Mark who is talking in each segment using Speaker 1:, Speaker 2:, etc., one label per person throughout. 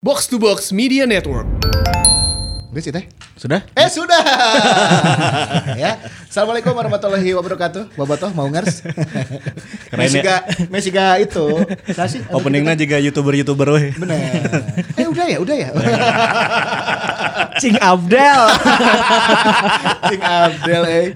Speaker 1: Box to Box Media Network.
Speaker 2: Udah sih teh.
Speaker 3: Sudah?
Speaker 2: Eh sudah. ya. Assalamualaikum warahmatullahi wabarakatuh. Wabarakatuh mau ngers.
Speaker 3: Keren ya.
Speaker 2: Mesiga, mesiga itu. Nah, sih, apa
Speaker 3: Openingnya
Speaker 2: kita-
Speaker 3: Kan juga youtuber-youtuber weh.
Speaker 2: Bener. Eh udah ya, udah ya.
Speaker 4: Cing Abdel.
Speaker 2: Cing Abdel eh.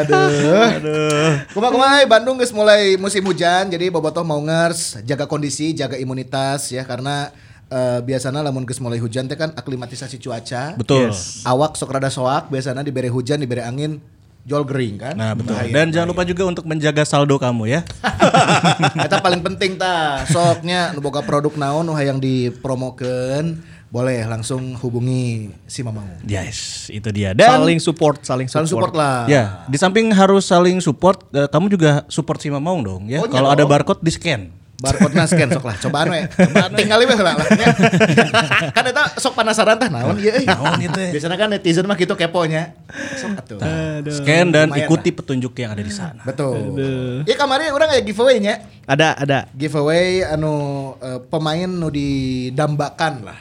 Speaker 2: Aduh.
Speaker 3: Aduh.
Speaker 2: Kuma-kuma eh, Bandung guys mulai musim hujan jadi bobotoh mau ngers jaga kondisi, jaga imunitas ya karena eh, biasanya lamun geus mulai hujan teh kan aklimatisasi cuaca.
Speaker 3: Betul.
Speaker 2: Awak sok rada soak biasanya diberi hujan, diberi angin jol gering kan.
Speaker 3: Nah, betul.
Speaker 2: Bahaya.
Speaker 3: Dan jangan lupa juga untuk menjaga saldo kamu ya.
Speaker 2: Eta paling penting ta. Soknya nu boga produk naon nu hayang dipromokeun, boleh langsung hubungi si Mamang.
Speaker 3: Yes, itu dia. Dan
Speaker 4: saling support, saling support.
Speaker 2: Saling support lah.
Speaker 3: ya, di samping harus saling support, eh, kamu juga support si Mamaung dong ya.
Speaker 2: Oh, iya
Speaker 3: Kalau ada
Speaker 2: dong.
Speaker 3: barcode di scan.
Speaker 2: Barcode na scan sok lah, cobaan we. Cobaan Tinggal we lah. lah. kan eta sok penasaran tah naon ieu euy.
Speaker 3: Naon ieu teh?
Speaker 2: Biasanya kan netizen mah gitu keponya. Sok atuh.
Speaker 3: Scan dan
Speaker 2: Lumayan
Speaker 3: ikuti petunjuk yang ada di sana.
Speaker 2: Betul. Iya kemarin orang kayak giveaway nya.
Speaker 4: Ada, ada.
Speaker 2: giveaway anu eh, pemain nu didambakan lah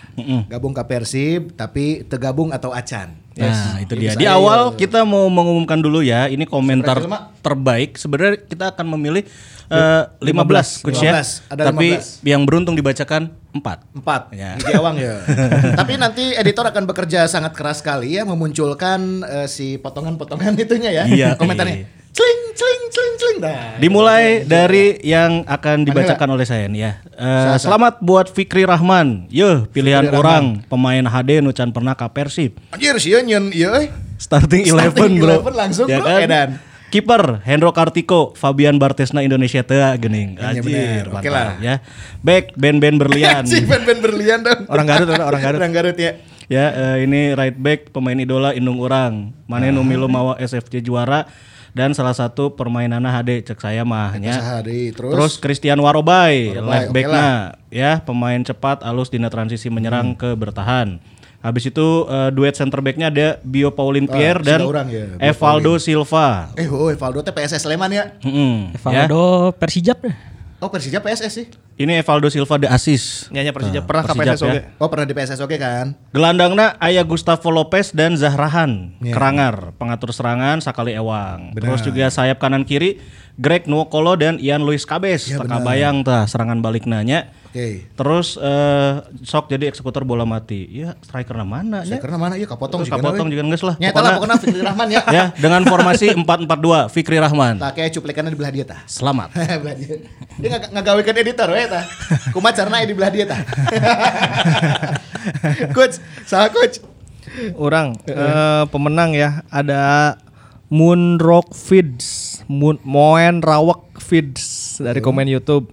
Speaker 2: gabung ke Persib tapi tegabung atau acan
Speaker 3: Nah, itu
Speaker 2: Jadi
Speaker 3: dia.
Speaker 2: bisa
Speaker 3: Di
Speaker 2: aja.
Speaker 3: awal kita mau mengumumkan dulu ya, ini komentar
Speaker 2: Seberapa jelema?
Speaker 3: terbaik. Sebenarnya kita akan memilih eh, 15, coach ya.
Speaker 2: 15, ada
Speaker 3: Tapi
Speaker 2: 15.
Speaker 3: yang beruntung dibacakan 4.
Speaker 2: empat
Speaker 3: Ya.
Speaker 2: Gigi Awang ya tapi nanti editor akan bekerja sangat keras sekali ya memunculkan eh, si potongan-potongan itunya ya
Speaker 3: Iya.
Speaker 2: komentarnya
Speaker 3: Iya.
Speaker 2: cling cling cling cling dah
Speaker 3: Dimulai dari yang akan dibacakan oleh saya nih ya. Eh, selamat buat Fikri Rahman. Yeuh, pilihan orang pemain HD nu can pernah ka Persib.
Speaker 2: anjir si Yonyon iya eh
Speaker 3: Starting
Speaker 2: Starting
Speaker 3: 11 bro. Ya kan?
Speaker 2: 11 langsung, bro, edan.
Speaker 3: Kiper Hendro Kartiko, Fabian Bartesna Indonesia teu gening.
Speaker 2: Iya,
Speaker 3: Anjir,
Speaker 2: benar. Oke
Speaker 3: mantap,
Speaker 2: lah.
Speaker 3: ya. Back Ben-ben Berlian.
Speaker 2: si band-band berlian dong
Speaker 3: Kan. Orang Garut, orang- orang Garut.
Speaker 2: orang Garut ya
Speaker 3: ya, eh, ini right back pemain idola indung orang.
Speaker 2: Ah.
Speaker 3: Mane nu milu mawa SFC juara dan salah satu permainan HD cek saya mah ya. nya.
Speaker 2: sehari terus,
Speaker 3: Terus Christian Warobay, left
Speaker 2: oke
Speaker 3: back-nya ya, pemain cepat alus dina transisi
Speaker 2: Hmm.
Speaker 3: menyerang ke bertahan. Habis itu eh, duet center back-nya ada Bio Paulin Pierre dan
Speaker 2: sudah orang ya, Bio
Speaker 3: Evaldo Silva.
Speaker 2: eh oh Valdo teh PSS Sleman ya
Speaker 3: Mm-mm, ya.
Speaker 4: Valdo Persijap deh.
Speaker 2: oh Persija PSS sih
Speaker 3: Ini Evaldo Silva de asis.
Speaker 2: Iya,
Speaker 4: Nyanyi Persijap pernah ke
Speaker 3: Persijap
Speaker 4: PSS oge.
Speaker 3: ya.
Speaker 2: oh pernah di PSS oke kan
Speaker 3: Gelandangna Ayah Gustavo Lopez dan Zahrahan
Speaker 2: Iya.
Speaker 3: Kerangar, pengatur serangan Sakali Ewang
Speaker 2: Benar.
Speaker 3: Terus juga sayap kanan kiri Greg Nuokolo dan Ian Luis Cabes
Speaker 2: Iya,
Speaker 3: Teka
Speaker 2: benar.
Speaker 3: bayang tah serangan balik nanya
Speaker 2: oke
Speaker 3: Terus eh, sok jadi eksekutor bola mati. Ya striker mana
Speaker 2: Ya,
Speaker 3: ya?
Speaker 2: karena mana iya kapotong
Speaker 3: Terus kapotong
Speaker 2: we.
Speaker 3: juga nges lah.
Speaker 2: Nyata lah
Speaker 3: Pokokna-
Speaker 2: pokoknya Fikri Rahman ya.
Speaker 3: ya dengan formasi 4-4-2 Fikri Rahman.
Speaker 2: Tak kayak cuplikannya di belah dia tah.
Speaker 3: Selamat.
Speaker 2: Belah dia. Dia nggak ngagawekan editor we tah. Kumaha carana di belah dia tah. coach, saha coach?
Speaker 4: Orang eh, pemenang ya ada Moon Rock Feeds, Moon Moen Rawak Feeds dari komen YouTube.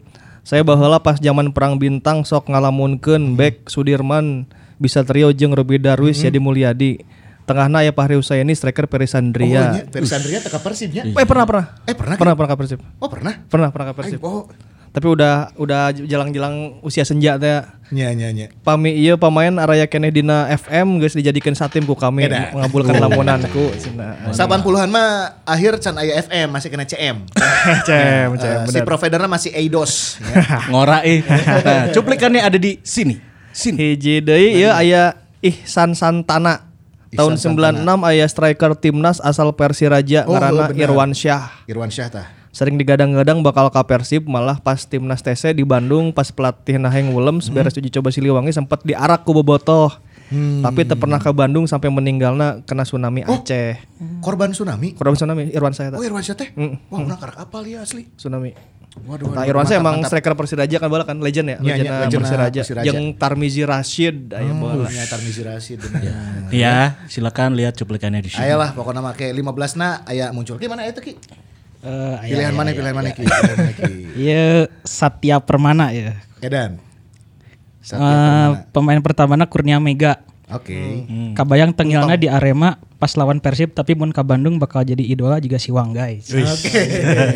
Speaker 4: Saya baheula pas zaman perang bintang sok ngalamunkeun back Sudirman bisa trio jeung Robi Darwis jadi Mulyadi. Tengahna ya Fahri Husaini striker Perisandria.
Speaker 2: Persandria iya. teka Persib nya.
Speaker 3: Iya.
Speaker 4: eh pernah pernah.
Speaker 2: Oh, Eh, pernah
Speaker 4: Pernah pernah ke Persib.
Speaker 2: Oh, pernah.
Speaker 4: Pernah pernah ke Persib.
Speaker 2: Ay, oh.
Speaker 4: Tapi udah udah jelang-jelang usia senja teh.
Speaker 2: Nya nya nya.
Speaker 4: Pami iya pamain Araya Keneh dina FM guys dijadikan satim ku kami
Speaker 2: Edan.
Speaker 4: mengabulkan lamunanku cina.
Speaker 2: Saban puluhan mah akhir can aya FM masih kena CM.
Speaker 4: Cem,
Speaker 2: Eh,
Speaker 4: cem,
Speaker 2: si
Speaker 4: bener.
Speaker 2: providernya masih Eidos. ya.
Speaker 3: Ngora eh. Nah, cuplikannya ada di sini. Sini.
Speaker 4: Hiji deui
Speaker 2: Nah,
Speaker 4: ieu iya,
Speaker 2: iya.
Speaker 4: aya Ihsan Santana. Tahun
Speaker 2: Ihsan
Speaker 4: 96 aya striker timnas asal Persiraja
Speaker 2: Oh,
Speaker 4: ngaranna
Speaker 2: bener.
Speaker 4: Irwan Syah.
Speaker 2: Irwan Syah tah.
Speaker 4: Sering digadang-gadang bakal ka Persib malah pas timnas TC di Bandung pas pelatih Naheng
Speaker 2: Hmm.
Speaker 4: Wulems beres uji coba Siliwangi sempat diarak ku bobotoh.
Speaker 2: Hmm.
Speaker 4: Tapi teu pernah ke Bandung sampai meninggalna kena tsunami Aceh.
Speaker 2: Korban tsunami.
Speaker 4: Korban tsunami Irwan saya
Speaker 2: Oh,
Speaker 4: tak?
Speaker 2: Irwan Syah teh.
Speaker 5: Mm.
Speaker 2: Wah, pernah karak apal ya asli.
Speaker 4: tsunami.
Speaker 2: Waduh.
Speaker 4: Nah,
Speaker 2: waduh,
Speaker 4: Irwan saya
Speaker 2: mantap,
Speaker 4: emang
Speaker 2: mantap.
Speaker 4: striker Persiraja kan bola kan legend ya,
Speaker 2: Iya, iya,
Speaker 4: legenda
Speaker 2: legend
Speaker 4: Persiraja.
Speaker 2: Persiraja. Hmm.
Speaker 4: Yang Tarmizi Rashid aya bola.
Speaker 2: Punya Tarmizi Rashid. bener.
Speaker 3: Ya, silakan lihat cuplikannya di sini.
Speaker 2: Ayolah pokoknya make 15 na aya muncul. Ki mana itu Ki?
Speaker 5: Eh, aya,
Speaker 2: Pilihan
Speaker 5: aya,
Speaker 2: mana
Speaker 5: aya.
Speaker 2: pilihan mana Ki? Pilihan mana, Ki?
Speaker 5: Iya Satya Permana ya.
Speaker 2: Edan. Satya
Speaker 5: Eh,
Speaker 2: Permana. Hmm.
Speaker 5: pemain pertamana Kurnia Mega.
Speaker 2: Oke.
Speaker 5: hmm. Kabayang tengilna di Arema pas lawan Persib tapi mun ka Bandung bakal jadi idola juga si Wanggai.
Speaker 2: Oke.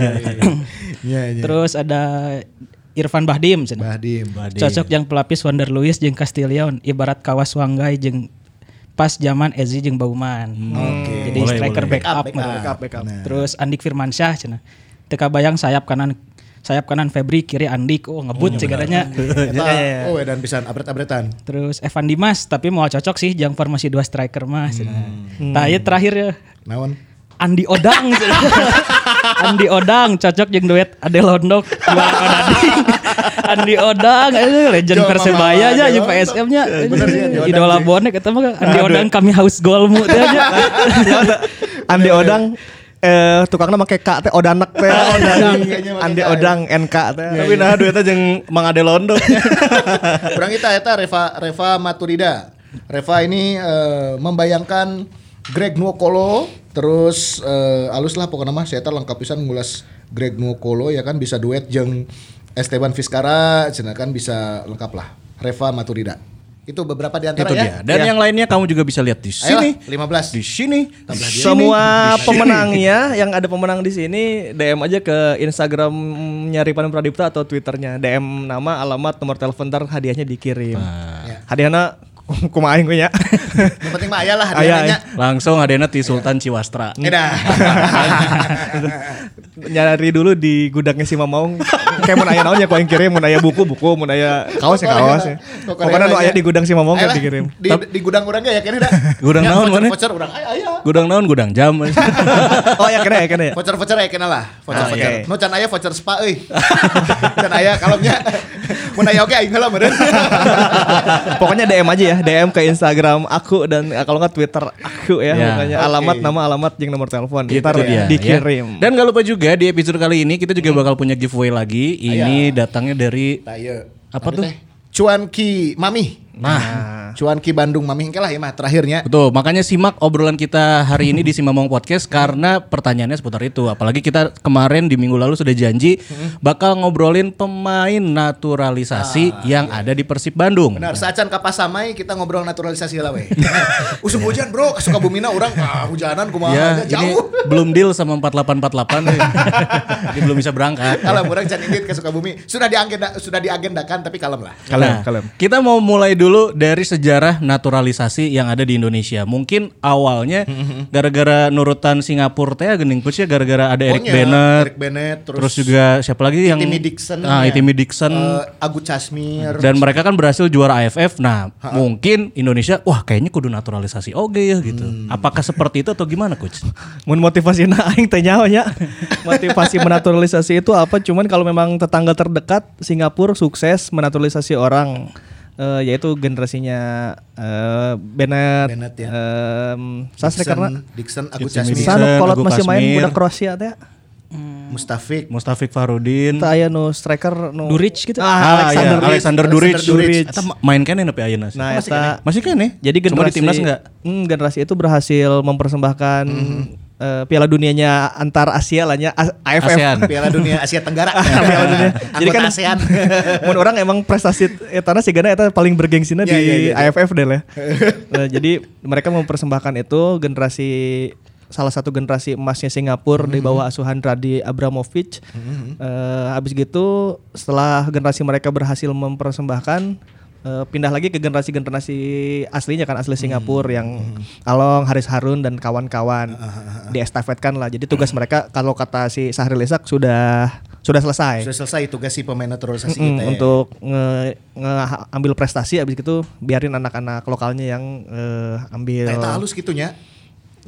Speaker 2: Iya Oh, iya.
Speaker 5: Terus ada Irfan Bahdim cenah.
Speaker 2: Bahdim.
Speaker 5: Cocok yang pelapis Wander Luis jeung Castillion ibarat kawas Wanggai jeung pas zaman Ezi jeung Bauman.
Speaker 2: Hmm,
Speaker 5: Hmm, Jadi
Speaker 3: Boleh,
Speaker 5: striker
Speaker 3: boleh.
Speaker 5: backup. nah.
Speaker 2: Backup,
Speaker 5: mah.
Speaker 2: backup, backup.
Speaker 5: Terus Andik Firmansyah cenah. Teu kabayang sayap kanan sayap kanan Febri kiri Andik oh ngebut
Speaker 2: Hmm,
Speaker 5: sih katanya
Speaker 2: Eta,
Speaker 5: Ya,
Speaker 2: oh edan pisan abret-abretan.
Speaker 5: terus Evan Dimas tapi mau cocok sih jang formasi dua striker mas nah iya terakhir ya
Speaker 2: Naon?
Speaker 5: Andi Odang Andi Odang cocok jeung duet Ade Londok juara Odading. Andi Odang eh, legend
Speaker 2: Jo,
Speaker 5: Persebaya
Speaker 2: mama,
Speaker 5: aja
Speaker 2: Ade
Speaker 5: jeung
Speaker 2: Londok.
Speaker 5: PSM nya
Speaker 2: Bener sih, Andi Odang
Speaker 5: idola
Speaker 2: sih.
Speaker 5: bonek eta mah Andi Odang kami haus golmu teh aja
Speaker 4: Andi
Speaker 3: Iya,
Speaker 4: Odang eh tukangnya make K teh Odanek teh.
Speaker 2: Odang, kayaknya make K,
Speaker 4: Andi
Speaker 2: ya.
Speaker 4: Odang NK teh.
Speaker 3: Tapi nah duetnya jeung Mang Ade Londo.
Speaker 2: Kurang kita eta Reva Reva Maturida. Reva ini eh, membayangkan Greg Nuokolo terus eh, alus lah pokoknya mah saya lengkap pisan ngulas Greg Nuokolo ya kan bisa duet jeung Esteban Vizcara cenah kan bisa lengkap lah. Reva Maturida. Itu beberapa di antara
Speaker 3: Itu
Speaker 2: ya.
Speaker 3: dia. Dan yang lainnya kamu juga bisa lihat di sini.
Speaker 2: Ayolah, 15.
Speaker 3: Di sini.
Speaker 4: Semua pemenangnya yang ada pemenang di sini DM aja ke Instagramnya Ripan Pradipta atau Twitternya DM nama, alamat, nomor telepon ntar hadiahnya dikirim.
Speaker 3: Nah.
Speaker 4: Hadiahnya kumaha aing gue nya.
Speaker 2: Yang penting mah aya lah
Speaker 4: Aya,
Speaker 2: hadiahnya.
Speaker 3: Langsung Adena di Sultan Ciwastra.
Speaker 2: Edah.
Speaker 4: Nyari dulu di gudangnya si Mamaung. Kayak mun aya naon ya ku aing kirim, mun aya buku-buku, mun aya kaos
Speaker 2: Oh, iya,
Speaker 4: ya kaos. ya. Pokoknya nu aya di gudang si Mamaung kan dikirim.
Speaker 2: Di, di gudang urang ge ya kene da.
Speaker 3: Gudang
Speaker 2: Ya,
Speaker 3: naon
Speaker 2: voucher-
Speaker 3: mana?
Speaker 2: Voucher urang aya aya.
Speaker 3: Gudang naon gudang jam.
Speaker 4: Oh ya kena ya kena ya.
Speaker 2: Voucher-voucher aya kenal lah,
Speaker 4: Ah,
Speaker 2: voucher-voucher.
Speaker 3: iya.
Speaker 4: oke.
Speaker 2: Nu can aya voucher spa euy. can aya kalemnya. Mun aya oke aing heula meureun.
Speaker 4: Pokoknya DM aja ya, DM ke Instagram aku dan eh, kalau nggak Twitter aku ya,
Speaker 3: Ya.
Speaker 4: pokoknya alamat nama alamat jeung nomor telepon.
Speaker 3: Gitu
Speaker 4: Ntar
Speaker 3: dia, ya.
Speaker 4: dikirim.
Speaker 3: Dan gak lupa juga di episode kali ini kita
Speaker 2: Hmm.
Speaker 3: juga bakal punya giveaway lagi.
Speaker 2: Iya.
Speaker 3: Ini datangnya dari
Speaker 2: Tah ieu.
Speaker 3: apa tuh?
Speaker 2: iya. Cuan Ki Mami.
Speaker 3: Nah,
Speaker 2: Cuan Ki Bandung Mami engke lah ya mah terakhirnya.
Speaker 3: Betul, makanya simak obrolan kita hari ini di Simamong Podcast karena pertanyaannya seputar itu. Apalagi kita kemarin di minggu lalu sudah janji
Speaker 2: Hmm.
Speaker 3: bakal ngobrolin pemain naturalisasi yang ada di Persib
Speaker 2: Ah, iya,
Speaker 3: Bandung.
Speaker 2: Benar, saacan ka pasamai kita ngobrol naturalisasi heula we. Usum hujan, Bro. Ka Sukabumina urang ah, hujanan kumaha
Speaker 3: Ya,
Speaker 2: aja,
Speaker 3: ini
Speaker 2: jauh.
Speaker 3: belum deal sama 4848 nih. Jadi belum bisa berangkat.
Speaker 2: Kalau orang can inggit ke Sukabumi sudah diagenda sudah diagendakan tapi kalem lah.
Speaker 4: Kalem,
Speaker 3: Nah,
Speaker 4: kalem.
Speaker 3: Kita mau mulai dulu dari sejarah naturalisasi yang ada di Indonesia. Mungkin awalnya gara-gara nurutan Singapura teh gening pusnya gara-gara ada Eric
Speaker 2: Pokoknya,
Speaker 3: Bennett,
Speaker 2: Eric Bennett,
Speaker 3: terus,
Speaker 2: terus
Speaker 3: juga siapa lagi yang
Speaker 2: Timmy Dixon.
Speaker 3: Ah,
Speaker 2: ya.
Speaker 3: Timmy Dixon.
Speaker 2: Eh, Agut Casmir.
Speaker 3: dan mereka kan berhasil juara AFF. Nah, mungkin Indonesia wah kayaknya kudu naturalisasi oke ya gitu. Apakah seperti itu atau gimana, coach?
Speaker 4: Mun motivasi na aing teh nyaho nya. Motivasi menaturalisasi itu apa? Cuman kalau memang tetangga terdekat Singapura sukses menaturalisasi orang eh, yaitu generasinya eh Bennett,
Speaker 2: Bennett, ya.
Speaker 4: em, Sastre karena
Speaker 2: Dixon, Agut
Speaker 3: Dixon,
Speaker 2: Casmir,
Speaker 3: Dixon.
Speaker 4: Sanu kolot
Speaker 3: Agus
Speaker 4: masih main
Speaker 3: Kasmir.
Speaker 4: budak Kroasia teh.
Speaker 2: Mustafik.
Speaker 3: Mustafik Farudin,
Speaker 4: Kita aya nu striker nu
Speaker 5: Duric gitu.
Speaker 4: Ah, Alexander
Speaker 3: Hmm. iya, Alexander Duric.
Speaker 2: Alexander Duric.
Speaker 3: Eta ma- main kan nepi ayeuna sih.
Speaker 4: Nah,
Speaker 3: Masih
Speaker 4: eta-
Speaker 3: kene? masih kan nih.
Speaker 4: Jadi generasi
Speaker 3: Cuma di timnas enggak?
Speaker 4: Hmm, generasi itu berhasil mempersembahkan eh, Piala Dunianya antar Asia lahnya AFF.
Speaker 3: ASEAN.
Speaker 2: Piala Dunia Asia Tenggara.
Speaker 4: Piala Dunia.
Speaker 2: Jadi
Speaker 4: Jadi kan
Speaker 2: ASEAN.
Speaker 4: mun orang emang prestasi etana sih gana eta paling bergengsinya
Speaker 2: Iya,
Speaker 4: di
Speaker 2: iya, iya.
Speaker 4: AFF deh lah. Eh, jadi mereka mempersembahkan itu generasi salah satu generasi emasnya Singapura
Speaker 2: Mm-hmm.
Speaker 4: di bawah asuhan Radi Abramovich. Eh, habis gitu setelah generasi mereka berhasil mempersembahkan eh, pindah lagi ke generasi-generasi aslinya
Speaker 2: Mm-hmm.
Speaker 4: kan asli Singapura yang Along, Haris Harun dan kawan-kawan
Speaker 2: Ah,
Speaker 4: diestafetkan lah. Jadi tugas
Speaker 2: Mm-hmm.
Speaker 4: mereka kalau kata si Sahril Ishak sudah sudah selesai.
Speaker 2: Sudah selesai tugas si pemain naturalisasi
Speaker 4: Mm,
Speaker 2: kita ya.
Speaker 4: untuk nge, nge- ambil prestasi abis gitu biarin anak-anak lokalnya yang eh, ambil
Speaker 2: Eta halus gitu, gitunya.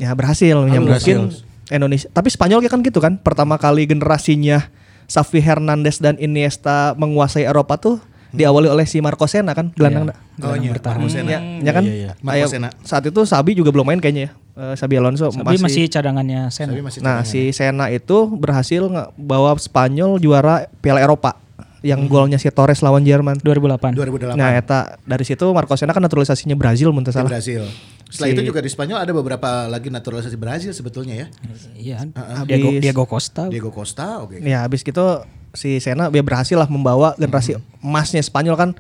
Speaker 4: ya berhasil ya mungkin Indonesia tapi Spanyol kan gitu kan pertama kali generasinya Xavi Hernandez dan Iniesta menguasai Eropa tuh diawali oleh si Marco Sena kan gelandang
Speaker 2: Oh Hmm. iya, Marcos Sena.
Speaker 4: ya, ya kan
Speaker 3: iya, iya.
Speaker 2: Marco
Speaker 4: Ayo,
Speaker 2: Sena.
Speaker 4: saat itu Sabi juga belum main kayaknya ya Eh, Sabi Alonso
Speaker 5: tapi masih cadangannya Sen
Speaker 2: Tapi masih
Speaker 4: Nah,
Speaker 2: tenang.
Speaker 4: si Sena itu berhasil ngebawa Spanyol juara Piala Eropa
Speaker 2: Hmm.
Speaker 4: yang golnya si Torres lawan Jerman.
Speaker 5: 2008
Speaker 2: 2008
Speaker 4: Nah, eta dari situ Marco Sena kan naturalisasinya Brazil mun teu
Speaker 2: di
Speaker 4: salah.
Speaker 2: Brazil. Setelah itu juga di Spanyol ada beberapa lagi naturalisasi Brazil sebetulnya ya.
Speaker 5: iya
Speaker 4: Habis-
Speaker 5: Diego Diego Costa
Speaker 2: Diego Costa, oke. Eh,
Speaker 4: Ya, habis gitu si Sena dia berhasil lah membawa generasi
Speaker 2: Mm-hmm.
Speaker 4: emasnya Spanyol kan.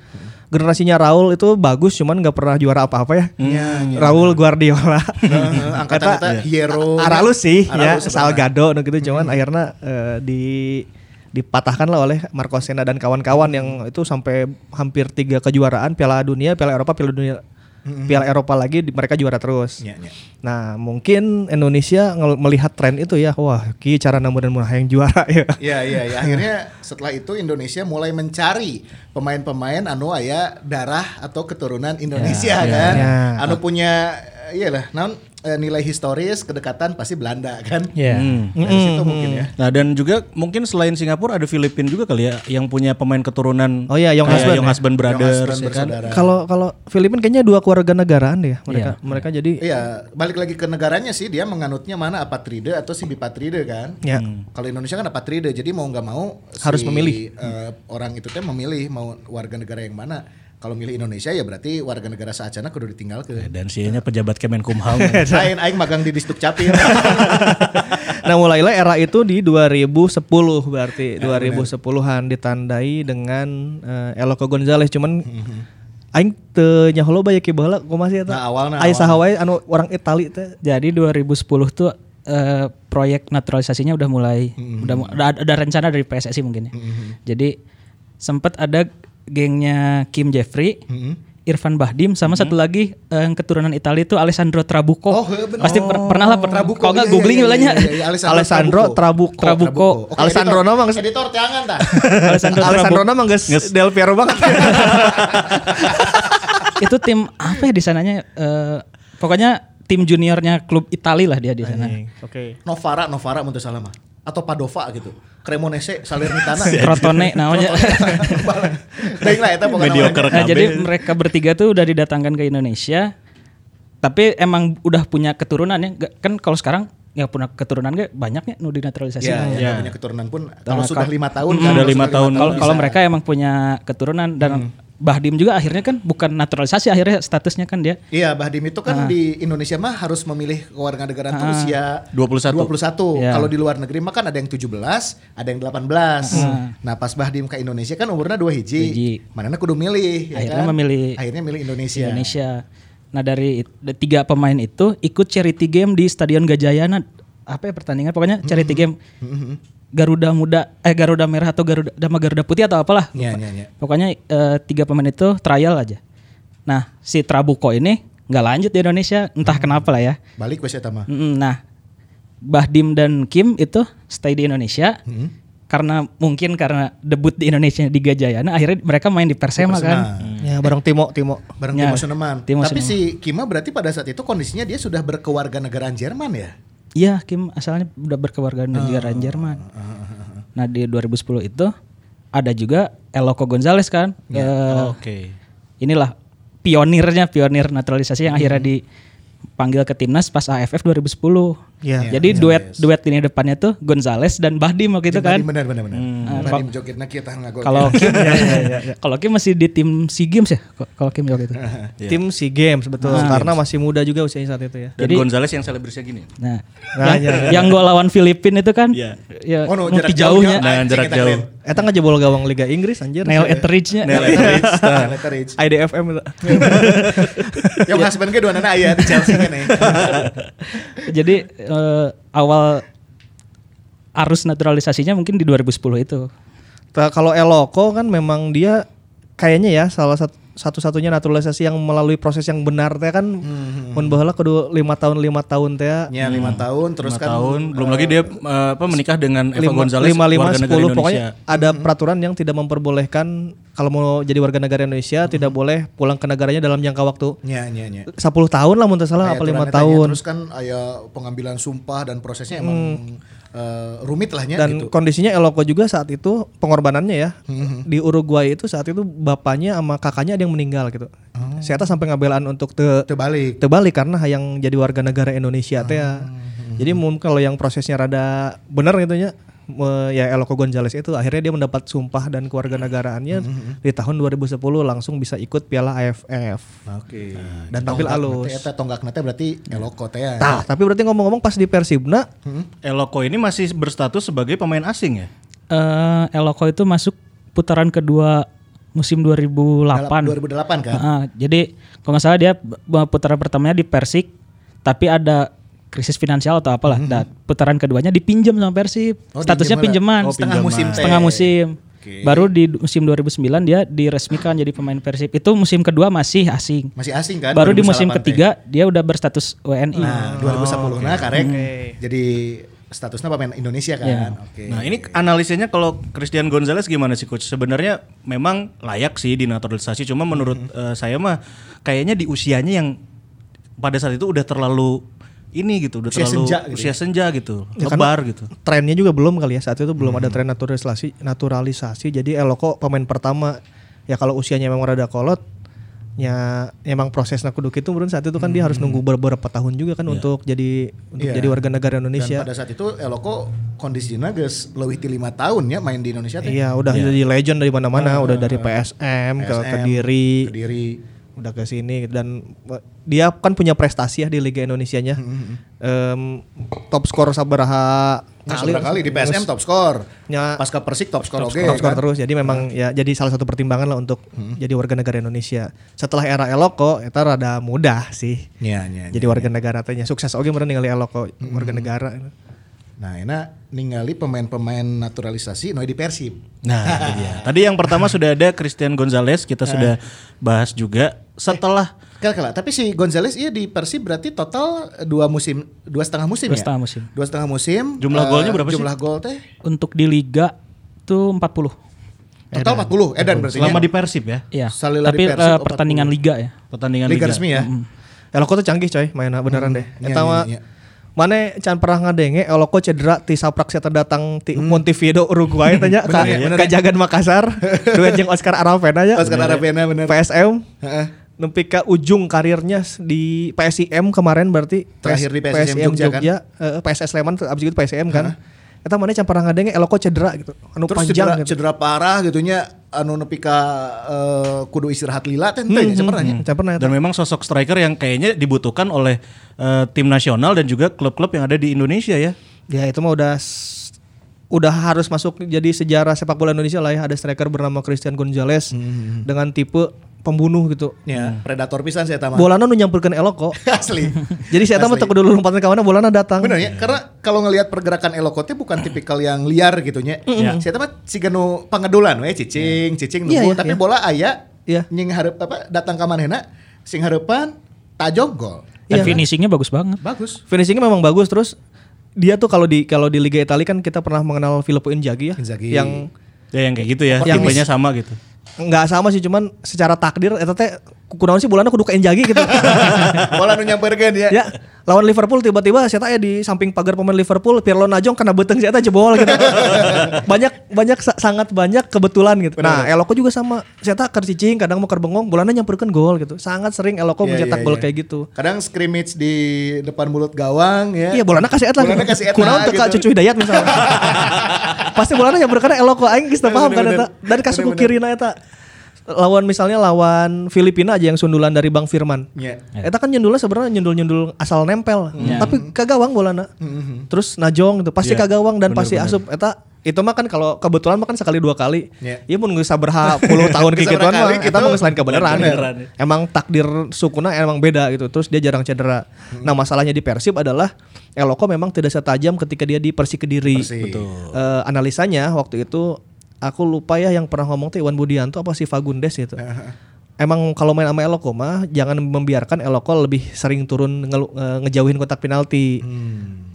Speaker 4: Generasinya Raul itu bagus cuman nggak pernah juara apa-apa ya.
Speaker 2: Mm, iya,
Speaker 4: Raul Guardiola.
Speaker 2: Heeh, eh, angkatan
Speaker 4: Eta- iya.
Speaker 2: kita Hierro.
Speaker 4: Aralus sih ya
Speaker 2: Aralus sebenarnya. Mm-hmm.
Speaker 4: Salgado nu gitu cuman akhirnya eh, di dipatahkan lah oleh Marco Sena dan kawan-kawan yang itu sampai hampir tiga kejuaraan Piala Dunia, Piala Eropa, Piala Dunia Piala Eropa lagi di- mereka juara terus.
Speaker 2: Mm-hmm. Iya, iya.
Speaker 4: Nah, mungkin Indonesia ngel- melihat tren itu ya, wah, ki cara namun dan yang juara ya.
Speaker 2: Iya iya iya. Akhirnya setelah itu Indonesia mulai mencari pemain-pemain anu aya darah atau keturunan Indonesia
Speaker 3: Iya,
Speaker 2: kan.
Speaker 4: ya.
Speaker 2: Anu punya eh, iyalah naon eh, nilai historis kedekatan pasti Belanda kan.
Speaker 3: Iya.
Speaker 5: Ya.
Speaker 2: Dari situ mungkin ya.
Speaker 3: Nah dan juga mungkin selain Singapura ada Filipina juga kali ya yang punya pemain keturunan.
Speaker 4: Oh iya, Yong
Speaker 3: kayak
Speaker 4: Husband
Speaker 3: Yong
Speaker 4: ya.
Speaker 3: Husband Brothers
Speaker 2: Yang Aspen
Speaker 3: ya kan.
Speaker 2: bersaudara.
Speaker 4: Kalau kalau Filipina kayaknya dua keluarga negaraan deh ya mereka. Mereka jadi
Speaker 2: Iya, balik lagi ke negaranya sih dia menganutnya mana apatride atau si bipatride kan.
Speaker 4: ya.
Speaker 2: Kalau Indonesia kan apatride, jadi mau nggak mau si,
Speaker 4: Harus memilih.
Speaker 2: eh, orang itu teh memilih mau warga negara yang mana. Kalau milih Indonesia ya berarti warga negara saacana kudu ditinggalkeun.
Speaker 3: Dan sianya pejabat Kemenkumham.
Speaker 4: Iya,
Speaker 2: Lain aing magang di Distrik Capil.
Speaker 4: Nah, mulailah era itu di 2010
Speaker 2: Iya,
Speaker 4: berarti 2010-an ditandai dengan eh, Eloko Gonzalez cuman aing teu nyaho loba ya ki baheula kumaha sih eta?
Speaker 2: Hmm. Nah, awalna,
Speaker 4: Aya
Speaker 2: awalna.
Speaker 4: saha wae anu orang Itali teh.
Speaker 5: gitu. Jadi 2010 tuh eh, proyek naturalisasinya udah mulai
Speaker 2: Mm-hmm.
Speaker 5: udah mu- ada, ada rencana dari PSSI mungkin ya. Jadi sempat ada gengnya Kim Jeffrey,
Speaker 2: Mm-hmm.
Speaker 5: Irfan Bahdim sama satu lagi eh, yang keturunan Italia itu Alessandro Trabucco.
Speaker 2: Oh, he, bener.
Speaker 5: Pasti per- pernah lah per-
Speaker 2: Trabucco,
Speaker 5: kalau
Speaker 2: iya,
Speaker 5: nggak
Speaker 2: iya,
Speaker 5: googling
Speaker 2: iya,
Speaker 5: ulahnya.
Speaker 2: iya, iya, iya,
Speaker 4: Alessandro Trabucco.
Speaker 5: Trabucco.
Speaker 2: Oke,
Speaker 4: Alessandro
Speaker 2: editor.
Speaker 4: nama geus-
Speaker 2: editor teangan tah.
Speaker 5: Alessandro
Speaker 4: Alessandro
Speaker 5: Trabucco.
Speaker 4: nama geus Del Piero banget.
Speaker 5: itu tim apa ya di sananya Eh, pokoknya tim juniornya klub Italia lah
Speaker 2: Ah,
Speaker 5: dia di sana.
Speaker 4: Oke.
Speaker 2: Novara, Novara mun teu salah mah. Atau Padova gitu. Cremonese, Salernitana.
Speaker 5: Crotone namanya.
Speaker 2: Baik lah eta pokoknya.
Speaker 3: Mediocre.
Speaker 5: Nah,
Speaker 3: KB.
Speaker 5: jadi mereka bertiga tuh udah didatangkan ke Indonesia. Tapi emang udah punya keturunan ya. Nggak- Kan kalau sekarang ya punya keturunan gak banyaknya nu dinaturalisasi.
Speaker 2: Ya,
Speaker 5: Nah,
Speaker 2: ya, punya keturunan pun kalau
Speaker 5: Nah,
Speaker 2: sudah
Speaker 5: kal-
Speaker 2: lima tahun
Speaker 3: Mm, ada lima tahun.
Speaker 5: Kalau kalau
Speaker 2: bisa.
Speaker 5: mereka emang punya keturunan dan Bahdim juga akhirnya kan bukan naturalisasi akhirnya statusnya kan dia
Speaker 2: Iya, Bahdim itu
Speaker 5: Ah.
Speaker 2: kan di Indonesia mah harus memilih kewarganegaraan tuh usia
Speaker 3: 21.
Speaker 2: 21.
Speaker 5: Iya.
Speaker 2: Kalau di luar negeri mah kan ada yang 17, ada yang 18. Nah, pas Bahdim ke Indonesia kan umurnya dua
Speaker 5: Ah. Hiji.
Speaker 2: hiji. Mana kudu milih ya kan?
Speaker 5: Akhirnya memilih
Speaker 2: Akhirnya milih Indonesia.
Speaker 5: Indonesia. Nah dari it- de- tiga pemain itu ikut charity game di Stadion Gajayana apa ya pertandingan pokoknya charity game Garuda Muda eh Garuda Merah atau Garuda Dama Garuda Putih atau apalah
Speaker 2: Iya, iya, iya.
Speaker 5: Pokoknya eh, tiga pemain itu trial aja. Nah, si Trabuco ini nggak lanjut di Indonesia, entah kenapa lah ya.
Speaker 2: Balik wes eta mah.
Speaker 5: Mm, Nah, Bahdim dan Kim itu stay di Indonesia. Karena mungkin karena debut di Indonesia di Gajayana, akhirnya mereka main di Persema, kan.
Speaker 2: Hmm.
Speaker 4: Ya bareng Timo, Timo.
Speaker 2: Nah, bareng
Speaker 5: Ya,
Speaker 2: Timo Suneman.
Speaker 5: Timo
Speaker 2: Tapi
Speaker 5: Suneman.
Speaker 2: si Kima berarti pada saat itu kondisinya dia sudah berkewarganegaraan Jerman ya?
Speaker 5: Iya, Kim asalnya udah berkeluarga negaraan Jerman. Nah, di 2010 itu ada juga Eloko Gonzales kan. Eh,
Speaker 3: Oke.
Speaker 5: inilah pionirnya pionir naturalisasi yang akhirnya dipanggil ke timnas pas AFF 2010.
Speaker 4: Iya.
Speaker 5: Jadi duet duet ini depannya tuh Gonzales dan Bahdim waktu itu kan.
Speaker 2: Tadi Iya, benar benar benar. Badim jogetna kieu tah ngagol.
Speaker 5: Kalau Kim, kalau Kim masih di tim SEA Games ya. Kalau Kim waktu itu.
Speaker 2: Iya.
Speaker 4: Tim SEA Games
Speaker 2: Ah,
Speaker 4: betul karena masih muda juga usianya saat itu ya.
Speaker 3: Dan
Speaker 5: Jadi-
Speaker 3: Gonzales yang selebrisnya gini.
Speaker 5: Nah,
Speaker 4: Nah,
Speaker 5: yang, yang gol lawan Filipina itu kan
Speaker 3: Iya.
Speaker 5: ya
Speaker 2: Oh, no,
Speaker 5: multi
Speaker 2: jarak
Speaker 5: jauhnya
Speaker 2: jauhnya.
Speaker 3: Dengan
Speaker 2: Anjing,
Speaker 3: Nah, jarak
Speaker 2: kita
Speaker 3: jauh.
Speaker 2: keren.
Speaker 4: Eta ngejebol gawang Liga Inggris anjir.
Speaker 5: Neil Etheridge-nya.
Speaker 2: Letterage.
Speaker 4: IDFM itu.
Speaker 2: Yang
Speaker 5: Iya.
Speaker 2: husband ke dua nana aya di Chelsea kan ya.
Speaker 5: Jadi eh, awal arus naturalisasinya mungkin di 2010 itu.
Speaker 4: Ta- Nah, Kalau Eloko kan memang dia kayaknya ya salah satu satu-satunya naturalisasi yang melalui proses yang benar teh kan
Speaker 3: Hmm.
Speaker 4: mun baheula kudu 5 tahun 5 tahun teh
Speaker 2: Ya lima tahun terus
Speaker 3: Lima
Speaker 2: kan
Speaker 3: tahun, belum lagi dia eh, apa menikah dengan Eva
Speaker 4: lima
Speaker 3: Gonzales
Speaker 4: lima lima
Speaker 3: warga negara
Speaker 4: sepuluh
Speaker 3: Indonesia. Hmm.
Speaker 4: pokoknya ada peraturan yang tidak memperbolehkan kalau mau jadi warga negara Indonesia
Speaker 3: Hmm.
Speaker 4: tidak boleh pulang ke negaranya dalam jangka waktu
Speaker 2: Ya ya ya.
Speaker 4: 10 tahun lah mun
Speaker 3: Nah,
Speaker 4: teu salah
Speaker 2: Aya
Speaker 4: apa 5
Speaker 2: aturan etanya.
Speaker 4: tahun
Speaker 2: Terus kan aya pengambilan sumpah dan prosesnya emang eh, rumit lahnya
Speaker 3: Ya,
Speaker 4: dan
Speaker 2: gitu.
Speaker 4: kondisinya Eloko juga saat itu pengorbanannya ya
Speaker 3: Hmm.
Speaker 4: di Uruguay itu saat itu bapaknya sama kakaknya ada yang meninggal gitu.
Speaker 3: Hmm.
Speaker 4: Saya atas sampai ngabelan untuk te
Speaker 2: Terbalik.
Speaker 4: terbalik karena yang jadi warga negara Indonesia teh ya. Jadi mungkin kalau yang prosesnya rada benar gitu ya me- ya Eloko Gonzales itu akhirnya dia mendapat sumpah dan kewarganegaraannya di tahun 2010 langsung bisa ikut Piala AFF.
Speaker 2: Oke.
Speaker 4: Dan tampil alus.
Speaker 2: Eta Nah, tonggak nate berarti eloko teh. ya.
Speaker 4: Tah, tapi berarti ngomong-ngomong pas di Persibna
Speaker 3: Eloko ini masih berstatus sebagai pemain asing ya.
Speaker 5: Eh, Eloko itu masuk putaran kedua musim
Speaker 2: 2008
Speaker 5: 2008.
Speaker 2: kan.
Speaker 5: Ah, jadi kalau nggak salah dia b- putaran pertamanya di Persik, tapi ada krisis finansial atau apalah. Nah, putaran keduanya dipinjam sama Persib.
Speaker 2: Hmm. Oh,
Speaker 5: Statusnya
Speaker 2: pinjaman.
Speaker 5: pinjaman,
Speaker 2: Oh,
Speaker 5: setengah
Speaker 2: pinjaman.
Speaker 5: musim, setengah musim.
Speaker 2: Oke.
Speaker 5: Baru di du- musim 2009 dia diresmikan jadi pemain Persib. Itu musim kedua masih asing.
Speaker 2: Masih asing kan?
Speaker 5: Baru di
Speaker 2: 2008
Speaker 5: musim
Speaker 2: teh.
Speaker 5: ketiga dia udah berstatus WNI.
Speaker 2: Nah, 2010 nah karek jadi statusnya pemain Indonesia kan.
Speaker 5: Iya.
Speaker 2: Oke.
Speaker 3: Nah ini analisanya kalau Christian Gonzalez gimana sih coach? Sebenarnya memang layak sih dinaturalisasi, cuma menurut eh, saya mah kayaknya di usianya yang pada saat itu udah terlalu ini gitu, udah
Speaker 2: Usia
Speaker 3: terlalu
Speaker 2: senja gitu
Speaker 3: usia senja gitu,
Speaker 4: Ya, karena
Speaker 3: lebar gitu.
Speaker 4: Trennya juga belum kali ya saat itu belum
Speaker 2: Hmm.
Speaker 4: ada tren naturalisasi, naturalisasi. Jadi Eloko pemain pertama ya kalau usianya memang rada kolot, ya emang prosesnya kudu itu menurut saat itu kan dia harus nunggu beberapa tahun juga kan untuk jadi
Speaker 2: Hmm.
Speaker 4: untuk
Speaker 2: Iya.
Speaker 4: jadi warga negara Indonesia.
Speaker 2: Dan pada saat itu Eloko kondisinya geus leuwih ti 5 tahun ya main di Indonesia teh.
Speaker 4: Iya, udah jadi legend dari mana-mana, udah dari PSM, ke
Speaker 2: PSM,
Speaker 4: Kediri,
Speaker 2: Kediri.
Speaker 4: udah ke sini dan eh, dia kan punya prestasi ya di Liga Indonesianya.
Speaker 2: Hmm,
Speaker 4: Em, top skor sabaraha
Speaker 2: Nah, seberapa kali di PSM top skor.
Speaker 3: Ah.
Speaker 4: Ya.
Speaker 2: Pasca Persik top skor
Speaker 4: Top
Speaker 2: oke.
Speaker 4: score, top
Speaker 2: kan?
Speaker 4: score
Speaker 2: Hmm.
Speaker 4: terus. Jadi memang ya jadi salah satu pertimbangan lah untuk jadi warga negara Indonesia. Setelah era Eloko itu rada mudah sih.
Speaker 2: Iya, iya. iya.
Speaker 4: jadi warga negara tanya sukses oke meren ningali Eloko
Speaker 2: Hmm.
Speaker 4: warga negara.
Speaker 2: Nah, enak ningali pemain-pemain naturalisasi no di Persib.
Speaker 3: Nah itu dia. Tadi yang pertama sudah ada Christian Gonzalez, kita sudah bahas juga. Setelah
Speaker 2: Kala -kala. Tapi si Gonzales iya di Persib berarti total dua musim, dua setengah musim
Speaker 5: Dua
Speaker 2: ya?
Speaker 5: setengah musim.
Speaker 2: Dua setengah musim.
Speaker 3: Jumlah
Speaker 2: eh,
Speaker 3: golnya berapa sih?
Speaker 2: Jumlah gol teh
Speaker 5: Untuk di liga tuh 40.
Speaker 2: total 40 Edan berarti. ya?
Speaker 3: selama di Persib ya,
Speaker 5: Iya.
Speaker 2: Salila
Speaker 5: Tapi
Speaker 2: di Persib,
Speaker 5: eh,
Speaker 2: 40.
Speaker 5: pertandingan liga ya.
Speaker 3: pertandingan
Speaker 2: Liga
Speaker 3: Liga.
Speaker 2: resmi ya.
Speaker 4: Eloko tuh canggih coy, mainnya beneran deh.
Speaker 2: iya,
Speaker 4: Eta
Speaker 2: iya,
Speaker 4: mah
Speaker 2: iya.
Speaker 4: Mane can pernah ngadenge Eloko cedera ti saprak saya datang ti Montevideo Uruguay tanya ka,
Speaker 2: Hmm. Bener ya, bener.
Speaker 4: kajagan Makassar duet jeung Oscar Aravena ya.
Speaker 2: Oscar Aravena, bener.
Speaker 4: PSM.
Speaker 2: Heeh.
Speaker 4: Nempi ke ujung karirnya di PSIM kemarin berarti
Speaker 2: Terakhir di PSIM Jogja kan?
Speaker 4: eh, PSS Sleman terus abis itu PSIM kan. Eta mana can pernah ngadenge Eloko cedera gitu. Anu
Speaker 2: Terus
Speaker 4: panjang
Speaker 2: cedera,
Speaker 4: gitu.
Speaker 2: cedera parah gitunya anu nepi ka eh, kudu istirahat lila teh ya,
Speaker 4: Mhm. Mm-hmm.
Speaker 2: teh sebenarnya.
Speaker 4: Can pernah eta.
Speaker 3: Dan memang sosok striker yang kayaknya dibutuhkan oleh eh, tim nasional dan juga klub-klub yang ada di Indonesia ya.
Speaker 4: Ya itu mah udah s- udah harus masuk jadi sejarah sepak bola Indonesia lah ya ada striker bernama Christian Gonzalez
Speaker 2: Mhm.
Speaker 4: dengan tipe pembunuh gitu.
Speaker 2: Ya, predator pisan saya tamat.
Speaker 4: Bolana nu nyampurkeun elok kok.
Speaker 2: Asli.
Speaker 4: jadi saya tahu
Speaker 2: Asli.
Speaker 4: tak dulu lompatan kawannya bolana datang.
Speaker 2: Bener ya, karena kalau ngelihat pergerakan Elokotnya bukan tipikal yang liar gitunya. nya Saya tamat si ganu pangedolan we cicing, cicing
Speaker 4: Iya,
Speaker 2: nunggu
Speaker 4: iya,
Speaker 2: tapi
Speaker 4: iya.
Speaker 2: bola aya
Speaker 4: Iya.
Speaker 2: nying hareup apa datang ka manehna sing harapan tajog gol.
Speaker 4: Iya.
Speaker 5: Dan finishingnya bagus banget.
Speaker 2: Bagus.
Speaker 4: Finishingnya memang bagus terus dia tuh kalau di kalau di Liga Italia kan kita pernah mengenal Filippo Inzaghi ya
Speaker 2: Inzaghi.
Speaker 4: yang
Speaker 3: Ya yang kayak gitu ya,
Speaker 4: Yang-
Speaker 3: tipenya sama gitu.
Speaker 4: nggak sama sih cuman secara takdir eta teh kunaon sih bolana kudu ke Inzaghi gitu.
Speaker 2: bola nu nyamperkeun ya.
Speaker 4: ya lawan Liverpool tiba-tiba saya ya di samping pagar pemain Liverpool Pirlo najong kena beteng saya jebol gitu banyak banyak sa- sangat banyak kebetulan gitu nah Eloko juga sama saya ker cicing kadang mau ker bengong bulannya nyampurkan gol gitu sangat sering Eloko
Speaker 2: Iya,
Speaker 4: mencetak
Speaker 2: iya,
Speaker 4: gol
Speaker 2: iya.
Speaker 4: kayak gitu
Speaker 2: Kadang scrimmage di depan mulut gawang ya.
Speaker 4: Iya, bolana kasih eta.
Speaker 2: Bolana kasih eta,
Speaker 4: Kunaon teu ka
Speaker 2: gitu.
Speaker 4: Cucu Hidayat misalnya. Pasti bolana yang berkena eloko aing geus teu paham kan
Speaker 2: Bener-bener.
Speaker 4: eta. Dan kasuku
Speaker 2: Bener-bener.
Speaker 4: kirina eta. Lawan misalnya lawan Filipina aja yang sundulan dari Bang Firman.
Speaker 2: Iya. Mm-hmm.
Speaker 4: Eta kan nyundulnya sebenarnya nyundul-nyundul asal nempel, tapi kagawang bolana. Terus najong gitu, pasti
Speaker 2: Iya.
Speaker 4: kagawang dan pasti asup. Eta itu mah kan kalau kebetulan mah kan sekali dua kali.
Speaker 2: Iya.
Speaker 4: Iya mun geus saberha puluh tahun
Speaker 2: Geus
Speaker 4: kikituan
Speaker 2: saberha
Speaker 4: mah
Speaker 2: kali
Speaker 4: eta
Speaker 2: gitu.
Speaker 4: mah geus lain kebenaran. gitu.
Speaker 2: Beneran.
Speaker 4: Emang takdir sukuna emang beda gitu. Terus dia jarang cedera.
Speaker 2: Hmm.
Speaker 4: Nah, masalahnya di Persib adalah Eloko memang tidak setajam ketika dia di Persik Kediri.
Speaker 2: Persik. Betul.
Speaker 4: Eh, analisanya waktu itu aku lupa ya yang pernah ngomong tuh Iwan Budianto apa si Fagundes gitu.
Speaker 2: Iya.
Speaker 4: Emang kalau main sama Eloko mah jangan membiarkan Eloko lebih sering turun ngelu- eh, ngejauhin kotak penalti.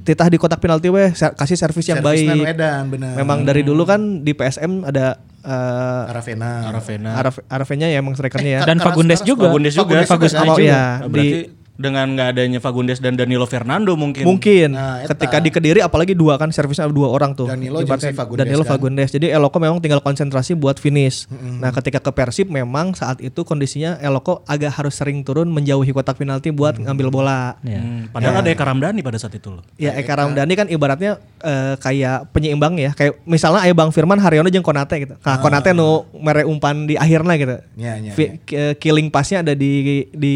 Speaker 4: Titah di kotak penalti weh ser- kasih servis yang
Speaker 2: Hmm. Servisnya Hmm. nu
Speaker 4: baik.
Speaker 2: edan, bener.
Speaker 4: Memang dari dulu kan di PSM ada eh,
Speaker 2: Aravena.
Speaker 3: Aravena.
Speaker 4: Araf Arafenya ya emang strikernya ya.
Speaker 2: Eh,
Speaker 5: Dan
Speaker 2: Karena
Speaker 5: Fagundes
Speaker 2: sekarang
Speaker 5: juga.
Speaker 3: Fagundes juga.
Speaker 2: Fagundes
Speaker 4: juga. Oh, iya.
Speaker 3: Berarti dengan nggak adanya Fagundes dan Danilo Fernando mungkin.
Speaker 4: Mungkin
Speaker 2: Nah, eta.
Speaker 4: ketika di Kediri apalagi dua kan servisnya dua orang tuh.
Speaker 2: Danilo
Speaker 4: Ibaratnya
Speaker 2: jeung si Fagundes
Speaker 4: Danilo
Speaker 2: kan.
Speaker 4: Fagundes. Jadi Eloko memang tinggal konsentrasi buat finish. Nah, ketika ke Persib memang saat itu kondisinya Eloko agak harus sering turun menjauhi kotak penalti buat ngambil bola.
Speaker 3: Hmm, padahal ada Eka Ramdhani pada saat itu loh.
Speaker 4: Ya
Speaker 2: Nah,
Speaker 4: Eka Ramdhani kan ibaratnya eh, kayak penyeimbang ya. Kayak misalnya Ayah Bang Firman Haryono jeung Konate gitu. Nah, Konate nu mere umpan di akhirnya gitu.
Speaker 2: Ah. Ya, ya,
Speaker 4: Fi- eh, Killing passnya ada di di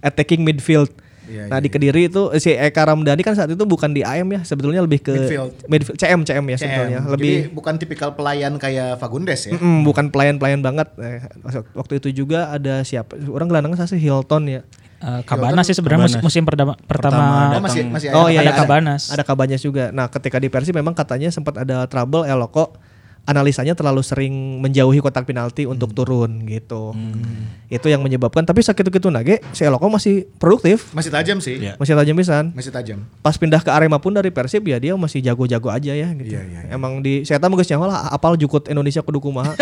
Speaker 4: attacking midfield.
Speaker 2: Ya,
Speaker 4: nah di Kediri itu eh, si Eka Ramdhani kan saat itu bukan di AM ya sebetulnya lebih ke
Speaker 2: Midfield.
Speaker 4: midfield- CM CM ya sebetulnya
Speaker 2: CM.
Speaker 4: lebih
Speaker 2: Jadi bukan tipikal pelayan kayak Fagundes ya.
Speaker 4: Mm, bukan pelayan-pelayan banget. Eh, waktu itu juga ada siapa? Orang gelandangnya sih Hilton ya.
Speaker 5: Eh, Kabana sih sebenarnya mus-
Speaker 3: Kabanas.
Speaker 5: musim perdama-
Speaker 3: Pertama
Speaker 5: pertama,
Speaker 2: Oh masih masih
Speaker 4: Oh iya,
Speaker 5: ada
Speaker 4: iya,
Speaker 5: Kabanas.
Speaker 4: Ada Kabanas juga. Nah, ketika di Persib memang katanya sempat ada trouble Eloko analisanya terlalu sering menjauhi kotak penalti untuk turun gitu. Itu yang menyebabkan tapi sakit-gitu nage si Eloko masih produktif,
Speaker 2: Masih tajam sih.
Speaker 3: Iya.
Speaker 4: masih tajam pisan.
Speaker 2: Masih tajam.
Speaker 4: Pas pindah ke Arema pun dari Persib ya dia masih jago-jago aja ya gitu.
Speaker 2: Iya, iya, iya.
Speaker 4: Emang di saya tahu geus nyaho lah apal jukut Indonesia kudu kumaha.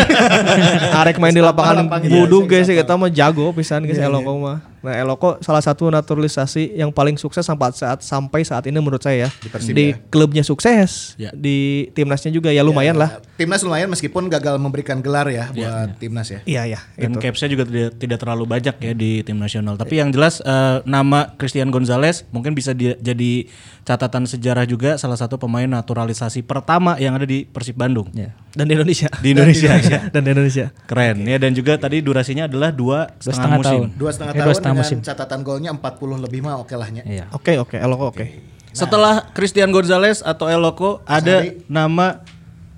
Speaker 4: Arek main di
Speaker 2: Apal
Speaker 4: lapangan
Speaker 2: lapangnya,
Speaker 4: budu
Speaker 2: sing
Speaker 4: guys
Speaker 2: apal.
Speaker 4: kita mah jago pisan guys Eloko mah. Nah Eloko salah satu naturalisasi yang paling sukses sampai saat sampai saat ini menurut saya ya. Di,
Speaker 2: Persib ya.
Speaker 4: klubnya sukses,
Speaker 3: Ya.
Speaker 4: di timnasnya juga ya lumayan lah.
Speaker 2: Eh, Timnas lumayan meskipun gagal memberikan gelar ya
Speaker 3: Iya,
Speaker 2: buat timnas ya.
Speaker 4: Iya ya.
Speaker 3: Dan capsnya juga tidak, tidak terlalu banyak ya di tim nasional. Tapi yang jelas eh, nama Christian Gonzalez mungkin bisa dia- jadi catatan sejarah juga salah satu pemain naturalisasi pertama yang ada di Persib Bandung
Speaker 5: Ya.
Speaker 4: Dan di Indonesia.
Speaker 3: di Indonesia.
Speaker 4: dan di Indonesia.
Speaker 3: Keren ya dan juga tadi durasinya adalah dua
Speaker 5: Dua
Speaker 3: setengah
Speaker 5: setengah
Speaker 3: musim.
Speaker 5: tahun.
Speaker 2: Dua setengah
Speaker 5: Eh, dua
Speaker 2: tahun
Speaker 5: setengah
Speaker 2: dengan
Speaker 5: musim.
Speaker 2: catatan golnya 40 lebih mah oke lahnya.
Speaker 5: Iya.
Speaker 4: Oke oke, Eloko oke.
Speaker 3: Nah. Setelah Christian Gonzalez atau Eloko ada nama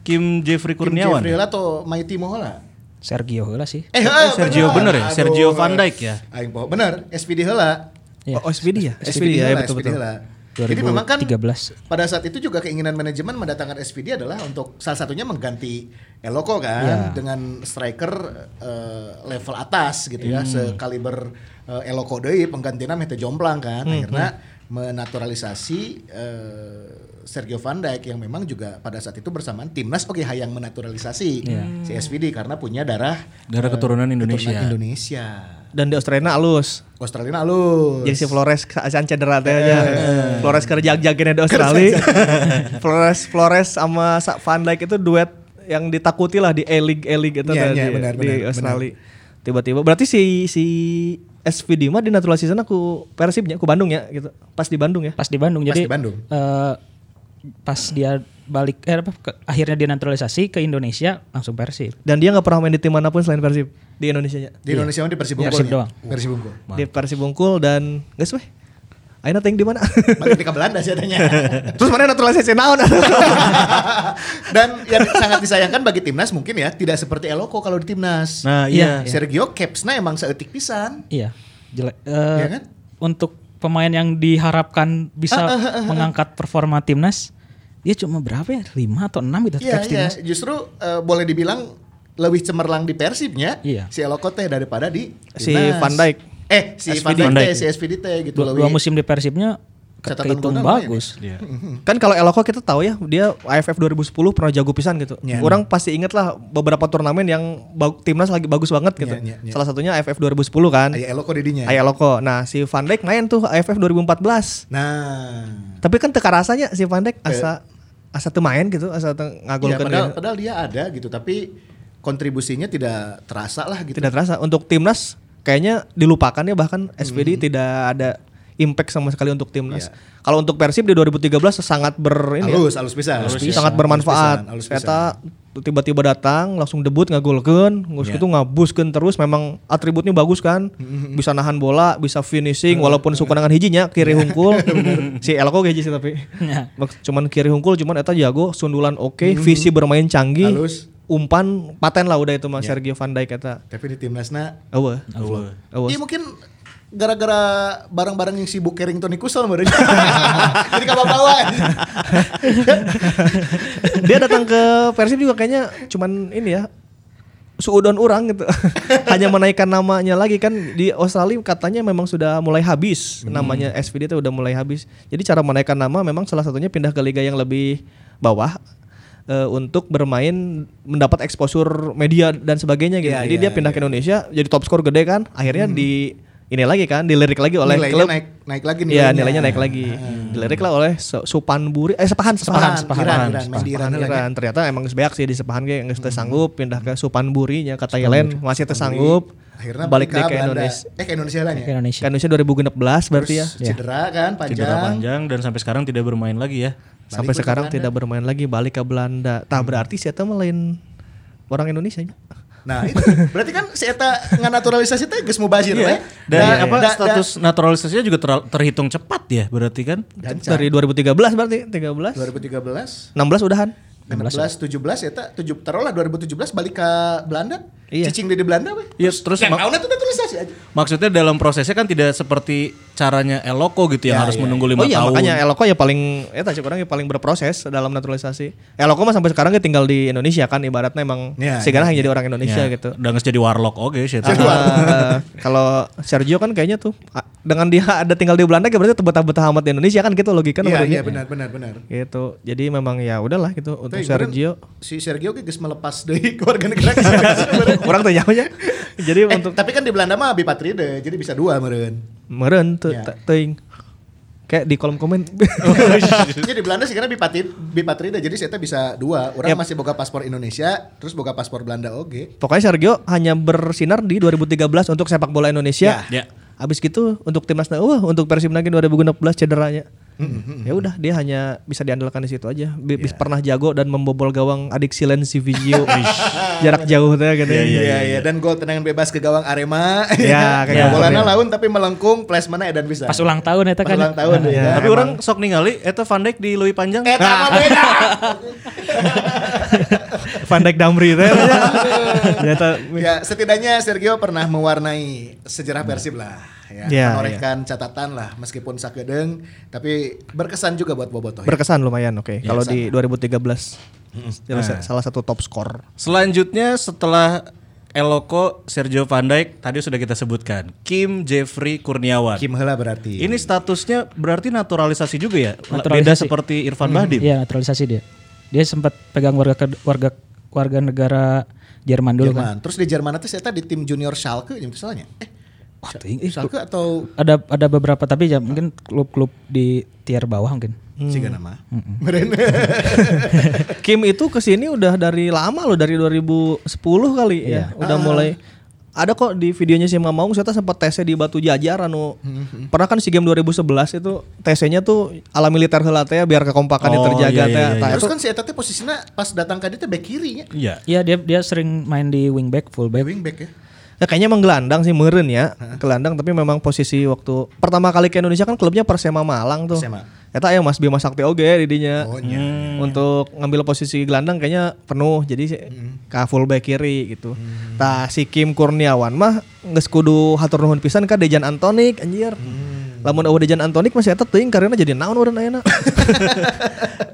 Speaker 3: Kim Jeffrey
Speaker 2: Kim
Speaker 3: Kurniawan. ya?
Speaker 2: Jeffrey lah ya? atau Mighty Mohola.
Speaker 5: Sergio heula sih.
Speaker 2: Eh,
Speaker 3: Sergio bener ya? Sergio Van Dijk ya?
Speaker 2: Aing poho bener, SPD heula.
Speaker 5: Iya.
Speaker 4: Oh, SPD ya? SPD, ya,
Speaker 2: heula,
Speaker 4: betul betul.
Speaker 2: heula. Jadi memang kan
Speaker 5: 2013.
Speaker 2: pada saat itu juga keinginan manajemen mendatangkan SPD adalah untuk salah satunya mengganti Eloko
Speaker 5: Iya.
Speaker 2: kan dengan striker eh, level atas gitu ya sekaliber eh, Eloko deui penggantina Mete Jomplang kan akhirnya menaturalisasi eh, Sergio Van Dijk yang memang juga pada saat itu bersamaan timnas oke hayang menaturalisasi si SPD karena punya darah
Speaker 3: Darah keturunan Indonesia.
Speaker 2: keturunan Indonesia.
Speaker 4: Dan di Australia alus.
Speaker 2: Australia alus.
Speaker 4: Jadi si Flores acan cedera
Speaker 2: Eh,
Speaker 4: teh aja. Flores kerja jagain di Australia. Flores Flores sama Sa- Van Dijk itu duet yang ditakuti lah di A-League A-League itu
Speaker 2: Iya,
Speaker 4: tadi
Speaker 2: iya,
Speaker 4: di,
Speaker 2: benar,
Speaker 4: di
Speaker 2: benar,
Speaker 4: Australia. Tiba-tiba berarti si si SVD mah dinaturalisasi sana ku Persibnya, ku Bandung ya gitu. Pas di Bandung ya.
Speaker 5: Pas di Bandung
Speaker 2: Pas di
Speaker 5: jadi
Speaker 2: Bandung.
Speaker 5: eh, pas dia balik eh apa ke- akhirnya dia naturalisasi ke Indonesia langsung Persib.
Speaker 4: Dan dia nggak pernah main di tim manapun selain Persib di Indonesia nya.
Speaker 2: Di Indonesia mah di Persib Bungkul.
Speaker 5: Persib
Speaker 2: nya.
Speaker 5: doang.
Speaker 2: Persib Bungkul.
Speaker 4: Di Persib Bungkul dan guys weh. Aina ting di mana?
Speaker 2: Makin ke Belanda sih adanya.
Speaker 4: Terus mana naturalisasi naon?
Speaker 2: Dan yang sangat disayangkan bagi timnas mungkin ya tidak seperti Eloko kalau di timnas.
Speaker 3: Nah,
Speaker 5: Iya.
Speaker 3: iya.
Speaker 2: Sergio capsnya emang seetik pisan.
Speaker 5: Iya. Jelek. Eh,
Speaker 2: Iya kan? Ah,
Speaker 5: Untuk pemain yang diharapkan bisa mengangkat performa timnas, dia cuma berapa ya? 5 atau 6 gitu
Speaker 2: Iya,
Speaker 5: caps
Speaker 2: iya.
Speaker 5: timnas.
Speaker 2: Justru eh, boleh dibilang lebih cemerlang di Persibnya
Speaker 5: Iya.
Speaker 2: si Eloko teh daripada di
Speaker 4: Si
Speaker 2: timnas.
Speaker 4: Van Dijk.
Speaker 2: Eh, si Van
Speaker 3: Van
Speaker 2: Dijk
Speaker 3: Dijk.
Speaker 2: teh, si SPD teh gitu
Speaker 5: Dua, dua musim di Persibnya ke-
Speaker 2: Catatan ya?
Speaker 5: kehitung
Speaker 2: golnya lumayan
Speaker 5: bagus.
Speaker 4: kan kalau Eloko kita tahu ya dia AFF 2010 pernah jago pisan gitu.
Speaker 2: Iya.
Speaker 4: Orang pasti inget lah beberapa turnamen yang ba- timnas lagi bagus banget gitu.
Speaker 2: Iya, iya, iya.
Speaker 4: Salah satunya AFF 2010 kan.
Speaker 2: Aya Ah, iya, Eloko didinya.
Speaker 4: Aya Eloko. Nah, si Van Dijk main tuh AFF 2014.
Speaker 2: Nah.
Speaker 4: Tapi kan teka rasanya si Van Dijk asa asa teu main gitu, asa teu
Speaker 2: Ya,
Speaker 4: ngagolkeun
Speaker 2: Iya. padahal,
Speaker 4: dia.
Speaker 2: padahal dia ada gitu tapi kontribusinya tidak terasa lah gitu.
Speaker 4: Tidak terasa untuk timnas kayaknya dilupakan ya bahkan SPD
Speaker 2: Mm-hmm.
Speaker 4: tidak ada impact sama sekali untuk timnas.
Speaker 2: Iya.
Speaker 4: Kalau untuk Persib di 2013 sangat ber ini ya,
Speaker 2: Halus, halus pisan.
Speaker 4: Terus sangat bermanfaat.
Speaker 2: Halus pisan, halus pisan.
Speaker 4: Eta tiba-tiba datang langsung debut ngagolkeun, geus gitu ngabuskeun terus memang atributnya bagus kan. Bisa nahan bola, bisa finishing walaupun suku dengan hijinya kiri hungkul. si Elko hiji sih tapi.
Speaker 5: Ya.
Speaker 4: Mak- cuman kiri hungkul cuman eta jago, sundulan oke, visi bermain canggih.
Speaker 2: Halus.
Speaker 4: Umpan paten lah udah itu Mas Sergio Van Dijk eta.
Speaker 2: Tapi di timnasna
Speaker 4: Eueuh.
Speaker 3: Eueuh.
Speaker 4: Eueuh.
Speaker 2: Iya mungkin gara-gara barang-barang yang sibuk carrying Tony Kusel baru jadi kapal bawa
Speaker 4: dia datang ke Persib juga kayaknya cuman ini ya suudon orang gitu hanya menaikkan namanya lagi kan di Australia katanya memang sudah mulai habis
Speaker 2: Hmm.
Speaker 4: namanya SVD itu udah mulai habis jadi cara menaikkan nama memang salah satunya pindah ke liga yang lebih bawah eh, untuk bermain mendapat exposure media dan sebagainya gitu
Speaker 2: Iya,
Speaker 4: jadi
Speaker 2: iya, Hmm.
Speaker 4: dia pindah ke Indonesia jadi top skor gede kan akhirnya di ini lagi kan dilirik lagi oleh
Speaker 2: nilainya
Speaker 4: klub
Speaker 2: naik naik lagi Ah.
Speaker 4: Iya nilainya naik lagi dilirik lah oleh Se- Supanburi eh sepahan sepahan
Speaker 2: Sepahan, Iran, Iran, main di Iran
Speaker 4: Sepahan,
Speaker 2: lagi.
Speaker 4: Iran. ternyata emang sebeak sih di sepahan kayak
Speaker 2: Hmm.
Speaker 4: nggak sanggup pindah ke Supanburinya kata Yelen masih tersanggup
Speaker 2: akhirnya
Speaker 4: balik deh ke
Speaker 2: Belanda.
Speaker 4: Indonesia
Speaker 2: eh ke Indonesia lah ya
Speaker 5: Ke Indonesia.
Speaker 4: ke Indonesia 2016 berarti ya
Speaker 2: cedera kan panjang,
Speaker 3: Cedera panjang dan sampai sekarang tidak bermain lagi ya.
Speaker 4: sampai sekarang tidak bermain lagi balik ke
Speaker 2: Hmm.
Speaker 4: Belanda tak berarti sih itu lain orang Indonesia ya.
Speaker 2: nah itu berarti kan si Eta nggak naturalisasi teh geus mubazir we.
Speaker 4: Iya.
Speaker 3: Dan
Speaker 2: Da-
Speaker 3: apa
Speaker 2: da- da-
Speaker 3: status naturalisasinya juga ter- terhitung cepat ya berarti kan?
Speaker 2: Gancang.
Speaker 4: dari 2013 berarti
Speaker 2: 2013
Speaker 4: 13 16 udahan
Speaker 2: 16 17 Eta 7 taruhlah 2017 balik ke Belanda
Speaker 4: Iya.
Speaker 2: Cicing di Belanda apa?
Speaker 3: Iya, terus
Speaker 2: Yang
Speaker 3: mak-
Speaker 2: tahun itu udah tulisasi aja.
Speaker 3: maksudnya dalam prosesnya kan tidak seperti caranya Eloko gitu yang harus menunggu lima
Speaker 4: oh iya
Speaker 3: tahun.
Speaker 4: makanya Eloko ya paling ya tadi orang yang paling berproses dalam naturalisasi. Eloko mah sampai sekarang dia tinggal di Indonesia kan ibaratnya emang
Speaker 2: Ya,
Speaker 4: sekarang hanya jadi orang Indonesia
Speaker 3: Ya,
Speaker 4: gitu.
Speaker 3: udah nges jadi warlock oke shit.
Speaker 4: Ah, kalau Sergio kan kayaknya tuh ah, dengan dia ada tinggal di Belanda kayak berarti betah-betah amat di Indonesia kan gitu logika
Speaker 2: Iya,
Speaker 4: namanya.
Speaker 2: iya benar benar benar.
Speaker 4: Gitu. Jadi memang ya udahlah gitu untuk
Speaker 2: Tapi
Speaker 4: Sergio.
Speaker 2: kemarin Si Sergio geus melepas deui ke warga negara. Kemarin.
Speaker 4: Orang tanya aja. Jadi
Speaker 2: Eh,
Speaker 4: untuk
Speaker 2: tapi kan di Belanda mah apatride, jadi bisa dua meren.
Speaker 4: meren tuh
Speaker 2: Ya.
Speaker 4: ta- teuing. Kayak di kolom komen.
Speaker 2: Oh, Jadi di Belanda sekarang bipatri bipatrida jadi saya bisa dua. Orang masih boga paspor Indonesia, terus boga paspor Belanda oge.
Speaker 4: Pokoknya Sergio hanya bersinar di 2013 untuk sepak bola Indonesia.
Speaker 3: Ya. Ya.
Speaker 4: Abis gitu untuk timnas wah untuk Persib lagi 2016 cederanya. Ya udah dia hanya bisa diandalkan di situ aja. Bi- bis- pernah jago dan membobol gawang adik Silen si Vigio. Jarak jauh teh gitu.
Speaker 2: Iya iya dan gol tendangan bebas ke gawang Arema.
Speaker 4: Ya, kayak
Speaker 2: kayak
Speaker 4: gitu.
Speaker 2: bolana laun tapi melengkung, flash mana edan bisa.
Speaker 5: Pas ulang tahun eta
Speaker 2: Pas
Speaker 5: kan.
Speaker 2: ulang tahun
Speaker 4: Nah,
Speaker 2: ya.
Speaker 4: iya.
Speaker 3: Tapi orang sok ningali eta Van Dijk di Louis Panjang.
Speaker 2: Eh, tak apa beda.
Speaker 4: Van Dijk Damri teh. Ternyata
Speaker 2: ya, setidaknya Sergio pernah mewarnai sejarah Persib lah. Ya,
Speaker 4: Hmm. Ya,
Speaker 2: menorehkan catatan lah meskipun sakedeng tapi berkesan juga buat Bobotoh. ya.
Speaker 4: berkesan lumayan oke kalau di 2013. Salah-
Speaker 3: Nah.
Speaker 4: Salah satu top skor.
Speaker 3: Selanjutnya setelah Eloko, Sergio Van Dijk tadi sudah kita sebutkan. Kim Jeffrey Kurniawan.
Speaker 2: Kim heula
Speaker 4: Iya,
Speaker 2: berarti.
Speaker 3: Ini statusnya berarti naturalisasi juga ya? Beda
Speaker 5: Naturalisasi.
Speaker 3: seperti Irfan Bahdim.
Speaker 5: Iya, naturalisasi dia. Dia sempat pegang warga ke- warga warga negara Jerman dulu kan.
Speaker 2: Jerman. Terus di Jerman itu saya di tim junior Schalke yang misalnya. Eh,
Speaker 5: Wah, ting-
Speaker 2: eh, Schalke atau
Speaker 5: Ada ada beberapa tapi ya mungkin klub-klub di tier bawah mungkin.
Speaker 4: Hmm.
Speaker 2: Siga nama. Nah, Meren.
Speaker 4: Kim itu kesini udah dari lama loh dari 2010 kali
Speaker 3: Iya.
Speaker 4: ya udah
Speaker 3: Ah.
Speaker 4: mulai ada kok di videonya si Mamaung saya tuh sempat tesnya di Batu Jajar anu
Speaker 3: Mm-hmm.
Speaker 4: pernah kan si game 2011 itu tesnya tuh ala militer heula teh biar kekompakannya
Speaker 3: Oh,
Speaker 4: terjaga
Speaker 3: iya, iya,
Speaker 4: teh
Speaker 3: iya.
Speaker 4: Tah,
Speaker 2: Terus
Speaker 4: Nah, itu
Speaker 2: kan si Eta teh posisinya pas datang ke dia teh back kirinya.
Speaker 3: Iya.
Speaker 5: Iya, dia dia sering main di wingback, fullback.
Speaker 2: Wing back ya.
Speaker 4: ya kayaknya emang gelandang sih meren ya gelandang tapi memang posisi waktu pertama kali ke Indonesia kan klubnya Persema Malang tuh
Speaker 2: Persema.
Speaker 4: Eta ya Mas Bima Sakti oge didinya
Speaker 2: Oh nya.
Speaker 4: untuk ngambil posisi gelandang kayaknya penuh jadi si-
Speaker 2: Hmm.
Speaker 4: ke fullback kiri gitu. Tah si Kim Kurniawan mah geus kudu hatur nuhun pisan ka Dejan Antonik anjir.
Speaker 2: Hmm.
Speaker 4: Lamun eueuh Dejan Antonik masih eta teuing karena jadi naon urang ayeuna.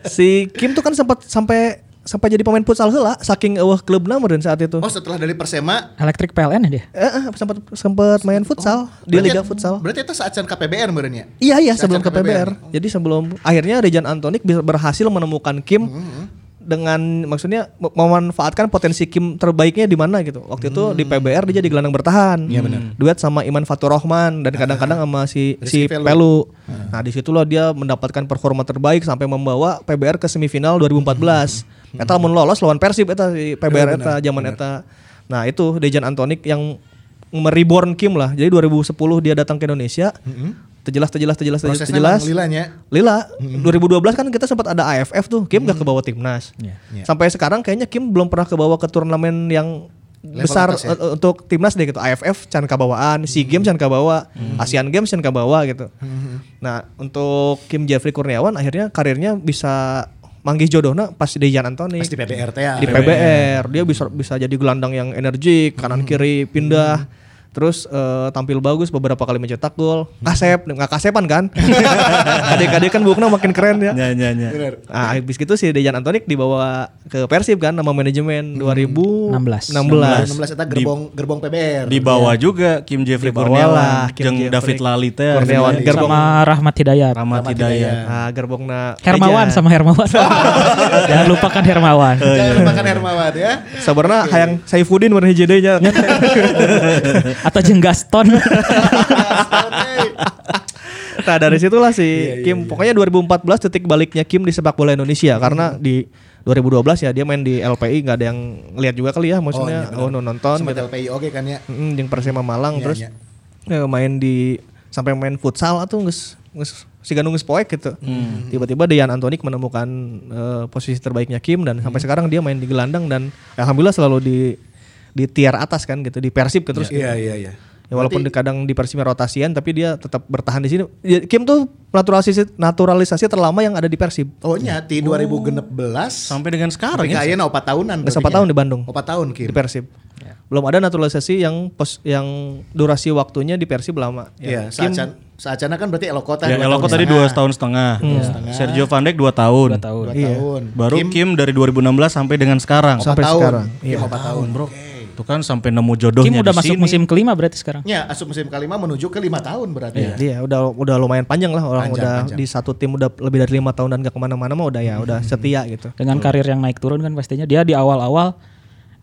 Speaker 4: si Kim tuh kan sempat sampai sampai jadi pemain futsal heula saking eueuh klubna meureun saat itu.
Speaker 2: Oh setelah dari Persema
Speaker 5: Electric PLN ya dia.
Speaker 4: Eh, eh, sempat sempat main futsal di
Speaker 2: berarti-
Speaker 4: Liga Futsal.
Speaker 2: Berarti Eta saat KPBR meren ya.
Speaker 4: Iya iya sebelum ke
Speaker 2: Cacat
Speaker 4: PBR. Jadi sebelum akhirnya Dejan Antonik bisa berhasil menemukan Kim
Speaker 2: Hmm,
Speaker 4: dengan maksudnya mem- memanfaatkan potensi Kim terbaiknya di mana gitu. Waktu itu
Speaker 2: Hmm.
Speaker 4: di PBR dia jadi gelandang bertahan. Hmm. Duet sama Iman Fatur Rahman dan kadang-kadang sama si
Speaker 2: Ah.
Speaker 4: si
Speaker 2: Rizky Ah.
Speaker 4: Pelu.
Speaker 2: Pelu.
Speaker 4: Nah, disitulah dia mendapatkan performa terbaik sampai membawa PBR ke semifinal 2014.
Speaker 2: Hmm,
Speaker 4: Eta mun lolos lawan Persib eta si
Speaker 2: Iya,
Speaker 4: PBR eta zaman eta. Nah, itu Dejan Antonik yang mereborn Kim lah. Jadi 2010 dia datang ke Indonesia. Terjelas terjelas terjelas terjelas
Speaker 2: Hmm, Prosesnya
Speaker 4: terjelas.
Speaker 2: memang lilanya.
Speaker 4: Lila 2012 kan kita sempat ada AFF tuh Kim gak kebawa timnas
Speaker 2: Iya,
Speaker 4: sampai sekarang kayaknya Kim belum pernah kebawa ke turnamen yang besar
Speaker 2: atas ya?
Speaker 4: eh, untuk timnas deh gitu AFF can kabawaan SEA Games can kabawa Asian Games can kabawa gitu nah untuk Kim Jeffrey Kurniawan akhirnya karirnya bisa manggih jodohna pas di Dejan Antoni
Speaker 2: Pas
Speaker 4: gitu.
Speaker 2: di PBR teh. ya.
Speaker 4: di PBR dia bisa bisa jadi gelandang yang energik kanan
Speaker 5: Hmm.
Speaker 4: kiri pindah terus eh, tampil bagus beberapa kali mencetak gol
Speaker 5: Hmm.
Speaker 4: kasep nggak kasepan kan adik-adik kan bukna makin keren ya
Speaker 3: Ya, ya, ya.
Speaker 2: Bener.
Speaker 4: Nah, habis gitu si Dejan Antonik dibawa ke Persib kan nama manajemen
Speaker 5: 16.
Speaker 4: 2016.
Speaker 2: 16 Eta gerbong gerbong PBR.
Speaker 3: Di bawah
Speaker 5: Iya.
Speaker 3: juga Kim Jeffrey
Speaker 4: Dibawa lah,
Speaker 3: Kurniawan,
Speaker 4: Kim
Speaker 3: jeung
Speaker 4: Jeffrey
Speaker 3: David Lalita,
Speaker 4: Kurniawan,
Speaker 5: Iya,
Speaker 4: Gerbong.
Speaker 5: Sama Rahmat Hidayat.
Speaker 3: Rahmat Hidayat.
Speaker 4: Nah, gerbongna
Speaker 5: iya. Hermawan
Speaker 4: Dejan.
Speaker 5: sama Hermawan. Jangan lupakan Hermawan.
Speaker 3: Oh, iya.
Speaker 2: Jangan lupakan Hermawan ya.
Speaker 4: Sabarna hayang Saifuddin warna hiji deui nya.
Speaker 5: Atau jeung Gaston.
Speaker 4: Nah dari situlah
Speaker 2: Iya,
Speaker 4: si Kim pokoknya 2014 titik baliknya Kim di sepak bola Indonesia karena
Speaker 2: Hmm.
Speaker 4: di 2012 ya dia main di LPI nggak ada yang lihat juga kali ya maksudnya oh, no nonton
Speaker 2: Sempat
Speaker 4: gitu.
Speaker 2: LPI oke kan ya.
Speaker 4: Mm, yang Persema Malang
Speaker 2: Iya,
Speaker 4: terus
Speaker 2: iya.
Speaker 4: eh, main di sampai main futsal atau nges, nges si Ganung poek gitu.
Speaker 2: Hmm.
Speaker 4: Tiba-tiba Dejan Antonik menemukan eh, posisi terbaiknya Kim dan sampai
Speaker 2: Hmm.
Speaker 4: sekarang dia main di gelandang dan alhamdulillah selalu di di tier atas kan gitu di Persib gitu, terus
Speaker 2: Iya iya iya.
Speaker 4: Ya, walaupun di- kadang di Persib rotasian tapi dia tetap bertahan di sini. Ya, Kim tuh naturalisasi naturalisasi terlama yang ada di Persib.
Speaker 2: Oh nya di 2016
Speaker 3: Sampai dengan sekarang
Speaker 2: Tapi
Speaker 3: ya.
Speaker 2: kayaknya 4 tahunan.
Speaker 4: Nggak sampai tahun di Bandung.
Speaker 2: 4 tahun Kim. Iya,
Speaker 4: Di Persib. belum ada naturalisasi yang pos yang durasi waktunya di Persib lama.
Speaker 2: Iya,
Speaker 4: Kim-
Speaker 2: Saacana Saacana kan berarti Elokota.
Speaker 3: Ya,
Speaker 2: dua tahun kan?
Speaker 3: Eloko tadi
Speaker 2: setengah.
Speaker 3: dua tahun setengah.
Speaker 2: setengah.
Speaker 3: Sergio Van Dijk dua tahun.
Speaker 5: Iya. Dua tahun.
Speaker 2: Dua tahun.
Speaker 3: Baru Kim, dari 2016 sampai dengan sekarang.
Speaker 4: Sampai
Speaker 2: tahun.
Speaker 4: sekarang. Iya.
Speaker 2: Kim empat tahun.
Speaker 3: bro. Itu kan sampai nemu jodohnya
Speaker 5: Kim udah
Speaker 3: di
Speaker 5: masuk
Speaker 3: sini.
Speaker 5: musim kelima berarti sekarang.
Speaker 2: Ya, asup musim kelima menuju ke lima tahun berarti ya.
Speaker 4: Iya, udah udah lumayan panjang lah orang
Speaker 2: Panjang,
Speaker 4: udah
Speaker 2: panjang.
Speaker 4: di satu tim udah lebih dari lima tahun dan gak kemana-mana mah udah ya udah setia gitu.
Speaker 3: Oh.
Speaker 5: Dengan karir yang naik turun kan pastinya dia di awal-awal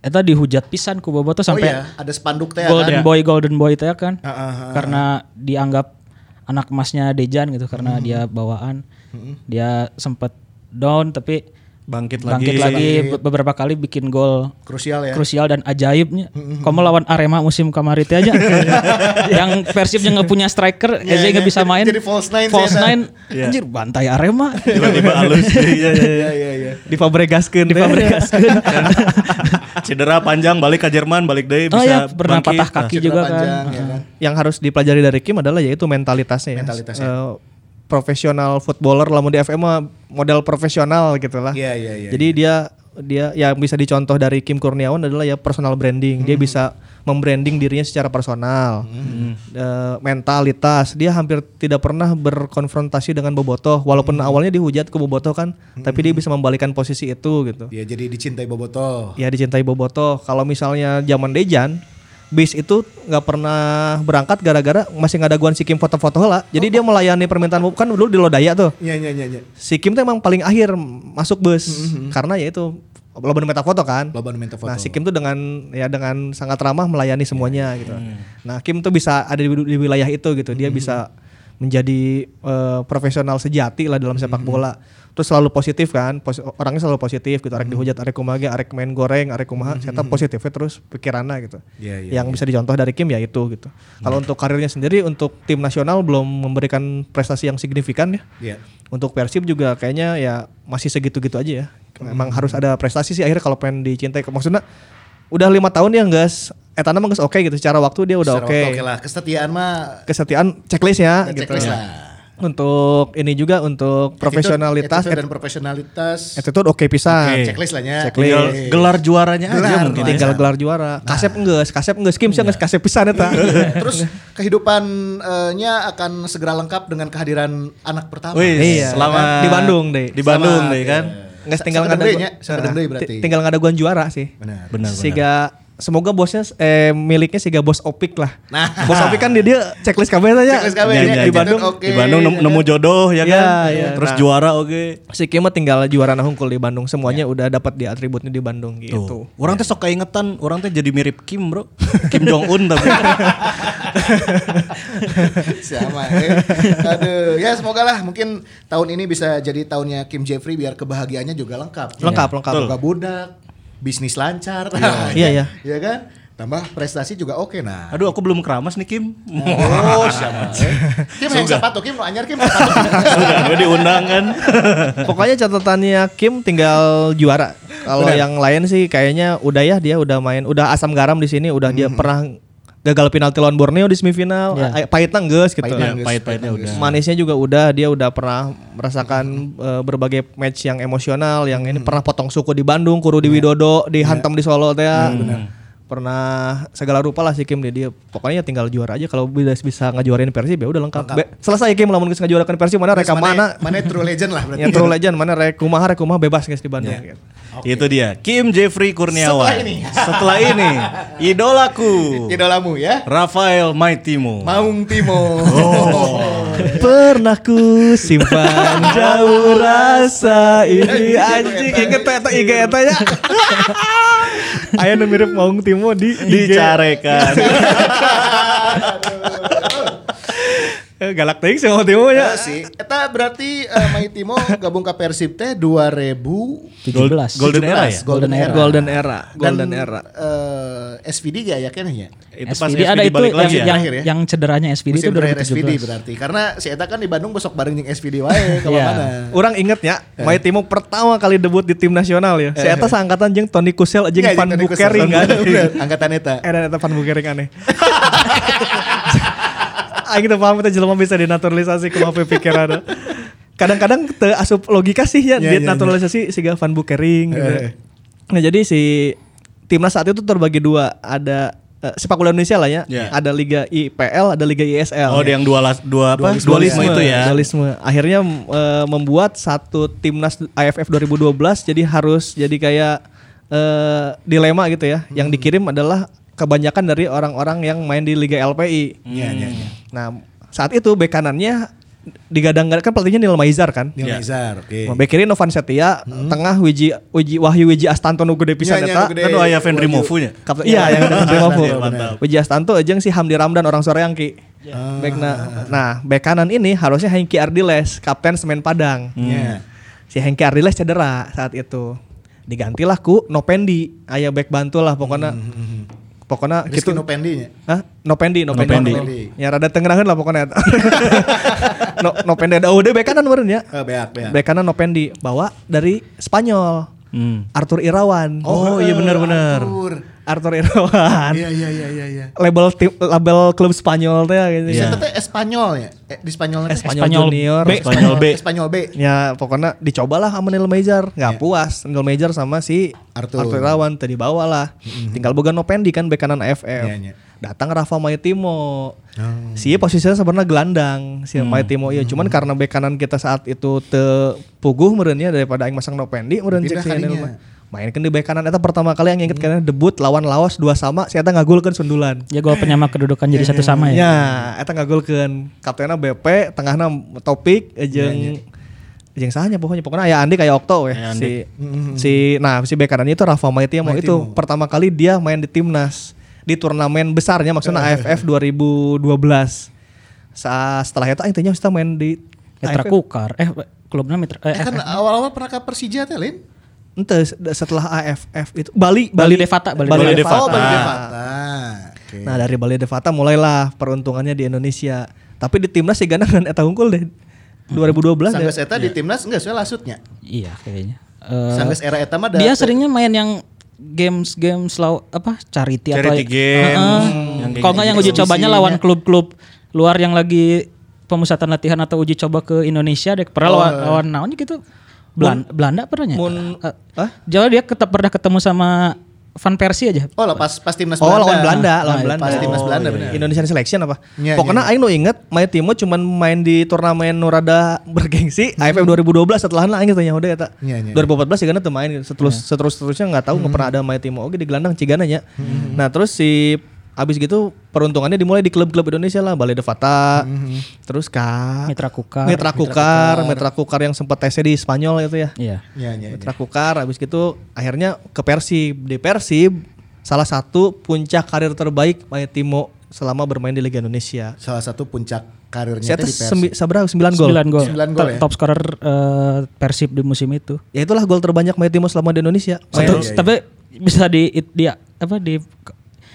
Speaker 5: eta dihujat pisan ku Bobotoh
Speaker 2: Oh
Speaker 5: sampai
Speaker 2: iya, ada spanduk teh kan.
Speaker 5: Golden Boy Golden Boy itu ya kan.
Speaker 2: Ah, ah, ah.
Speaker 5: Karena dianggap anak emasnya Dejan gitu karena
Speaker 2: Hmm.
Speaker 5: dia bawaan. Dia sempat down tapi
Speaker 3: Bangkit lagi.
Speaker 5: bangkit lagi be- beberapa kali bikin gol
Speaker 2: Krusial ya.
Speaker 5: krusial dan ajaibnya. Kamu lawan Arema musim kemarin itu aja. yang Persib yang nggak punya striker,
Speaker 2: Iya,
Speaker 5: aja nggak
Speaker 2: iya.
Speaker 5: bisa main.
Speaker 2: Jadi false nine
Speaker 5: False
Speaker 2: sih, ya. Eta.
Speaker 5: nine,
Speaker 3: Iya.
Speaker 5: anjir bantai Arema.
Speaker 3: Tiba-tiba halus. Iya, iya, iya.
Speaker 2: Iya, iya, iya.
Speaker 4: Di Fabregaskeun. Di Kan.
Speaker 3: Cedera panjang balik ke Jerman, balik deh bisa
Speaker 5: oh
Speaker 4: iya,
Speaker 5: ya pernah
Speaker 3: bangkit.
Speaker 5: patah kaki
Speaker 2: Cedera
Speaker 5: juga
Speaker 2: panjang,
Speaker 5: kan.
Speaker 2: ya kan.
Speaker 4: yang harus dipelajari dari Kim adalah yaitu mentalitasnya. ya.
Speaker 2: Mentalitasnya.
Speaker 4: Eh, profesional footballer lamun di FM mah model profesional gitu lah.
Speaker 2: Iya, iya, iya.
Speaker 4: Jadi dia dia yang bisa dicontoh dari Kim Kurniawan adalah ya personal branding.
Speaker 2: Hmm.
Speaker 4: Dia bisa membranding dirinya secara personal. Eh, mentalitas dia hampir tidak pernah berkonfrontasi dengan Bobotoh walaupun
Speaker 2: Hmm.
Speaker 4: awalnya dihujat ke Bobotoh kan, tapi dia bisa membalikan posisi itu gitu.
Speaker 2: Dia Iya, jadi dicintai Boboto.
Speaker 4: Ya dicintai Bobotoh. Kalau misalnya zaman Dejan Bis itu nggak pernah berangkat gara-gara masih nggak ada guan si Kim foto-foto lah. Jadi dia melayani permintaan Bob- kan dulu di Lodaya tuh
Speaker 2: Iya, iya, iya, iya.
Speaker 4: si Kim tuh emang paling akhir masuk bus karena ya itu lo bener meta foto kan
Speaker 2: Loban minta Gitu, foto. Iya,
Speaker 4: nah si Kim tuh dengan ya dengan sangat ramah melayani semuanya gitu nah Kim tuh bisa ada di, di wilayah itu
Speaker 2: Hmm.
Speaker 4: gitu dia bisa menjadi eh, profesional sejati lah dalam
Speaker 2: Hmm.
Speaker 4: sepak bola terus selalu positif kan pos- orangnya selalu positif gitu
Speaker 2: Hmm.
Speaker 4: arek dihujat arek kumaha ge, arek main goreng arek kumaha saya positifnya terus pikirannya gitu
Speaker 2: Iya, iya,
Speaker 4: yang bisa dicontoh dari Kim ya itu gitu kalau untuk karirnya sendiri untuk tim nasional belum memberikan prestasi yang signifikan ya
Speaker 2: Iya.
Speaker 4: untuk Persib juga kayaknya ya masih segitu-gitu aja ya. Emang
Speaker 2: Hmm.
Speaker 4: harus ada prestasi sih akhirnya kalau pengen dicintai. Maksudnya udah lima tahun ya guys. Etana mah geus oke gitu secara waktu dia udah
Speaker 2: Secara
Speaker 4: oke.
Speaker 2: waktu Oke lah, kesetiaan mah
Speaker 4: Kesetiaan checklist ya gitu.
Speaker 2: checklist lah.
Speaker 4: Untuk ini juga untuk profesionalitas
Speaker 2: Attitude
Speaker 4: attitude,
Speaker 2: dan profesionalitas.
Speaker 4: oke pisan.
Speaker 3: Oke.
Speaker 2: Checklist lah ya.
Speaker 4: Iya. Checklist.
Speaker 3: Nah, Tinggal Iya. gelar juaranya aja
Speaker 2: Gelar, Nah. Iya.
Speaker 3: mungkin. ya.
Speaker 2: gelar.
Speaker 4: Tinggal gelar juara. Kasep enggak, kasep enggak, Kim sih enggak kasep pisan ya, eta.
Speaker 2: Terus kehidupannya akan segera lengkap dengan kehadiran anak pertama.
Speaker 3: Wih,
Speaker 4: Iya,
Speaker 3: selamat.
Speaker 4: di Bandung, Dei.
Speaker 3: Di Bandung
Speaker 2: Selamat,
Speaker 3: deh kan.
Speaker 2: iya.
Speaker 4: Enggak tinggal
Speaker 2: Sakedeng
Speaker 4: ngada
Speaker 2: deui nya, sakedeng deui berarti.
Speaker 4: Nah. tinggal ngadaguan juara sih.
Speaker 2: Benar.
Speaker 3: Benar benar.
Speaker 4: Siga semoga bosnya eh miliknya siga bos Opik lah.
Speaker 2: Nah.
Speaker 4: bos Opik kan dia, dia checklist kabeh tanya.
Speaker 2: Checklist kabeh,
Speaker 4: Di,
Speaker 2: ya, gitu.
Speaker 4: di Bandung.
Speaker 2: Oke.
Speaker 3: Iya, Di Bandung nem- nemu jodoh ya
Speaker 4: Iya,
Speaker 3: kan.
Speaker 4: iya.
Speaker 3: Terus
Speaker 4: Nah.
Speaker 3: juara oke.
Speaker 4: Si Kim mah tinggal juara nahungkul di Bandung
Speaker 2: Ya.
Speaker 4: semuanya udah dapat di atributnya di Bandung gitu.
Speaker 3: Tuh. Orang teh sok keingetan, orang teh jadi mirip Kim, Bro. Kim Jong Un tapi.
Speaker 2: Sama. Eh. Aduh, ya semoga lah mungkin tahun ini bisa jadi tahunnya Kim Jeffrey biar kebahagiaannya juga lengkap.
Speaker 4: Lengkap, lengkap.
Speaker 2: Buka budak, bisnis lancar.
Speaker 4: Iya, iya.
Speaker 2: Iya kan? Tambah prestasi juga oke nah.
Speaker 3: Aduh, aku belum keramas nih Kim.
Speaker 2: Oh, siapa? eh. Kim yang sepatu, Kim nu anyar Kim sepatu.
Speaker 3: Gue diundang kan.
Speaker 4: Pokoknya catatannya Kim tinggal juara. Kalau
Speaker 2: Benar.
Speaker 4: yang lain sih kayaknya udah ya dia udah main udah asam garam di sini udah
Speaker 3: Mhm.
Speaker 4: dia pernah gagal penalti lawan Borneo di semifinal.
Speaker 5: Iya.
Speaker 4: Eh, Pahitnya geus gitu.
Speaker 2: Pahitnya
Speaker 3: Ya, pahit-pahitnya udah.
Speaker 4: manisnya juga udah dia udah pernah merasakan eh, berbagai match yang emosional yang
Speaker 2: Hmm.
Speaker 4: ini pernah potong suku di Bandung kuru di
Speaker 2: Iya.
Speaker 4: Widodo dihantam di Solo teh ya. pernah segala rupa lah si Kim dia, dia pokoknya tinggal juara aja kalau bisa bisa ngejuarain Persib ya udah lengkap, Be- selesai Kim lamun geus ngejuarakan Persib mana
Speaker 2: Terus
Speaker 4: reka mana
Speaker 2: Mana true legend lah berarti. Ya.
Speaker 4: ya true legend mana rek kumaha rek kumaha bebas guys di Bandung gitu.
Speaker 3: Itu dia, Kim Jeffrey Kurniawan.
Speaker 2: Setelah ini.
Speaker 3: Setelah ini, idolaku.
Speaker 2: Idolamu ya.
Speaker 3: Rafael Maitimo.
Speaker 2: Maung Timo.
Speaker 3: Oh.
Speaker 4: Pernah ku simpan jauh rasa ini anjing inget eta IG eta
Speaker 3: ya.
Speaker 4: nya. Aya nu mirip Maung Timo di IG.
Speaker 3: Dicarekan.
Speaker 4: Eh, Galak teuing sih Maung Timo
Speaker 2: Ya
Speaker 4: nya.
Speaker 2: sih. Eta berarti eh, Mai Timo gabung ke Persib teh 2017.
Speaker 5: 17.
Speaker 3: Gold- Golden Era ya?
Speaker 2: Golden Era.
Speaker 4: Golden Era, Golden
Speaker 2: Dan,
Speaker 4: Era.
Speaker 2: eh, SVD gak ya kan ya?
Speaker 3: Itu pas
Speaker 5: SVD ada
Speaker 3: SPD
Speaker 5: itu
Speaker 3: balik
Speaker 5: yang,
Speaker 3: lagi ya.
Speaker 5: yang,
Speaker 2: Terakhir ya?
Speaker 5: yang cederanya SVD itu
Speaker 2: Musim terakhir SVD
Speaker 5: 2017.
Speaker 2: berarti. Karena si Eta kan di Bandung besok bareng jeung SVD wae ke
Speaker 5: Iya.
Speaker 2: mana.
Speaker 4: Orang inget ya,
Speaker 2: Eh.
Speaker 4: Mai Timo pertama kali debut di tim nasional ya. Si eta saangkatan jeung Toni Kusel jeung
Speaker 2: Iya,
Speaker 4: Van
Speaker 2: jeung Toni Kusel.
Speaker 4: Bukering kan.
Speaker 2: Bener, Angkatan Eta.
Speaker 4: Eh dan eta Van Bukering aneh. Aing teu paham teh jelema bisa dinaturalisasi kumaha pikiranna. Kadang-kadang teu
Speaker 3: Iya,
Speaker 4: asup logika sih ya,
Speaker 2: Ya,
Speaker 4: dia
Speaker 2: ya,
Speaker 3: Eh,
Speaker 4: naturalisasi siga Van Bukering gitu.
Speaker 2: Eh.
Speaker 4: Nah, jadi si timnas saat itu terbagi dua, ada eh, sepak bola Indonesia lah ya,
Speaker 3: Iya.
Speaker 4: ada Liga IPL, ada Liga ISL.
Speaker 3: Oh, ada yang dua las- dua apa? Dualisme, itu ya.
Speaker 4: Dualisme. Akhirnya m- eh, membuat satu timnas AFF 2012 jadi harus jadi kayak eh, dilema gitu ya. Yang dikirim adalah kebanyakan dari orang-orang yang main di Liga LPI. Nah, saat itu bek kanannya digadang-gadang kan pelatihnya Nil Maizar kan.
Speaker 2: Neil Maizar, oke.
Speaker 4: Bek kiri Novan Setia, tengah Wiji, Wiji Wahyu Wiji Astanto nu gede pisan
Speaker 2: Iya, iya,
Speaker 4: eta.
Speaker 2: nu gede.
Speaker 3: Kan doa ya Fendri Mofunya.
Speaker 4: Kapten- iya yang dari Bima Fu.
Speaker 3: Iya, mantap.
Speaker 4: Puji Astanto aja si Hamdi Ramdan orang Soreangki. Backna. Nah, bek kanan ini harusnya Hengki Ardiles, kapten Semen Padang.
Speaker 2: Iya.
Speaker 4: Si Hengki Ardiles cedera saat itu. Digantilah ku Nopendi, aya back bantu lah pokoknya. Pokoknya
Speaker 2: Rizky
Speaker 4: gitu.
Speaker 2: Nopendi nya.
Speaker 4: Hah? Nopendi,
Speaker 3: Nopendi.
Speaker 4: Nopendi. Ya rada tengerangan lah pokoknya. no, Nopendi ada udah bek kanan meureun ya.
Speaker 2: Eh, beak, beak.
Speaker 4: Bek kanan Nopendi bawa dari Spanyol.
Speaker 3: Hmm.
Speaker 4: Arthur Irawan.
Speaker 3: Oh, iya benar-benar.
Speaker 2: Tur.
Speaker 4: Arthur Irawan.
Speaker 2: eh, Iya iya iya iya iya.
Speaker 4: label tim label klub Spanyol teh gitu.
Speaker 3: Iya.
Speaker 2: Itu teh Espanyol ya. Eh, di Spanyol teh.
Speaker 4: Espanyol,
Speaker 5: Espanyol
Speaker 4: Junior.
Speaker 5: B.
Speaker 3: Spanyol B.
Speaker 2: Espanyol B.
Speaker 4: Ya pokoknya dicobalah sama Neil Maizar, nggak puas Neil Maizar sama
Speaker 2: Iya.
Speaker 4: si
Speaker 2: Arthur.
Speaker 4: Arthur, Irawan tadi bawa lah. Tinggal boga Nopendi kan bek kanan AFF.
Speaker 2: Iya, Hmm. iya.
Speaker 4: Datang Rafa Maitimo. Si posisinya sebenarnya
Speaker 2: Hmm.
Speaker 4: gelandang si Maitimo ya, cuman karena bek kanan kita saat itu tepuguh merenya ya, daripada aing masang Nopendi meureun
Speaker 2: Pindah
Speaker 4: cek si Neil
Speaker 2: kalinya.
Speaker 4: Ma- Mainkan di bek kanan eta pertama kali yang inget karena debut lawan Laos dua sama, si eta ngagulkeun sundulan.
Speaker 5: Ya gol penyama kedudukan jadi satu sama
Speaker 3: Nah,
Speaker 5: ya.
Speaker 4: Ya, eta ngagolkeun. Kaptenna BP, tengahna Topik eh, jeung jeung sahanya pokoknya pokoknya aya Andi kayak Okto we si si nah si bek kanannya itu Rafa Maitimo itu pertama kali dia main di timnas di turnamen besarnya maksudnya AFF 2012. Sa setelah itu aing teh nya main di
Speaker 5: Mitra
Speaker 4: AFF.
Speaker 5: Kukar. Eh klubnya Mitra
Speaker 2: Eh
Speaker 5: eh,
Speaker 2: kan
Speaker 5: eh,
Speaker 2: awal-awal pernah ke Persija teh, Lin?
Speaker 4: Ente setelah AFF itu Bali
Speaker 5: Bali Devata, Bali
Speaker 3: Bali
Speaker 2: Oh,
Speaker 3: Devata.
Speaker 2: Bali
Speaker 3: Ah.
Speaker 2: Devata. Oke.
Speaker 4: Nah dari Bali Devata mulailah peruntungannya di Indonesia. Tapi di timnas sih ganang dan eta unggul deh. 2012
Speaker 2: Sanggeus
Speaker 4: ya.
Speaker 2: eta di timnas enggak soalnya lasutnya.
Speaker 5: Iya kayaknya.
Speaker 4: Ah.
Speaker 5: Eh,
Speaker 2: Sanggeus era eta mah da-
Speaker 5: dia seringnya main yang games games law apa charity,
Speaker 3: Charity
Speaker 5: atau ya?
Speaker 3: games,
Speaker 2: Hmm.
Speaker 5: Heeh.
Speaker 3: yang kayak
Speaker 5: kalau nggak yang uji cobanya lawan klub-klub luar yang lagi pemusatan latihan atau uji coba ke Indonesia deh pernah
Speaker 2: Oh,
Speaker 5: lawan
Speaker 2: iya.
Speaker 5: lawan naonnya gitu Belanda, Belanda pernahnya
Speaker 4: Mun-
Speaker 5: Eh,
Speaker 4: Hah?
Speaker 5: Jawa dia ketep, pernah ketemu sama Van Persie aja
Speaker 2: Oh, lah pas pas timnas
Speaker 4: Oh lawan Belanda, lawan
Speaker 5: Nah,
Speaker 4: Belanda.
Speaker 2: pas timnas
Speaker 4: Oh,
Speaker 2: Belanda,
Speaker 4: iya,
Speaker 2: benar.
Speaker 4: iya. Indonesian Selection apa?
Speaker 2: Iya,
Speaker 4: Pokoknya aing nu inget Maya Timo cuman main di turnamen nu rada bergengsi AFF 2012 setelahnya aing tanya ya, udah eta.
Speaker 2: Hmm. Iya, Hmm. iya, iya.
Speaker 4: 2014 sih tuh main seterus seterus-terusnya nggak tahu nggak pernah ada Maya Timo oke di gelandang Cigana nya.
Speaker 2: Hmm.
Speaker 4: Nah, terus si abis gitu peruntungannya dimulai di klub-klub Indonesia lah, Balai Devata,
Speaker 2: Hmm.
Speaker 4: terus
Speaker 2: Ah.
Speaker 4: ka
Speaker 5: Mitra Kukar.
Speaker 4: Mitra Kukar, Mitra Kukar yang sempat tesnya di Spanyol itu ya.
Speaker 5: Iya.
Speaker 2: Iya, iya. iya.
Speaker 4: Mitra Kukar habis gitu akhirnya ke Persib. Di Persib salah satu puncak karir terbaik Maya Timo selama bermain di Liga Indonesia.
Speaker 2: Salah satu puncak karirnya
Speaker 4: Saya
Speaker 2: teh di
Speaker 4: tuh
Speaker 2: Persib.
Speaker 4: sembi- seberapa? 9 gol.
Speaker 5: 9 gol.
Speaker 2: Sembilan gol
Speaker 5: Top-
Speaker 2: ya?
Speaker 5: Top scorer eh, Persib di musim itu.
Speaker 4: Ya itulah gol terbanyak Maya Timo selama di Indonesia. Maya-
Speaker 2: iya,
Speaker 5: Satu- Tapi bisa di dia apa di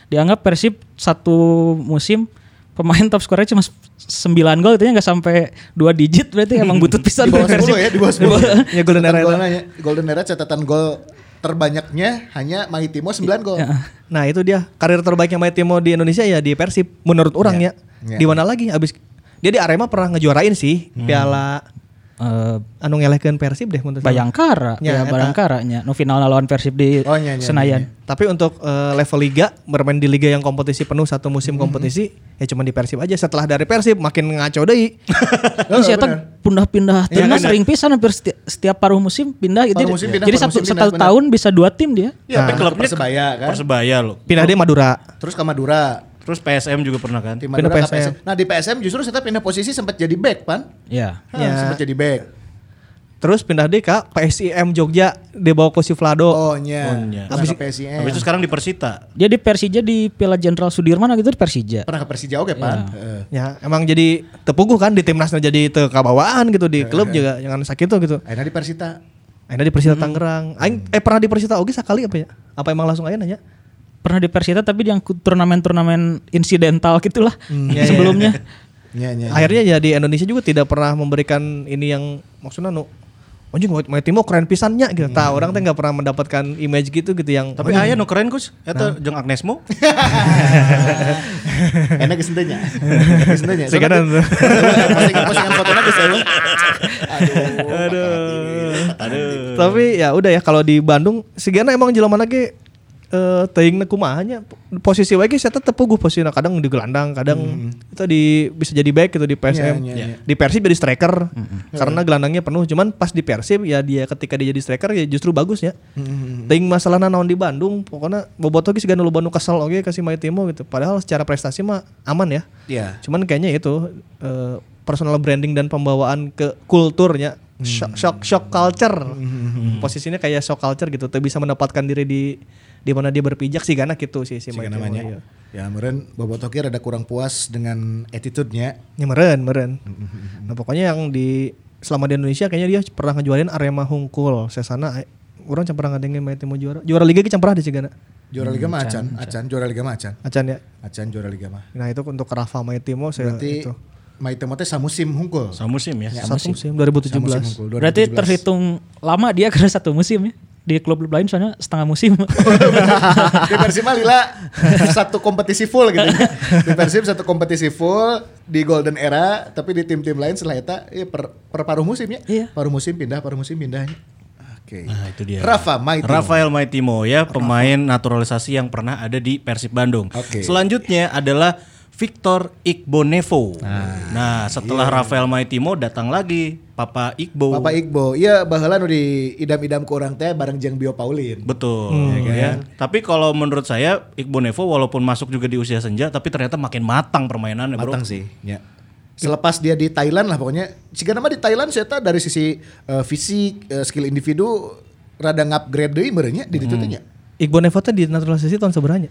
Speaker 5: dianggap Persib satu musim pemain top skornya cuma 9 gol itu nggak sampai dua digit berarti emang butut pisan
Speaker 2: Di bawah 10
Speaker 5: Persib.
Speaker 2: ya, di bawah 10.
Speaker 4: Ya, Golden
Speaker 2: Catatan
Speaker 4: Era itu.
Speaker 2: golnya- Golden Era catatan gol terbanyaknya hanya Maitimo 9 gol.
Speaker 4: Nah itu dia karir terbaiknya Maya Timo di Indonesia ya di Persib menurut orang ya.
Speaker 2: Ya.
Speaker 4: Di mana lagi? Abis dia di Arema pernah ngejuarain sih Piala
Speaker 5: Eh,
Speaker 4: anu ngelehkeun Persib deh menurut saya.
Speaker 5: Bayangkara
Speaker 4: Ya,
Speaker 5: ya,
Speaker 4: eta.
Speaker 5: Bayangkara nya nu final lawan Persib di
Speaker 2: Oh, nya, nya,
Speaker 5: Senayan.
Speaker 4: Tapi untuk eh, level liga bermain di liga yang kompetisi penuh satu musim kompetisi ya cuman di Persib aja. Setelah dari Persib makin ngaco
Speaker 2: iya.
Speaker 4: deui.
Speaker 2: Oh,
Speaker 5: Ini si Eta pindah-pindah timnas sering pisan hampir seti- setiap, paruh musim pindah gitu.
Speaker 2: Paruh musim pindah,
Speaker 5: Jadi
Speaker 2: paruh
Speaker 5: satu,
Speaker 2: musim pindah,
Speaker 5: satu
Speaker 2: benar.
Speaker 5: tahun bisa dua tim dia.
Speaker 2: Ya, pernah ke
Speaker 3: Tapi
Speaker 4: Iya.
Speaker 3: klubnya
Speaker 2: Persebaya kan.
Speaker 3: Persebaya loh.
Speaker 4: Pindah dia Madura.
Speaker 2: Terus ke Madura.
Speaker 3: Terus PSM juga pernah kan?
Speaker 2: Tim
Speaker 4: Pindah
Speaker 2: Madura ke
Speaker 4: PSM.
Speaker 2: PSM. Nah, di PSM justru saya pindah posisi sempat jadi back, Pan.
Speaker 5: Ya.
Speaker 2: Hah,
Speaker 4: Ya.
Speaker 2: Sempat jadi back.
Speaker 4: Terus pindah dia ke PSIM Jogja dibawa ke si Vlado.
Speaker 2: Oh, nya.
Speaker 3: Oh,
Speaker 2: Pernah
Speaker 3: nya.
Speaker 2: ke
Speaker 3: Habis itu
Speaker 2: PSM.
Speaker 3: sekarang di Persita.
Speaker 5: Jadi Persija di Piala Jenderal Sudirman gitu di Persija.
Speaker 2: Pernah ke Persija oke, Eh, Pan. Heeh.
Speaker 4: Ya emang jadi tepuguh kan di timnasnya jadi tekabawaan gitu di klub juga jangan sakit tuh gitu.
Speaker 2: Akhirnya di Persita.
Speaker 4: Akhirnya di Persita Tangerang. Aing eh pernah di Persita oge sekali apa ya? Apa emang langsung aja nanya?
Speaker 5: Pernah di Persita tapi yang ku- turnamen-turnamen insidental gitulah
Speaker 4: Ya, ya, ya.
Speaker 5: sebelumnya.
Speaker 2: Nya, nya.
Speaker 4: Akhirnya ya di Indonesia juga tidak pernah memberikan ini yang maksudnya nu anjing Maya Timo keren pisannya gitu. Tah orang teh nggak pernah mendapatkan image gitu gitu yang
Speaker 3: Tapi aya nu keren Kus,
Speaker 2: Nah.
Speaker 3: eta jeung Agnes Mo.
Speaker 2: Enak geus henteu nya. Geus henteu nya.
Speaker 4: Sih, kadang.
Speaker 2: Postingan postingan fotona geus heueuh. Aduh.
Speaker 3: Aduh.
Speaker 2: Iya.
Speaker 4: Tapi ya udah ya kalau di Bandung Sigana emang jelema lagi eh teingna kumaha nya. posisi wae geus ya eta tepuguh posisinya kadang di gelandang kadang itu di bisa jadi back gitu di PSM
Speaker 2: Hmm. Iya, Hmm. iya, iya.
Speaker 4: di Persib jadi striker karena gelandangnya penuh cuman pas di Persib ya dia ketika dia jadi striker ya justru bagus ya
Speaker 2: Hmm.
Speaker 4: teing masalahna naon di Bandung pokoknya bobotoh geus gana lu Bandung kesel oge kasih Mayu Timo gitu padahal secara prestasi mah aman ya
Speaker 2: Iya.
Speaker 4: cuman kayaknya itu eh, personal branding dan pembawaan ke kulturnya shock shock, shock culture posisinya kayak shock culture gitu tuh bisa mendapatkan diri di di mana dia berpijak sih karena gitu sih si
Speaker 2: Siga
Speaker 4: Mike
Speaker 2: namanya.
Speaker 4: Timo, iya.
Speaker 2: Ya meren Bobotoki rada kurang puas dengan attitude-nya.
Speaker 4: ya meren meren nah pokoknya yang di selama di Indonesia kayaknya dia pernah ngejualin Arema Hungkul sesana eh, orang can pernah ngadengin Mike Timo juara juara liga ke pernah di Cigana
Speaker 2: Juara Liga mah Acan, Acan juara Liga mah Acan.
Speaker 4: acan ya
Speaker 2: Acan juara Liga mah.
Speaker 4: nah itu untuk Rafa Mike Timo saya
Speaker 2: Berarti
Speaker 4: itu
Speaker 2: Maitemo teh samusim hungkul.
Speaker 3: Sama musim ya.
Speaker 4: satu musim
Speaker 2: Samusim
Speaker 4: 2017
Speaker 2: hungkul.
Speaker 5: Berarti terhitung lama dia karena satu musim ya. Di klub-klub lain soalnya setengah musim.
Speaker 2: di Persib mah Lila satu kompetisi full gitu. Di Persib satu kompetisi full di Golden Era, tapi di tim-tim lain setelah eta ya per, per paruh musim ya.
Speaker 5: Iya.
Speaker 2: Paruh musim pindah, paruh musim pindahnya. Oke.
Speaker 3: Nah, itu dia.
Speaker 2: Rafa Maitimo.
Speaker 3: Rafael Maitimo ya, pemain naturalisasi yang pernah ada di Persib Bandung.
Speaker 2: Oke.
Speaker 3: Selanjutnya adalah Victor Igbonevo.
Speaker 2: iya.
Speaker 3: Nah, setelah Rafael Maitimo datang lagi Papa Igbo.
Speaker 2: Bapak Iqbo, iya baheula nu di idam-idam ke orang teh bareng jeung Bio Paulin.
Speaker 3: Betul
Speaker 2: Hmm,
Speaker 3: ya, kan?
Speaker 2: iya.
Speaker 3: Tapi kalau menurut saya Igbonevo walaupun masuk juga di usia senja tapi ternyata makin matang permainannya, Bro.
Speaker 2: Matang sih. Ya. Selepas dia di Thailand lah pokoknya. Jika nama di Thailand saya tahu dari sisi eh, fisik, eh, skill individu rada ngupgrade deui meureunnya di ditu teh nya.
Speaker 4: Iqbal Nevo teh dinaturalisasi tahun seberanya?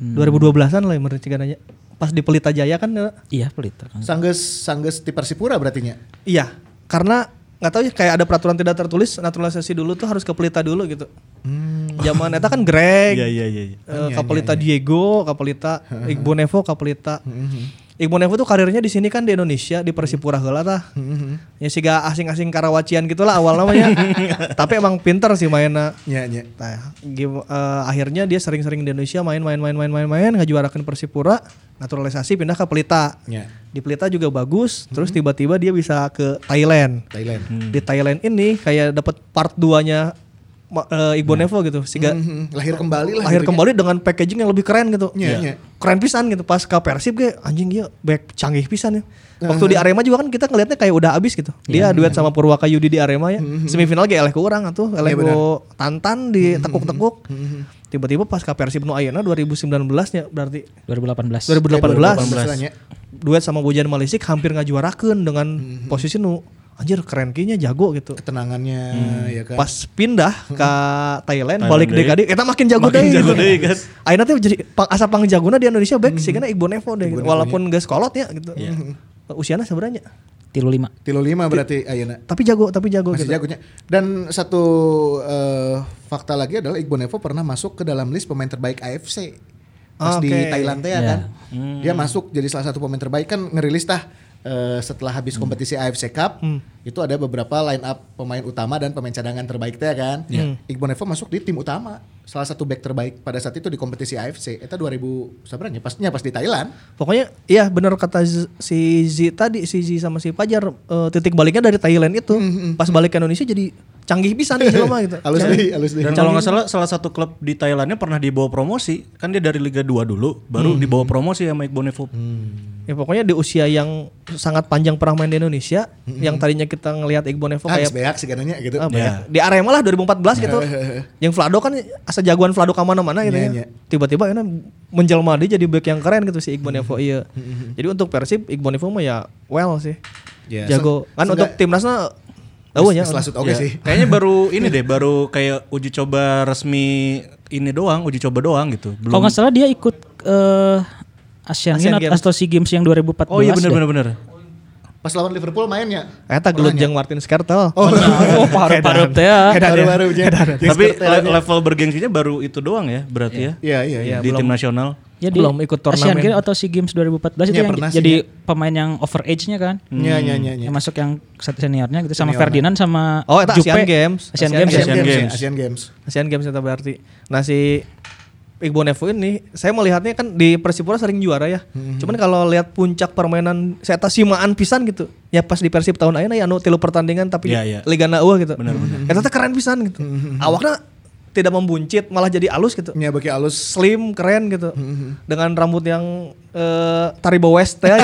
Speaker 3: Hmm.
Speaker 4: 2012-an lah yang cigananya. Pas di Pelita Jaya kan ya.
Speaker 5: iya pelita.
Speaker 2: Sanggeus sanggeus di Persipura berarti nya.
Speaker 4: Iya, karena nggak tahu ya kayak ada peraturan tidak tertulis naturalisasi dulu tuh harus ke Pelita dulu gitu. Zaman eta kan
Speaker 3: Hmm.
Speaker 4: Greg,
Speaker 3: Iya iya iya. iya.
Speaker 4: eh, ke Pelita Diego, ke Pelita Iqbal Nevo, ke Pelita.
Speaker 3: Hmm.
Speaker 4: Iqbal Nevo tuh karirnya di sini kan di Indonesia di Persipura heula tah.
Speaker 3: Hmm.
Speaker 4: Ya siga asing-asing karawacian gitulah awal namanya. Tapi emang pinter sih mainnya.
Speaker 2: Nya nya.
Speaker 4: Nah, game, eh, akhirnya dia sering-sering di Indonesia main main main main main main ngejuarakan Persipura, naturalisasi pindah ke Pelita.
Speaker 2: Nya.
Speaker 4: Di Pelita juga bagus, terus tiba-tiba dia bisa ke Thailand.
Speaker 2: Thailand.
Speaker 4: Di Thailand ini kayak dapat part 2-nya Igbo Nevo gitu. Sehingga
Speaker 2: Mhm, lahir kembali lah.
Speaker 4: lahir
Speaker 2: gitu
Speaker 4: kembali dengan packaging yang lebih keren gitu.
Speaker 2: Iya, iya.
Speaker 4: Keren pisan gitu pas ke Persib ge anjing dia back canggih pisan ya.
Speaker 2: Nah,
Speaker 4: Waktu di Arema juga kan kita ngelihatnya kayak udah abis gitu.
Speaker 2: Iya.
Speaker 4: Dia duet sama Purwaka Yudi di Arema
Speaker 2: Hmm,
Speaker 4: ya. Semifinal ge eleh ke urang atuh,
Speaker 2: Iya,
Speaker 4: eleh ku Tantan di
Speaker 2: hmm,
Speaker 4: tekuk-tekuk. Tiba-tiba pas ke Persib nu ayeuna 2019 nya ya, berarti
Speaker 5: 2018.
Speaker 4: 2018.
Speaker 2: 2018 nya.
Speaker 4: Duet sama Bojan Malisik hampir ngajuarakeun dengan
Speaker 2: Hmm,
Speaker 4: posisi nu anjir keren kieu nya jago gitu
Speaker 2: Ketenangannya ya kan.
Speaker 4: Hmm, pas pindah ke Thailand,
Speaker 3: Thailand
Speaker 4: balik
Speaker 3: deui.
Speaker 4: deui ka dieu, eta makin jago
Speaker 3: Makin
Speaker 4: deui
Speaker 3: jago
Speaker 4: gitu.
Speaker 3: deui, kan.
Speaker 4: Ayeuna teh jadi pang- asa pangjagona di Indonesia back sih karena Ibu Nevo deh gitu. walaupun geus kolot ya gitu. Usianya sebenarnya.
Speaker 5: Tilu lima.
Speaker 2: Tilu lima berarti ayeuna.
Speaker 4: Tapi jago, tapi jago
Speaker 2: Masih
Speaker 4: gitu.
Speaker 2: jagonya. Dan satu eh, fakta lagi adalah Iqbal Nevo pernah masuk ke dalam list pemain terbaik AFC pas
Speaker 4: Oke. Iya. Hmm.
Speaker 2: di Thailand teh ya
Speaker 5: Ya.
Speaker 2: kan. Dia masuk jadi salah satu pemain terbaik kan ngerilis tah eh, setelah habis
Speaker 4: Hmm.
Speaker 2: kompetisi AFC Cup itu ada beberapa line up pemain utama dan pemain cadangan terbaik teh kan.
Speaker 4: Iya.
Speaker 2: Iqbal Nevo masuk di tim utama salah satu back terbaik pada saat itu di kompetisi AFC. Eta 2000 sabaranya pasnya pas di Thailand.
Speaker 4: Pokoknya iya benar kata Z- si Z tadi, si Z sama si Pajar eh, titik baliknya dari Thailand itu. Pas balik ke Indonesia jadi canggih pisan nih jelema gitu.
Speaker 2: Halus deui, halus deui.
Speaker 3: Dan kalau nggak salah salah satu klub di Thailandnya pernah dibawa promosi. Kan dia dari Liga 2 dulu baru dibawa promosi sama Igbonevo.
Speaker 4: Ya pokoknya di usia yang sangat panjang pernah main di Indonesia, yang tadinya kita ngelihat Iqbal Nevo
Speaker 2: Ah, geus
Speaker 4: kayak
Speaker 2: beak sigananya gitu.
Speaker 4: Apa ya? Di Arema lah 2014 gitu. yang Vlado kan asa jagoan Vlado ke mana-mana gitu
Speaker 2: Iya, iya.
Speaker 4: ya. Tiba-tiba ini menjelma dia jadi back yang keren gitu si Iqbal Nevo iya. jadi untuk Persib Iqbal Nevo mah ya well sih.
Speaker 2: Ya, se-
Speaker 4: Jago. Kan
Speaker 2: seenggak-
Speaker 4: untuk timnasnya tahu ya.
Speaker 2: Selasut oke
Speaker 3: Ya,
Speaker 2: sih.
Speaker 3: Kayaknya baru ini deh, baru kayak uji coba resmi ini doang, uji coba doang gitu.
Speaker 5: Kalau Oh, nggak salah dia ikut eh Asian,
Speaker 4: Asian
Speaker 5: Games atau SEA Games yang 2014.
Speaker 3: Oh iya bener
Speaker 5: deh.
Speaker 3: bener bener.
Speaker 2: Pas lawan Liverpool ya? mainnya.
Speaker 4: Eta gelut jeung Martin Skertel.
Speaker 2: Oh,
Speaker 5: Oh, paru-paru teh. ya.
Speaker 2: baru-baru ya.
Speaker 3: Tapi le- level bergengsinya baru itu doang ya berarti ya.
Speaker 2: Iya iya iya.
Speaker 3: di tim nasional.
Speaker 5: Ya, di
Speaker 4: Belum ikut
Speaker 5: Asian
Speaker 4: turnamen.
Speaker 5: Games atau SEA Games 2014 itu
Speaker 2: Iya,
Speaker 5: yang
Speaker 2: pernah sih,
Speaker 5: jadi pemain yang overage-nya kan.
Speaker 2: Iya iya iya. iya.
Speaker 5: Yang masuk yang seniornya gitu sama Ferdinand sama
Speaker 4: Oh, eta Asian Games. Asian
Speaker 5: Asian, Games. ya?
Speaker 2: Asian Games. ya,
Speaker 3: Games.
Speaker 2: Asian Games.
Speaker 4: Asian Games itu berarti. Nah si Iqbal Nevo ini saya melihatnya kan di Persipura sering juara ya. Cuman kalau lihat puncak permainan saya tas simaan pisan gitu. Ya pas di Persib tahun ayeuna ya anu tilu pertandingan tapi
Speaker 3: Iya, iya.
Speaker 4: Liga Naua gitu.
Speaker 3: Benar, benar.
Speaker 4: Eta teh keren pisan gitu. Awakna tidak membuncit malah jadi alus gitu
Speaker 2: Ya bagi alus
Speaker 4: slim keren gitu dengan rambut yang eh, Taribo West teh ya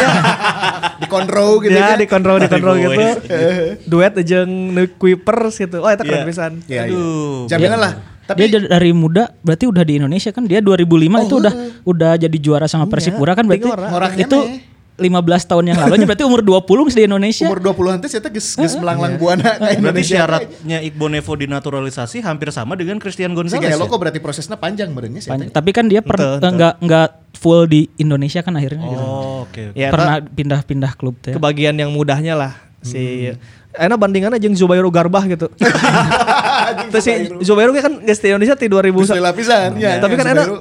Speaker 2: dikontrol gitu
Speaker 4: ya
Speaker 2: kan.
Speaker 4: dikontrol dikontrol
Speaker 3: Taribo
Speaker 4: gitu
Speaker 3: West.
Speaker 4: duet jeung nu Quipers gitu oh itu keren
Speaker 3: Iya.
Speaker 4: pisan
Speaker 2: Ya, ya.
Speaker 3: Aduh.
Speaker 2: Jaminan lah. Tapi
Speaker 5: dia dari- dari muda berarti udah di Indonesia kan dia 2005 itu udah udah jadi juara sama Persipura kan
Speaker 4: Oh,
Speaker 5: berarti
Speaker 4: Iya, tiga orang.
Speaker 2: Orangnya
Speaker 5: itu
Speaker 2: mah
Speaker 5: 15 tahun yang lalu berarti umur 20 masih di Indonesia.
Speaker 2: umur 20-an teh saya geus geus melanglang buana ka
Speaker 3: Berarti
Speaker 2: Indonesia.
Speaker 3: syaratnya Iqbal Nevo dinaturalisasi hampir sama dengan
Speaker 2: Si
Speaker 3: Christian Gonzalez.
Speaker 2: Gaelo
Speaker 3: ya?
Speaker 2: kok berarti prosesnya panjang badannya sih.
Speaker 5: Banyak. Tapi kan dia per, enggak enggak full di Indonesia kan akhirnya gitu.
Speaker 3: Oh, oke. oke.
Speaker 4: Ya, eta-
Speaker 5: Pernah pindah-pindah klub ya. teh.
Speaker 4: kebagian yang mudahnya lah si enak bandingannya jeung Zubairu Garbah gitu. Terus si Zubairu ge kan geus di Indonesia di 2000.
Speaker 2: Geus lila pisan, ya,
Speaker 4: Tapi
Speaker 2: ya,
Speaker 4: kan enak
Speaker 2: Zubairu.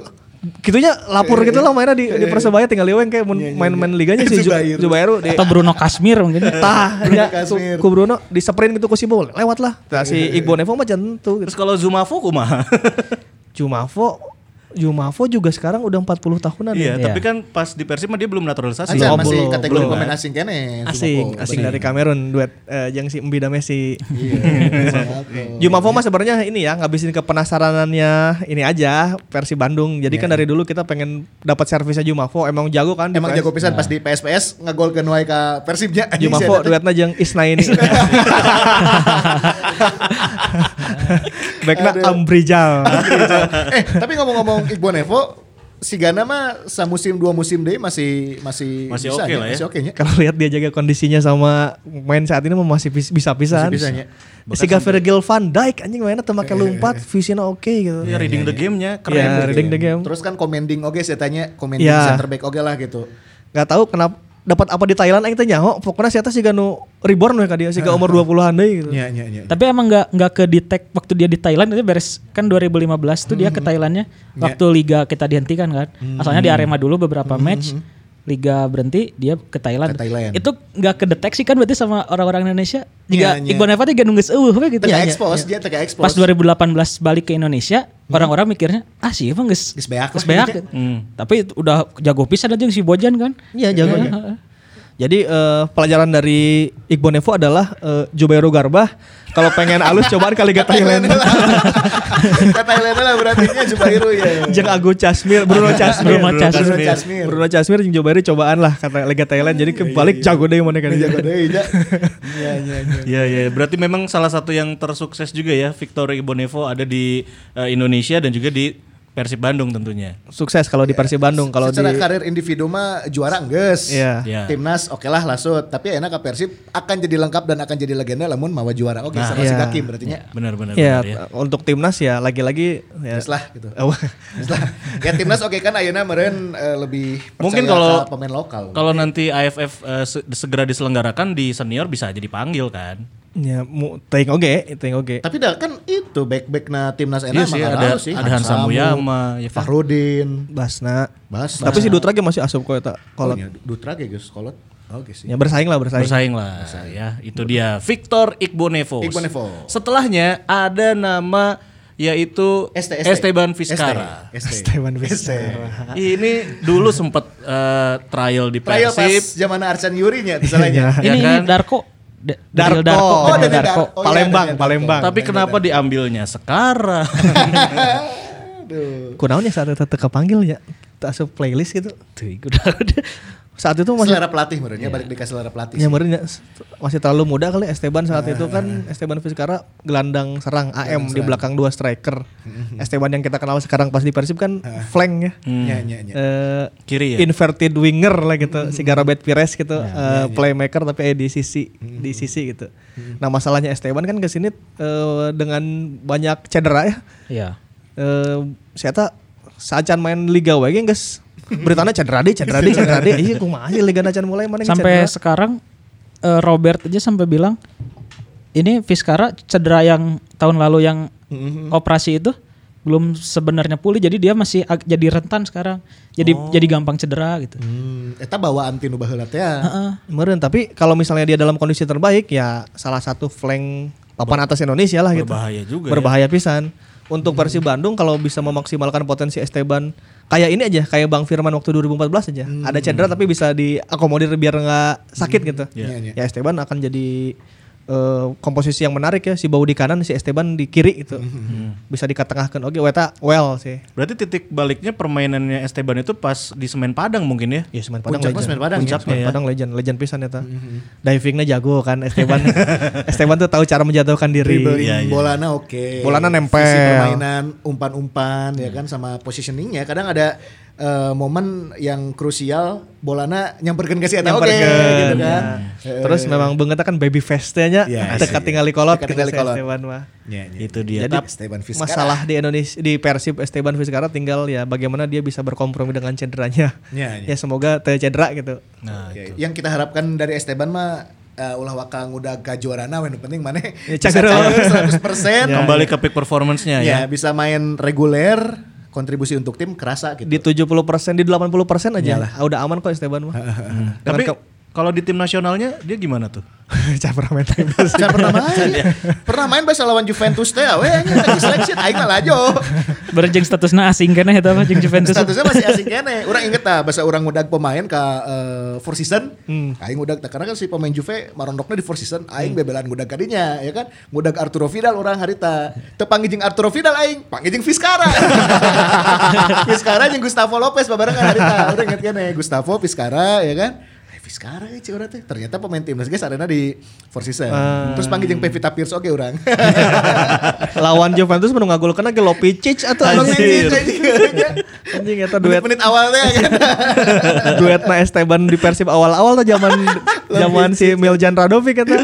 Speaker 4: gitunya lapor gitu lah mainnya di, di Persebaya tinggal liweng kayak mun- main-main liganya si Zu-
Speaker 2: Zubairu.
Speaker 4: Zubairu di
Speaker 5: Atau Bruno Kasmir mungkin.
Speaker 4: tah
Speaker 2: Bruno
Speaker 4: ya, ku,
Speaker 2: Kashmir.
Speaker 4: ku Bruno diseperin gitu ku Sibo lewat lah. Nah, si Igbo Nevo mah gitu. tentu
Speaker 3: Terus kalau Zumafo kumaha?
Speaker 4: Jumavo Jumavo juga sekarang udah 40 tahunan ya.
Speaker 3: Iya,
Speaker 5: Iya.
Speaker 3: tapi kan pas di Persib mah dia belum naturalisasi.
Speaker 2: Aja
Speaker 5: Oh,
Speaker 2: masih
Speaker 5: belum,
Speaker 2: kategori
Speaker 3: belum,
Speaker 2: pemain
Speaker 3: kan?
Speaker 2: asing kene.
Speaker 4: Asing, asing dari Kamerun duet eh, jeung si Mbida Messi.
Speaker 2: Iya.
Speaker 4: Jumafo mah sebenarnya ini ya ngabisin kepenasaranannya ini aja versi Bandung. Jadi kan dari dulu kita pengen dapat servisnya Jumafo. Emang jago kan?
Speaker 2: Iya.
Speaker 4: di
Speaker 2: Emang
Speaker 4: PS?
Speaker 2: jago pisan pas di PSPS ngegolkeun wae ka Persibnya. Iya. Anjing,
Speaker 4: Jumafo
Speaker 2: si eta teh.
Speaker 4: duetnya jeung Isnaini. Backna
Speaker 2: Aduh.
Speaker 4: Ambrijal.
Speaker 2: eh, tapi ngomong-ngomong Iqbal Nevo, si Gana mah samusim dua musim deh masih masih
Speaker 3: Masih
Speaker 2: bisa
Speaker 3: oke
Speaker 2: nya,
Speaker 3: lah ya.
Speaker 2: Masih oke nya.
Speaker 4: Kalau lihat dia jaga kondisinya sama main saat ini mah masih bis- bisa-pisan.
Speaker 2: Masih bisa nya.
Speaker 4: Si Virgil van Dijk anjing mainnya teu make
Speaker 2: Iya,
Speaker 4: lompat, visinya oke gitu.
Speaker 3: Ya, reading the game-nya keren.
Speaker 4: Ya, reading the game.
Speaker 2: Terus kan commanding oke saya tanya commanding
Speaker 4: Ya.
Speaker 2: center back oke lah gitu.
Speaker 4: nggak tahu kenapa dapat apa di Thailand aing teh nyaho pokoknya si eta siga nu reborn we ka dia siga umur 20-an deui gitu.
Speaker 2: Iya iya iya.
Speaker 5: Tapi emang nggak nggak ke detect waktu dia di Thailand itu beres kan 2015 tuh dia ke
Speaker 2: Hmm.
Speaker 5: Thailandnya
Speaker 2: Iya.
Speaker 5: waktu liga kita dihentikan kan. Asalnya di Arema dulu beberapa match liga berhenti dia ke Thailand.
Speaker 2: Hmm. Ke Thailand.
Speaker 5: Itu nggak kedeteksi kan berarti sama orang-orang Indonesia. Jika
Speaker 2: Iya, iya.
Speaker 5: Iqbal Neva tiga nunggu eueuh we gitu.
Speaker 2: Tega
Speaker 5: Iya, iya.
Speaker 2: expose dia tega expose.
Speaker 5: Pas 2018 balik ke Indonesia, orang-orang mikirnya ah sih emang geus
Speaker 2: Geus beak lah."
Speaker 5: geus beak. Hmm. Tapi udah jago pisan aja si Bojan kan.
Speaker 4: Iya jago.
Speaker 2: ya?
Speaker 4: Jadi eh, pelajaran dari Iqbal Nevo adalah eh, Jubairo Garbah kalau pengen alus cobaan ke Liga Thailand.
Speaker 2: Iya, Ke Thailand lah berarti nya Jubairu ya.
Speaker 4: Jeung Agus Casmir, Bruno Casmir.
Speaker 5: Bruno Casmir.
Speaker 2: Iya, Bruno Casmir.
Speaker 4: Bruno Casmir jeung Jubairo cobaan lah kata Liga Thailand. Jadi
Speaker 2: Iya,
Speaker 4: kebalik jago deui mana kan.
Speaker 2: Jago deui ja. Iya iya iya.
Speaker 3: Iya iya, berarti memang salah satu yang tersukses juga ya Victor Ibonevo ada di eh, Indonesia dan juga di Persib Bandung tentunya.
Speaker 4: Sukses kalau di Persib Bandung kalau di
Speaker 2: Iya. Secara karir individu mah juara enggeus.
Speaker 4: Iya.
Speaker 3: Iya.
Speaker 2: Timnas oke lah lasut, tapi enak ke Persib akan jadi lengkap dan akan jadi legenda lamun mawa juara. Oke,
Speaker 3: Nah,
Speaker 2: sama si
Speaker 4: iya.
Speaker 2: Gakim berarti nya.
Speaker 3: Benar benar
Speaker 4: ya,
Speaker 3: benar ya.
Speaker 4: untuk timnas ya lagi-lagi ya.
Speaker 2: Geus lah gitu.
Speaker 4: Oh.
Speaker 2: Geus lah. ya timnas oke kan ayeuna meureun eh, lebih percaya
Speaker 3: Mungkin kalau-
Speaker 2: ke pemain lokal.
Speaker 3: Kalau nanti AFF eh, se- segera diselenggarakan di senior bisa jadi panggil kan.
Speaker 4: Ya, mu teuing oge, teuing oge.
Speaker 2: Tapi dah kan itu back-back na timnas
Speaker 3: Iya
Speaker 2: enak
Speaker 3: sih, ada- ada Hansa Muyama, ya.
Speaker 2: Fahrudin,
Speaker 4: Basna.
Speaker 2: Bas.
Speaker 4: Tapi si Dutra ge masih asup kok
Speaker 2: Oh,
Speaker 4: eta kolot.
Speaker 2: iya, Dutra ge geus kolot. Oke sih.
Speaker 4: Ya bersaing lah bersaing.
Speaker 3: Bersaing lah ya. Itu dia Victor Igbonevo.
Speaker 2: Igbonevo.
Speaker 3: Setelahnya ada nama yaitu Esteban Vizcarra.
Speaker 2: ST.
Speaker 4: Esteban Vizcarra.
Speaker 2: Iya.
Speaker 3: Ini dulu sempat eh, trial di
Speaker 2: Trial pas
Speaker 3: Persib.
Speaker 2: zaman Arcan Yuri nya salahnya.
Speaker 3: Ya
Speaker 5: Ini,
Speaker 3: kan?
Speaker 5: ini Darko. Da-
Speaker 4: Darko.
Speaker 5: Daniel Darko.
Speaker 4: Oh,
Speaker 5: Daniel
Speaker 2: Daniel Darko. Oh,
Speaker 5: Darko.
Speaker 2: iya,
Speaker 4: Palembang,
Speaker 2: ada- ada-
Speaker 4: Palembang.
Speaker 3: Tapi kenapa diambilnya sekarang?
Speaker 4: kunaon ya saat eta teu kepanggil ya teu asup playlist gitu.
Speaker 5: Tuh, udah, udah.
Speaker 4: ya. Saat itu masih
Speaker 2: selera pelatih menurutnya balik di ke selera pelatih.
Speaker 4: ya, meureun ya, masih terlalu muda kali ya, Esteban saat itu kan Esteban Vizcarra gelandang serang Mm-hmm. AM di belakang dua striker. Esteban yang kita kenal sekarang pas di Persib kan flank ya.
Speaker 2: Nya nya nya.
Speaker 4: Eh,
Speaker 3: Kiri ya.
Speaker 4: inverted winger lah gitu si Garabet Pires gitu eh, playmaker tapi eh, di sisi di sisi gitu nah masalahnya Esteban kan kesini eh, dengan banyak cedera ya
Speaker 5: Iya.
Speaker 4: eh saya tak sajan main Liga wae ge, guys beritanya cedera deh cedera deh cedera deh iya kumaha sih Liga Nacan mulai mana yang
Speaker 5: sampai
Speaker 4: cedera.
Speaker 5: sekarang eh, Robert aja sampai bilang ini Vizcarra cedera yang tahun lalu yang operasi itu belum sebenarnya pulih jadi dia masih ag- jadi rentan sekarang jadi jadi gampang cedera gitu
Speaker 2: Hmm, eta bawaan tinu baheula teh. ya.
Speaker 4: Meureun, tapi kalau misalnya dia dalam kondisi terbaik ya salah satu flank papan atas Indonesia lah gitu.
Speaker 3: Berbahaya juga ya.
Speaker 4: Berbahaya pisan. Untuk Persib Bandung kalau bisa memaksimalkan potensi Esteban kayak ini aja, kayak Bang Firman waktu 2014 aja.
Speaker 2: Hmm.
Speaker 4: Ada cedera tapi bisa diakomodir biar nggak sakit gitu.
Speaker 2: Iya, iya.
Speaker 4: Ya Esteban akan jadi eh, komposisi yang menarik ya si Bau di kanan si Esteban di kiri itu
Speaker 2: Hmm.
Speaker 4: bisa dikatengahkan oke weta well sih
Speaker 3: Berarti titik baliknya permainannya Esteban itu pas di Semen Padang mungkin ya?
Speaker 4: Ya Semen Padang
Speaker 2: Puncaknya
Speaker 4: legend.
Speaker 2: Semen Padang Mm-hmm. ya?
Speaker 4: Semen Padang legend, legend pisan eta. Divingnya jago kan Esteban. Esteban tuh tahu cara menjatuhkan diri.
Speaker 2: dribbling
Speaker 3: Iya, iya.
Speaker 2: bolana oke.
Speaker 4: Bolana nempel.
Speaker 2: Sisi permainan umpan-umpan ya kan sama positioningnya kadang ada eh, momen yang krusial bolana nyamperkeun ke si eta oke
Speaker 4: Nyamperkeun,
Speaker 2: gitu kan. Eh,
Speaker 4: iya. Terus memang banget kan baby face-nya
Speaker 2: Iya,
Speaker 4: teka tinggali kolot
Speaker 2: Teka
Speaker 4: gitu
Speaker 2: tinggali
Speaker 4: si
Speaker 2: kolot.
Speaker 4: Esteban mah.
Speaker 2: iya, iya.
Speaker 3: Itu dia.
Speaker 4: Jadi-
Speaker 3: Tap-
Speaker 2: Esteban Vizcarra.
Speaker 4: Masalah di Indonesia di Persib Esteban Vizcarra tinggal ya bagaimana dia bisa berkompromi dengan cederanya.
Speaker 2: Iya, iya.
Speaker 4: Ya semoga teu cedera gitu.
Speaker 3: nah,
Speaker 2: Oke, yang kita harapkan dari Esteban mah eh, ulah wakang udah gajuarana yang penting mana
Speaker 4: Ya,
Speaker 2: bisa
Speaker 4: cangkir.
Speaker 2: cangkir 100%
Speaker 4: Ya,
Speaker 3: kembali ke peak performance-nya
Speaker 2: ya,
Speaker 3: ya.
Speaker 2: bisa main reguler kontribusi untuk tim kerasa gitu
Speaker 4: Di 70% di 80% aja lah. udah aman kok Esteban mah.
Speaker 3: Tapi kalau di tim nasionalnya dia gimana tuh?
Speaker 4: Campuramen
Speaker 2: Can pernah main pernah main bahasa lawan Juventus teh we anjing tadi selection aing mah lajo
Speaker 5: Berjeng statusnya asing kan ya mah jeung Juventus.
Speaker 2: statusnya masih asing kene urang inget tah bahasa urang udah pemain ke eh, Four Season aing udah karena kan si pemain Juve marondokna di Four Season aing bebelan udah kadinya ya kan udah Arturo Vidal urang harita teu panggijing Arturo Vidal aing panggijing Vizcarra Vizcarra jeung Gustavo Lopez babarengan harita urang inget kene Gustavo Vizcarra ya kan Eh, Vizcarra euy, cik urang teh ternyata pemain timnas guys arena di Four Season terus panggil jeung Pevita Pierce oke urang
Speaker 4: Lawan Juventus menung ngagulkeun ge Lopicic atuh
Speaker 2: Tolong
Speaker 4: anjing.
Speaker 2: anjing, anjing.
Speaker 4: Anjing eta duet
Speaker 2: Menit-menit awalnya kan.
Speaker 4: duetna Esteban di Persib awal-awal tuh zaman zaman si Miljan Radovic kata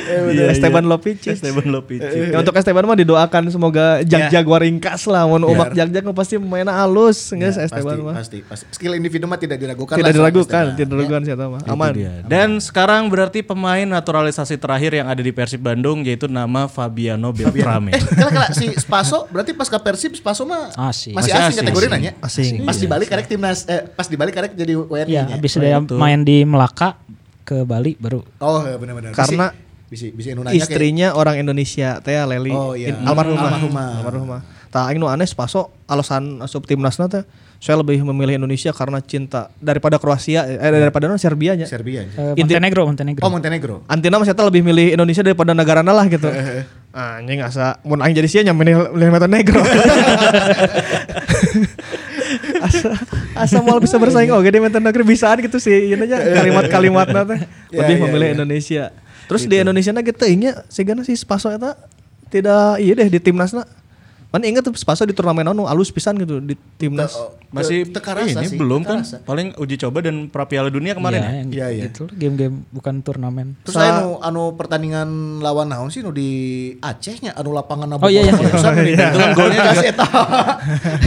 Speaker 4: Esteban Lopicic.
Speaker 3: Esteban Lopici.
Speaker 4: Ya, untuk Esteban mah didoakan semoga jag-jaguar ringkas lah. Mun umak jag-jag mah pasti mainnya halus geus Esteban mah.
Speaker 2: Iya, pasti, pasti. Skill individu mah tidak diragukan. lah
Speaker 4: Tidak
Speaker 2: sama
Speaker 4: diragukan,
Speaker 2: Esteban.
Speaker 4: tidak diragukan sih eta mah. Aman.
Speaker 3: Itu dia. Dan sekarang berarti pemain naturalisasi terakhir yang ada di Persib Bandung yaitu nama Fabiano Beltrame.
Speaker 2: Eh, kala kala si Spaso berarti pas ke Persib Spaso mah
Speaker 5: Asing.
Speaker 2: masih
Speaker 3: Masih
Speaker 2: asing,
Speaker 3: asing,
Speaker 2: kategori
Speaker 3: asing.
Speaker 2: nanya.
Speaker 4: Asing.
Speaker 2: Pas dibalik karek timnas eh pas dibalik karek jadi WNI.
Speaker 5: Iya,
Speaker 2: nya.
Speaker 5: habis dia main di Melaka ke Bali baru
Speaker 2: Oh, iya, benar-benar.
Speaker 4: Karena
Speaker 2: bisi bisi anu nanya kayak-
Speaker 4: Istrinya orang Indonesia teh Leli
Speaker 2: Oh, iya.
Speaker 4: In- almarhumah.
Speaker 2: Almarhumah.
Speaker 4: Almarhumah. Tah aing nu aneh Spaso alasan asup timnasna teh saya lebih memilih Indonesia karena cinta daripada Kroasia eh daripada non Serbia nya.
Speaker 2: Serbia. nya.
Speaker 5: Eh,
Speaker 4: Inti-
Speaker 5: Montenegro
Speaker 2: Oh,
Speaker 5: Montenegro.
Speaker 2: Montenegro.
Speaker 4: Antina masih tetap lebih milih Indonesia daripada negara lah gitu. Anjing asa mun aing jadi sia nya milih milih Montenegro. asa asa moal bisa bersaing oge di Montenegro bisaan gitu sih ieu nya kalimat-kalimatna teh lebih memilih Indonesia. Terus di Indonesia na gitu inya sigana si Spaso eta tidak iya deh di timnasna. Mana inget tuh Spaso di turnamen anu alus pisan gitu di timnas.
Speaker 3: Masih
Speaker 2: Te- tekarasa
Speaker 3: ini
Speaker 4: eh,
Speaker 2: Oh, sih,
Speaker 3: belum kan?
Speaker 2: tekarasa.
Speaker 3: Paling uji coba dan pra Piala Dunia kemarin ya.
Speaker 5: yang
Speaker 2: Iya, iya.
Speaker 5: Itu gitu, game-game bukan turnamen.
Speaker 2: Terus lain anu, anu pertandingan lawan naon sih nu di Acehnya anu lapangan
Speaker 5: Oh, iya, iya.
Speaker 2: Itu kan
Speaker 4: Iya.
Speaker 2: golnya kasih eta.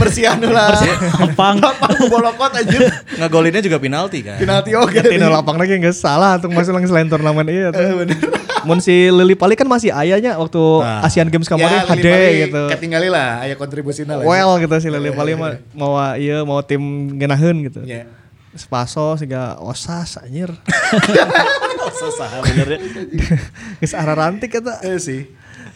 Speaker 2: Persia anu lah.
Speaker 5: Lapang.
Speaker 2: Lapang bolokot anjir.
Speaker 3: Ngegolinnya juga penalti kan?
Speaker 2: Penalti oh, gitu. oke.
Speaker 4: Tina lapang lagi nggak salah tuh masih langsung selain turnamen iya tuh.
Speaker 2: Eh,
Speaker 4: Mun si Lili Pali kan masih ayahnya waktu Asian Games
Speaker 2: Nah.
Speaker 4: kemarin
Speaker 2: Ya, Lili
Speaker 4: HD
Speaker 2: Pali ya?
Speaker 4: gitu.
Speaker 2: Ketinggali lah, ayah kontribusi lah.
Speaker 4: Well gitu si
Speaker 2: iya,
Speaker 4: Lili Pali mah mau iya mau tim genaheun gitu.
Speaker 2: Ya.
Speaker 4: Spaso siga osas anjir.
Speaker 3: Susah benernya.
Speaker 4: Geus arah rantik eta.
Speaker 2: Eh sih.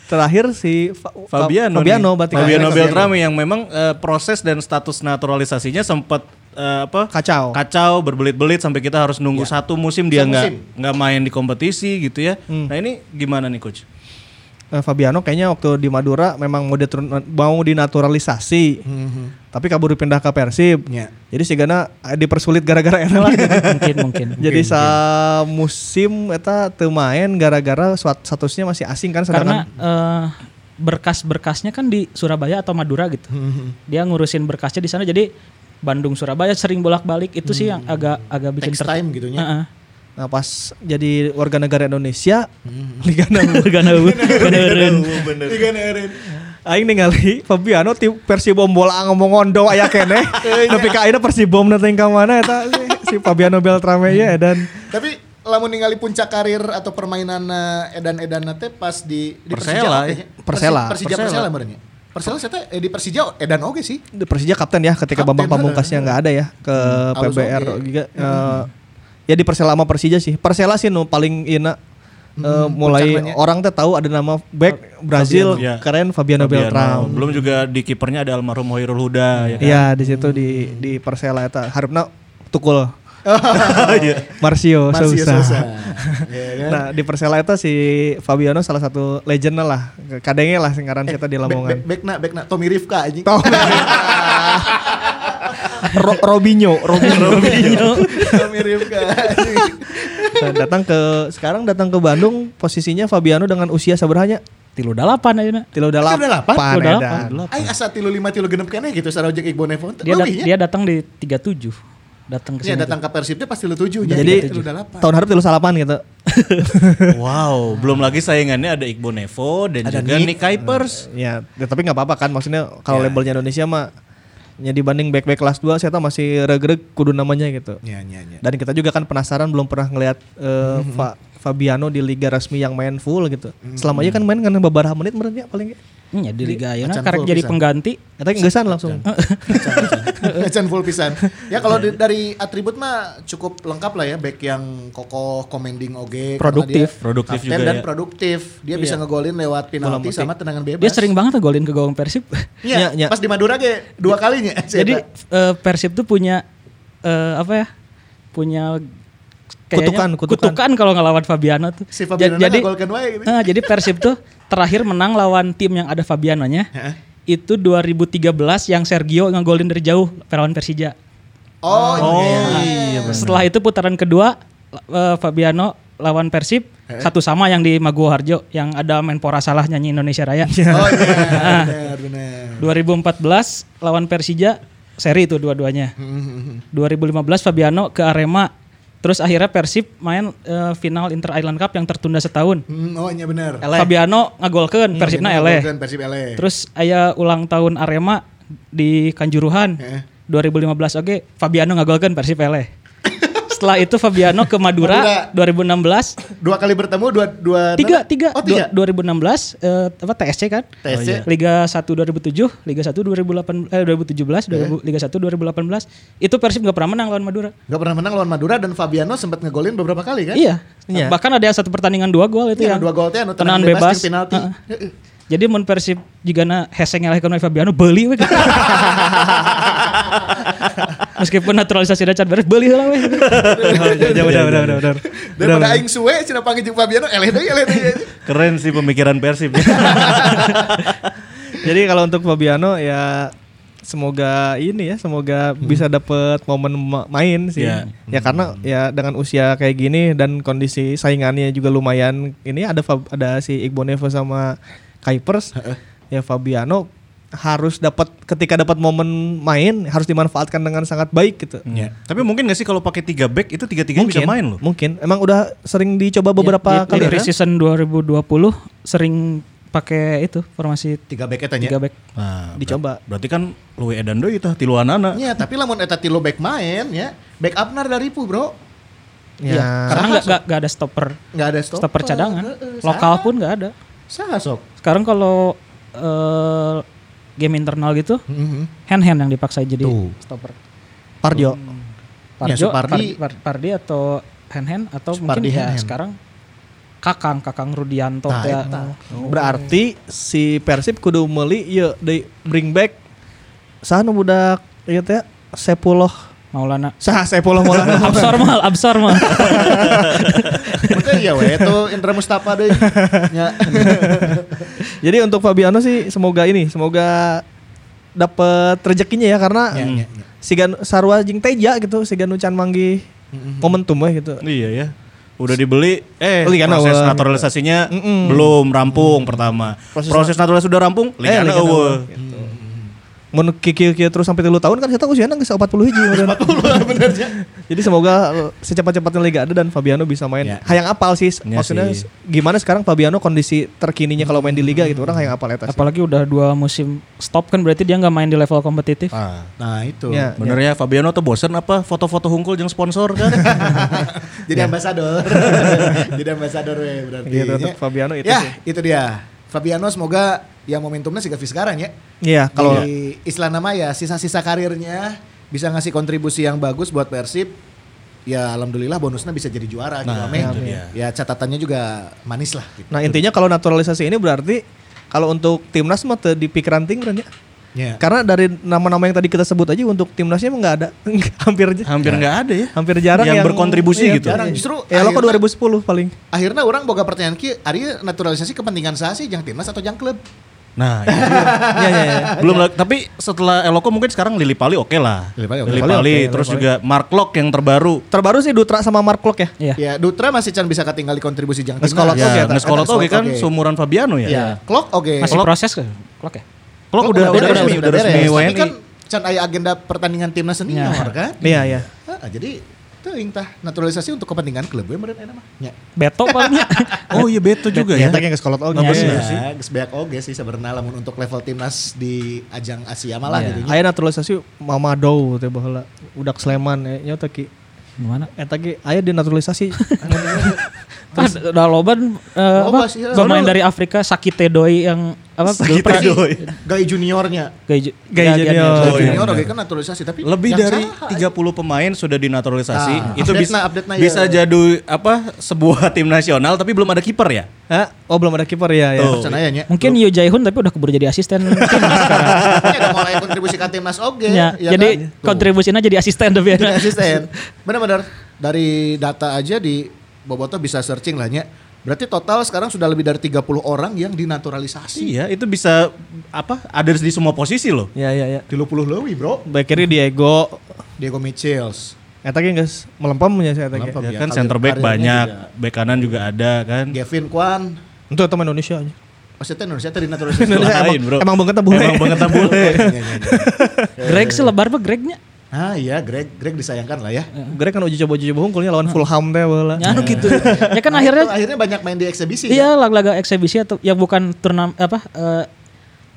Speaker 4: Terakhir si Fa- Fa-
Speaker 3: Fabiano,
Speaker 4: Fabiano
Speaker 3: nih.
Speaker 4: berarti kan.
Speaker 3: Fabiano Beltrame yang memang eh, proses dan status naturalisasinya sempat eh, apa
Speaker 4: Kacau.
Speaker 3: kacau berbelit-belit sampai kita harus nunggu satu musim
Speaker 2: Iya.
Speaker 3: dia
Speaker 2: Satu
Speaker 3: nggak
Speaker 2: musim. Hmm.
Speaker 3: nggak main di kompetisi gitu ya. Nah ini gimana nih coach?
Speaker 4: Eh, Fabiano kayaknya waktu di Madura memang mau ditur- mau dinaturalisasi.
Speaker 2: Hmm.
Speaker 4: Tapi kabur dipindah ke Persib.
Speaker 2: Ya.
Speaker 4: Jadi sigana eh, dipersulit gara-gara eta lah.
Speaker 5: mungkin Iya. mungkin.
Speaker 4: Jadi sa musim eta teu main gara-gara suat- statusnya masih asing kan
Speaker 5: Karena
Speaker 4: sedangkan
Speaker 5: eh, berkas-berkasnya kan di Surabaya atau Madura gitu.
Speaker 2: Hmm,
Speaker 5: Dia ngurusin berkasnya di sana jadi Bandung Surabaya sering bolak-balik itu sih yang agak agak bikin
Speaker 2: Takes
Speaker 5: ter-
Speaker 2: Hmm.
Speaker 5: Ah,
Speaker 2: time gitu nya.
Speaker 5: Heeh.
Speaker 4: nah pas jadi warga negara Indonesia
Speaker 5: Hmm.
Speaker 4: Liga
Speaker 5: Organa eueuh, organa eureun.
Speaker 2: Tiga neerin.
Speaker 4: aing ningali Fabiano tim Persibom bola ngomong ondo aya keneh
Speaker 5: Iya.
Speaker 4: tapi ka ayeuna Persibom nanti ka mana eta si- si Fabiano Beltrame ya dan
Speaker 2: Tapi lamun ningali puncak karir atau permainan edan-edan teh pas di, di
Speaker 3: Persela,
Speaker 2: kayaknya.
Speaker 4: ya. Persela.
Speaker 2: Persi- Persija Persela meureun nya. Persela saya teh eh, di Persija edan oge sih.
Speaker 4: di Persija kapten ya ketika
Speaker 2: Kapten,
Speaker 4: Bambang Pamungkasnya nggak ada ya ke
Speaker 2: Alus
Speaker 4: PBR
Speaker 2: oke.
Speaker 4: juga eh, ya di Persela sama Persija sih Persela sih nu paling enak mulai
Speaker 2: puncaknya.
Speaker 4: orang teh tahu ada nama back Brazil
Speaker 3: Fabiano. Ya.
Speaker 4: keren Fabiano, Beltrão.
Speaker 3: Fabiano. Belum juga di kipernya ada almarhum Hoirul Huda ya kan?
Speaker 4: Iya di situ di di Persela eta harapna tukul Marcio,
Speaker 2: Marcio
Speaker 4: Sousa.
Speaker 2: Sousa. Iya kan?
Speaker 4: Nah di Persela itu si Fabiano salah satu legendnya lah Kadangnya lah sekarang kita di Lamongan
Speaker 2: Back na, back na. Tommy Rifka anjing.
Speaker 4: Ro- Robinho, Robinho.
Speaker 2: Tommy Rifka. anjing.
Speaker 4: Nah, datang ke sekarang datang ke Bandung posisinya Fabiano dengan usia saberhanya
Speaker 5: Tilu dalapan aja.
Speaker 4: Tilo udah ya,
Speaker 2: Udah
Speaker 4: lapan,
Speaker 2: lapan?
Speaker 5: Udah
Speaker 4: edan.
Speaker 5: lapan, udah
Speaker 2: Aing asa tilu lima tilu genep kene gitu sarua jeung Iqbal Nevon.
Speaker 5: Dia dat- dia datang di 37. Datang ke
Speaker 2: Ya
Speaker 5: sini.
Speaker 2: datang ke Persib dia pasti lu tujuh
Speaker 4: Jadi
Speaker 2: lu udah lapan.
Speaker 4: tahun harap tilo salapan gitu.
Speaker 3: Wow, belum lagi saingannya ada Iqbo Nevo dan
Speaker 2: Ada
Speaker 3: juga
Speaker 2: Nick.
Speaker 3: Nick Kuipers.
Speaker 4: ya, ya, tapi nggak apa-apa kan maksudnya kalau labelnya Indonesia mah ya dibanding back-back kelas 2 saya tahu masih reg-reg kudu namanya gitu.
Speaker 2: Ya ya ya.
Speaker 4: Dan kita juga kan penasaran belum pernah ngelihat eh, Fa- Fabiano di liga resmi yang main full gitu.
Speaker 2: Hmm.
Speaker 4: Selama aja kan main kan beberapa menit menurutnya paling nggak.
Speaker 5: Hmm, ya di liga ayeuna
Speaker 2: macan
Speaker 5: karek
Speaker 2: full Iya,
Speaker 5: jadi
Speaker 2: pisan.
Speaker 5: pengganti.
Speaker 4: Atau ngegesan langsung.
Speaker 2: Macan full pisan. Ya kalau di- dari atribut mah cukup lengkap lah ya back yang kokoh commanding oge karena
Speaker 5: Produktif. Iya.
Speaker 2: dia
Speaker 3: Produktif
Speaker 2: kapten
Speaker 3: juga
Speaker 2: dan
Speaker 3: ya.
Speaker 2: produktif. Dia bisa ngegolin lewat penalti sama tendangan bebas.
Speaker 5: Dia sering banget tuh golin ke gawang Persib.
Speaker 2: Iya,
Speaker 4: Ya, ya.
Speaker 2: pas di Madura ge dua kalinya. Si
Speaker 5: jadi
Speaker 2: Eta.
Speaker 5: eh, Persib tuh punya eh, apa ya? Punya
Speaker 4: Kutukan,
Speaker 5: kayaknya-
Speaker 4: kutukan.
Speaker 5: kalau ngelawan Fabiano tuh.
Speaker 2: si Fabiano
Speaker 5: Ja- jadi
Speaker 2: ngagolkeun wae gitu.
Speaker 5: eh, jadi Persib tuh terakhir menang lawan tim yang ada Fabianonya. itu 2013 yang Sergio ngegolin dari jauh lawan Persija.
Speaker 2: Oh, iya.
Speaker 5: Setelah itu putaran kedua eh, Fabiano lawan Persib satu sama yang di Maguwo Harjo yang ada Menpora salah nyanyi Indonesia Raya.
Speaker 2: Oh iya, benar benar.
Speaker 5: 2014 lawan Persija seri itu dua-duanya.
Speaker 2: Hmm,
Speaker 5: 2015 Fabiano ke Arema terus akhirnya Persib main eh, final Inter Island Cup yang tertunda setahun.
Speaker 2: Hmm, oh iya benar.
Speaker 5: Fabiano ngagolkeun
Speaker 2: Hmm,
Speaker 5: Persibna eleh.
Speaker 2: Bukan Persib E. LE.
Speaker 5: E. Terus aya ulang tahun Arema di Kanjuruhan.
Speaker 2: Heeh.
Speaker 5: 2015 oke Fabiano ngagolkan Persib eleh. Setelah itu Fabiano ke Madura, 2016
Speaker 2: Dua kali bertemu dua dua
Speaker 5: tiga tiga,
Speaker 2: Oh, tiga.
Speaker 5: Du- 2016 eh, apa TSC kan
Speaker 2: TSC. Oh, iya.
Speaker 5: Liga 1 2007 Liga 1 2008 eh 2017 2000 Liga 1 2018 itu Persib nggak pernah menang lawan Madura
Speaker 2: Gak pernah menang lawan Madura dan Fabiano sempat ngegolin beberapa kali kan?
Speaker 5: iya
Speaker 4: Iya.
Speaker 5: bahkan ada yang satu pertandingan dua gol itu
Speaker 2: Iya,
Speaker 5: yang
Speaker 2: dua gol teh anu
Speaker 5: tendangan
Speaker 2: tendangan bebas
Speaker 5: bebas,
Speaker 2: jeung penalti.
Speaker 5: Heeh. jadi mun Persib jika na heseng eleh kana Fabiano beli we meskipun naturalisasi Richard beres beli lah we
Speaker 4: Udah, udah, udah, udah, udah.
Speaker 2: Daripada aing suwe cina panggil jeung Fabiano E eleh deui eleh deui.
Speaker 3: Keren sih pemikiran Persib.
Speaker 4: Jadi kalau untuk Fabiano ya semoga ini ya semoga bisa dapet momen ma- main sih.
Speaker 3: Hmm. Ya.
Speaker 4: Ya karena ya dengan usia kayak gini dan kondisi saingannya juga lumayan. Ini ada Fab- ada si Iqbal Nevo sama Kuipers. ya Fabiano harus dapat ketika dapat momen main harus dimanfaatkan dengan sangat baik gitu.
Speaker 3: Ya. Tapi mungkin gak sih kalau pakai tiga back itu tiga-tiga bisa main loh. Ya,
Speaker 4: Mungkin emang udah sering dicoba beberapa
Speaker 5: di,
Speaker 4: kali
Speaker 5: di
Speaker 4: kan?
Speaker 5: season 2020 sering pakai itu formasi
Speaker 2: Tiga back eta
Speaker 5: tiga
Speaker 2: nya.
Speaker 5: back
Speaker 3: Nah,
Speaker 4: Dicoba.
Speaker 3: berarti kan luwe edan deui tah tilu anana.
Speaker 2: Ya, tapi lamun eta tilo back main ya, back upnar dari pu, Bro.
Speaker 5: Iya,
Speaker 4: Ya.
Speaker 5: karena nggak nggak- nggak ada stopper,
Speaker 2: Enggak ada
Speaker 5: stopper,
Speaker 2: stop.
Speaker 5: cadangan, lokal pun nggak ada.
Speaker 2: Saha sok.
Speaker 5: Sekarang kalau eh, game internal gitu, hand hand yang dipaksa jadi stopper.
Speaker 2: Ya,
Speaker 4: Pardio.
Speaker 5: Parjo,
Speaker 2: Supardi.
Speaker 5: Par- Par- Pardi atau hand hand atau mungkin
Speaker 2: Supardi
Speaker 5: ya
Speaker 2: hand-hand.
Speaker 5: sekarang Kakang, Kakang Rudianto
Speaker 2: Nah,
Speaker 5: ya.
Speaker 2: eta.
Speaker 4: Oh. Berarti si Persib kudu meuli ieu deui bring back saha nu budak ieu teh Sepuluh
Speaker 5: Maulana.
Speaker 4: saha Sepuluh Maulana
Speaker 5: Absormal, absormal.
Speaker 2: Betul ya we, itu Indra Mustafa deui. Ya.
Speaker 4: Jadi untuk Fabiano sih semoga ini semoga dapat rezekinya ya karena
Speaker 2: Ya, ya, ya.
Speaker 4: siga nu- sarua jeung Teja gitu siga nu can manggih momentum we gitu.
Speaker 3: Iya ya. Udah dibeli, eh
Speaker 4: Liga
Speaker 3: proses
Speaker 4: Nawa.
Speaker 3: naturalisasinya belum rampung pertama. Proses, kan naturalisasi sudah rampung, Eh, liga Nawa.
Speaker 4: Liga Nawa, gitu. Mun kieu-kieu terus sampai 3 tahun kan kita usianya geus 40 hiji bener. Jadi semoga eh, secepat-cepatnya Liga ada dan Fabiano bisa main.
Speaker 3: Ya.
Speaker 4: Hayang apal sih
Speaker 3: Ya
Speaker 4: maksudnya
Speaker 3: sih.
Speaker 4: gimana sekarang Fabiano kondisi terkininya kalau main di liga gitu orang hayang apal eta. sih.
Speaker 5: Apalagi udah dua musim stop kan berarti dia nggak main di level kompetitif.
Speaker 3: Ah.
Speaker 2: Nah, itu.
Speaker 4: Ya,
Speaker 3: Bener ya, Fabiano tuh bosen apa foto-foto hungkul yang sponsor kan?
Speaker 2: Jadi ambasador. Jadi ambasador we berarti.
Speaker 4: Ya. Gitu, untuk
Speaker 2: ya.
Speaker 4: Fabiano itu
Speaker 2: ya,
Speaker 4: sih.
Speaker 2: itu dia. Fabiano semoga ya momentumnya sih sekarang ya.
Speaker 4: Iya, kalau
Speaker 2: di Islam nama ya sisa-sisa karirnya bisa ngasih kontribusi yang bagus buat Persib. Ya alhamdulillah bonusnya bisa jadi juara gitu. Amin.
Speaker 3: itu dia.
Speaker 2: Ya catatannya juga manis lah gitu.
Speaker 4: nah intinya kalau naturalisasi ini berarti kalau untuk timnas mah teu di pikiran ting Ren, ya.
Speaker 2: Iya.
Speaker 4: Karena dari nama-nama yang tadi kita sebut aja untuk timnasnya emang nggak ada hampir
Speaker 3: Hampir nggak ada ya.
Speaker 4: hampir jarang
Speaker 3: yang, berkontribusi
Speaker 4: iya,
Speaker 3: gitu.
Speaker 4: jarang.
Speaker 2: Justru
Speaker 4: ya lo ke
Speaker 2: akhirnya-
Speaker 4: 2010 paling.
Speaker 2: Akhirnya orang boga pertanyaan ki, ari naturalisasi kepentingan saya sih, jang timnas atau jang klub?
Speaker 3: Nah, itu dia.
Speaker 4: Iya,
Speaker 3: belum lagi- tapi setelah Eloko mungkin sekarang Lili Pali oke lah.
Speaker 2: Lili Pali oke.
Speaker 3: Lili
Speaker 4: Lili
Speaker 3: Pali,
Speaker 4: oke,
Speaker 3: terus
Speaker 4: Lili Pali.
Speaker 3: juga Mark Lok yang terbaru.
Speaker 4: Terbaru sih Dutra sama Mark Klok ya.
Speaker 5: Iya.
Speaker 2: Ya, Dutra masih can bisa ketinggal di kontribusi jang timnas. Iya,
Speaker 4: Ngeskolot oke,
Speaker 3: Ya,
Speaker 4: Tata.
Speaker 3: ngeskolot
Speaker 2: Ngeskolot
Speaker 3: Eh. oke kan
Speaker 2: oke.
Speaker 3: seumuran Fabiano ya.
Speaker 2: Ya, Klok oke.
Speaker 5: Masih proses ke? Klok ya?
Speaker 3: Klok Oh, udah udah
Speaker 2: beres,
Speaker 3: resmi, udah resmi
Speaker 2: beres.
Speaker 3: WNI.
Speaker 2: Tapi kan can aya agenda pertandingan timnas sendiri
Speaker 5: Ya.
Speaker 2: nyamar kan?
Speaker 4: Iya, iya.
Speaker 2: Ah, jadi teuing tah naturalisasi untuk kepentingan klub we meureun eta mah.
Speaker 3: Iya.
Speaker 2: Nya.
Speaker 5: Beto palingnya.
Speaker 3: Oh iya Beto juga ya.
Speaker 4: Eta yang ke sekolot oke. Iya.
Speaker 3: Nah,
Speaker 2: Ya,
Speaker 3: bener sih.
Speaker 2: geus beak oge sih sebenarnya lamun untuk level timnas di ajang Asia malah
Speaker 5: Iya.
Speaker 2: gitu nya.
Speaker 4: Aya naturalisasi Mama Dow teh baheula udak Sleman ya, nya teh ki.
Speaker 5: Gimana?
Speaker 4: Eta ki aya di naturalisasi.
Speaker 5: Terus udah loban eh,
Speaker 2: Loba
Speaker 5: apa?
Speaker 2: sih, ya.
Speaker 5: Pemain
Speaker 2: Soalnya-
Speaker 5: dari Afrika Sakite Doi yang apa?
Speaker 3: Sakite Doi.
Speaker 2: Gaya juniornya.
Speaker 5: Gay,
Speaker 4: Gay Junior.
Speaker 2: Gaya
Speaker 4: Oh, iya,
Speaker 2: junior oge kan naturalisasi tapi
Speaker 3: Lebih
Speaker 2: yang
Speaker 3: dari
Speaker 2: saha,
Speaker 3: 30 pemain sudah dinaturalisasi.
Speaker 2: Ah,
Speaker 3: itu
Speaker 2: update
Speaker 3: bisa
Speaker 2: na- update na ya.
Speaker 3: bisa jadi apa sebuah tim nasional tapi belum ada kiper ya.
Speaker 4: Hah? Oh belum ada kiper ya ya.
Speaker 3: Tuh.
Speaker 2: can aya Iya, nya.
Speaker 5: Mungkin Yu Jaehoon tapi udah keburu jadi asisten.
Speaker 2: Iya, Ya, udah mulai kontribusi ke timnas oge.
Speaker 4: Iya,
Speaker 2: ya
Speaker 5: Ya, jadi
Speaker 2: kan? Tuh.
Speaker 5: kontribusinya jadi asisten tapi
Speaker 2: Jadi
Speaker 5: ya.
Speaker 2: asisten. Benar-benar dari data aja di Boboto bisa searching lah nya. Berarti total sekarang sudah lebih dari 30 orang yang dinaturalisasi.
Speaker 3: Iya, itu bisa apa? Ada di semua posisi loh.
Speaker 4: Ya ya ya.
Speaker 2: 30 leuwih, Bro.
Speaker 4: Back kiri Diego.
Speaker 2: Diego Michels.
Speaker 4: Eta ki geus melempem nya si eta ki.
Speaker 2: Melempem.
Speaker 3: Ya
Speaker 2: Iya,
Speaker 3: kan
Speaker 2: karir-
Speaker 3: center back
Speaker 2: karirnya
Speaker 3: banyak,
Speaker 2: juga. Iya.
Speaker 3: back kanan juga ada kan.
Speaker 2: Gavin Kwan.
Speaker 4: Itu teman Indonesia aja.
Speaker 2: Maksudnya Indonesia tadi naturalisasi.
Speaker 4: Indonesia
Speaker 3: Lain,
Speaker 4: emang-
Speaker 3: bro.
Speaker 4: emang banget tak boleh.
Speaker 3: Emang banget tak boleh.
Speaker 2: Iya, iya, iya.
Speaker 5: Greg sih lebar apa Gregnya?
Speaker 2: Ah iya, Greg Greg disayangkan lah ya.
Speaker 4: Greg kan uji coba uji coba hungkulnya lawan Fulham teh bola.
Speaker 5: Ya anu gitu. ya kan
Speaker 2: Nah,
Speaker 5: akhirnya
Speaker 2: itu akhirnya banyak main di eksebisi.
Speaker 5: iya laga-laga eksebisi atau ya bukan turnam apa eh,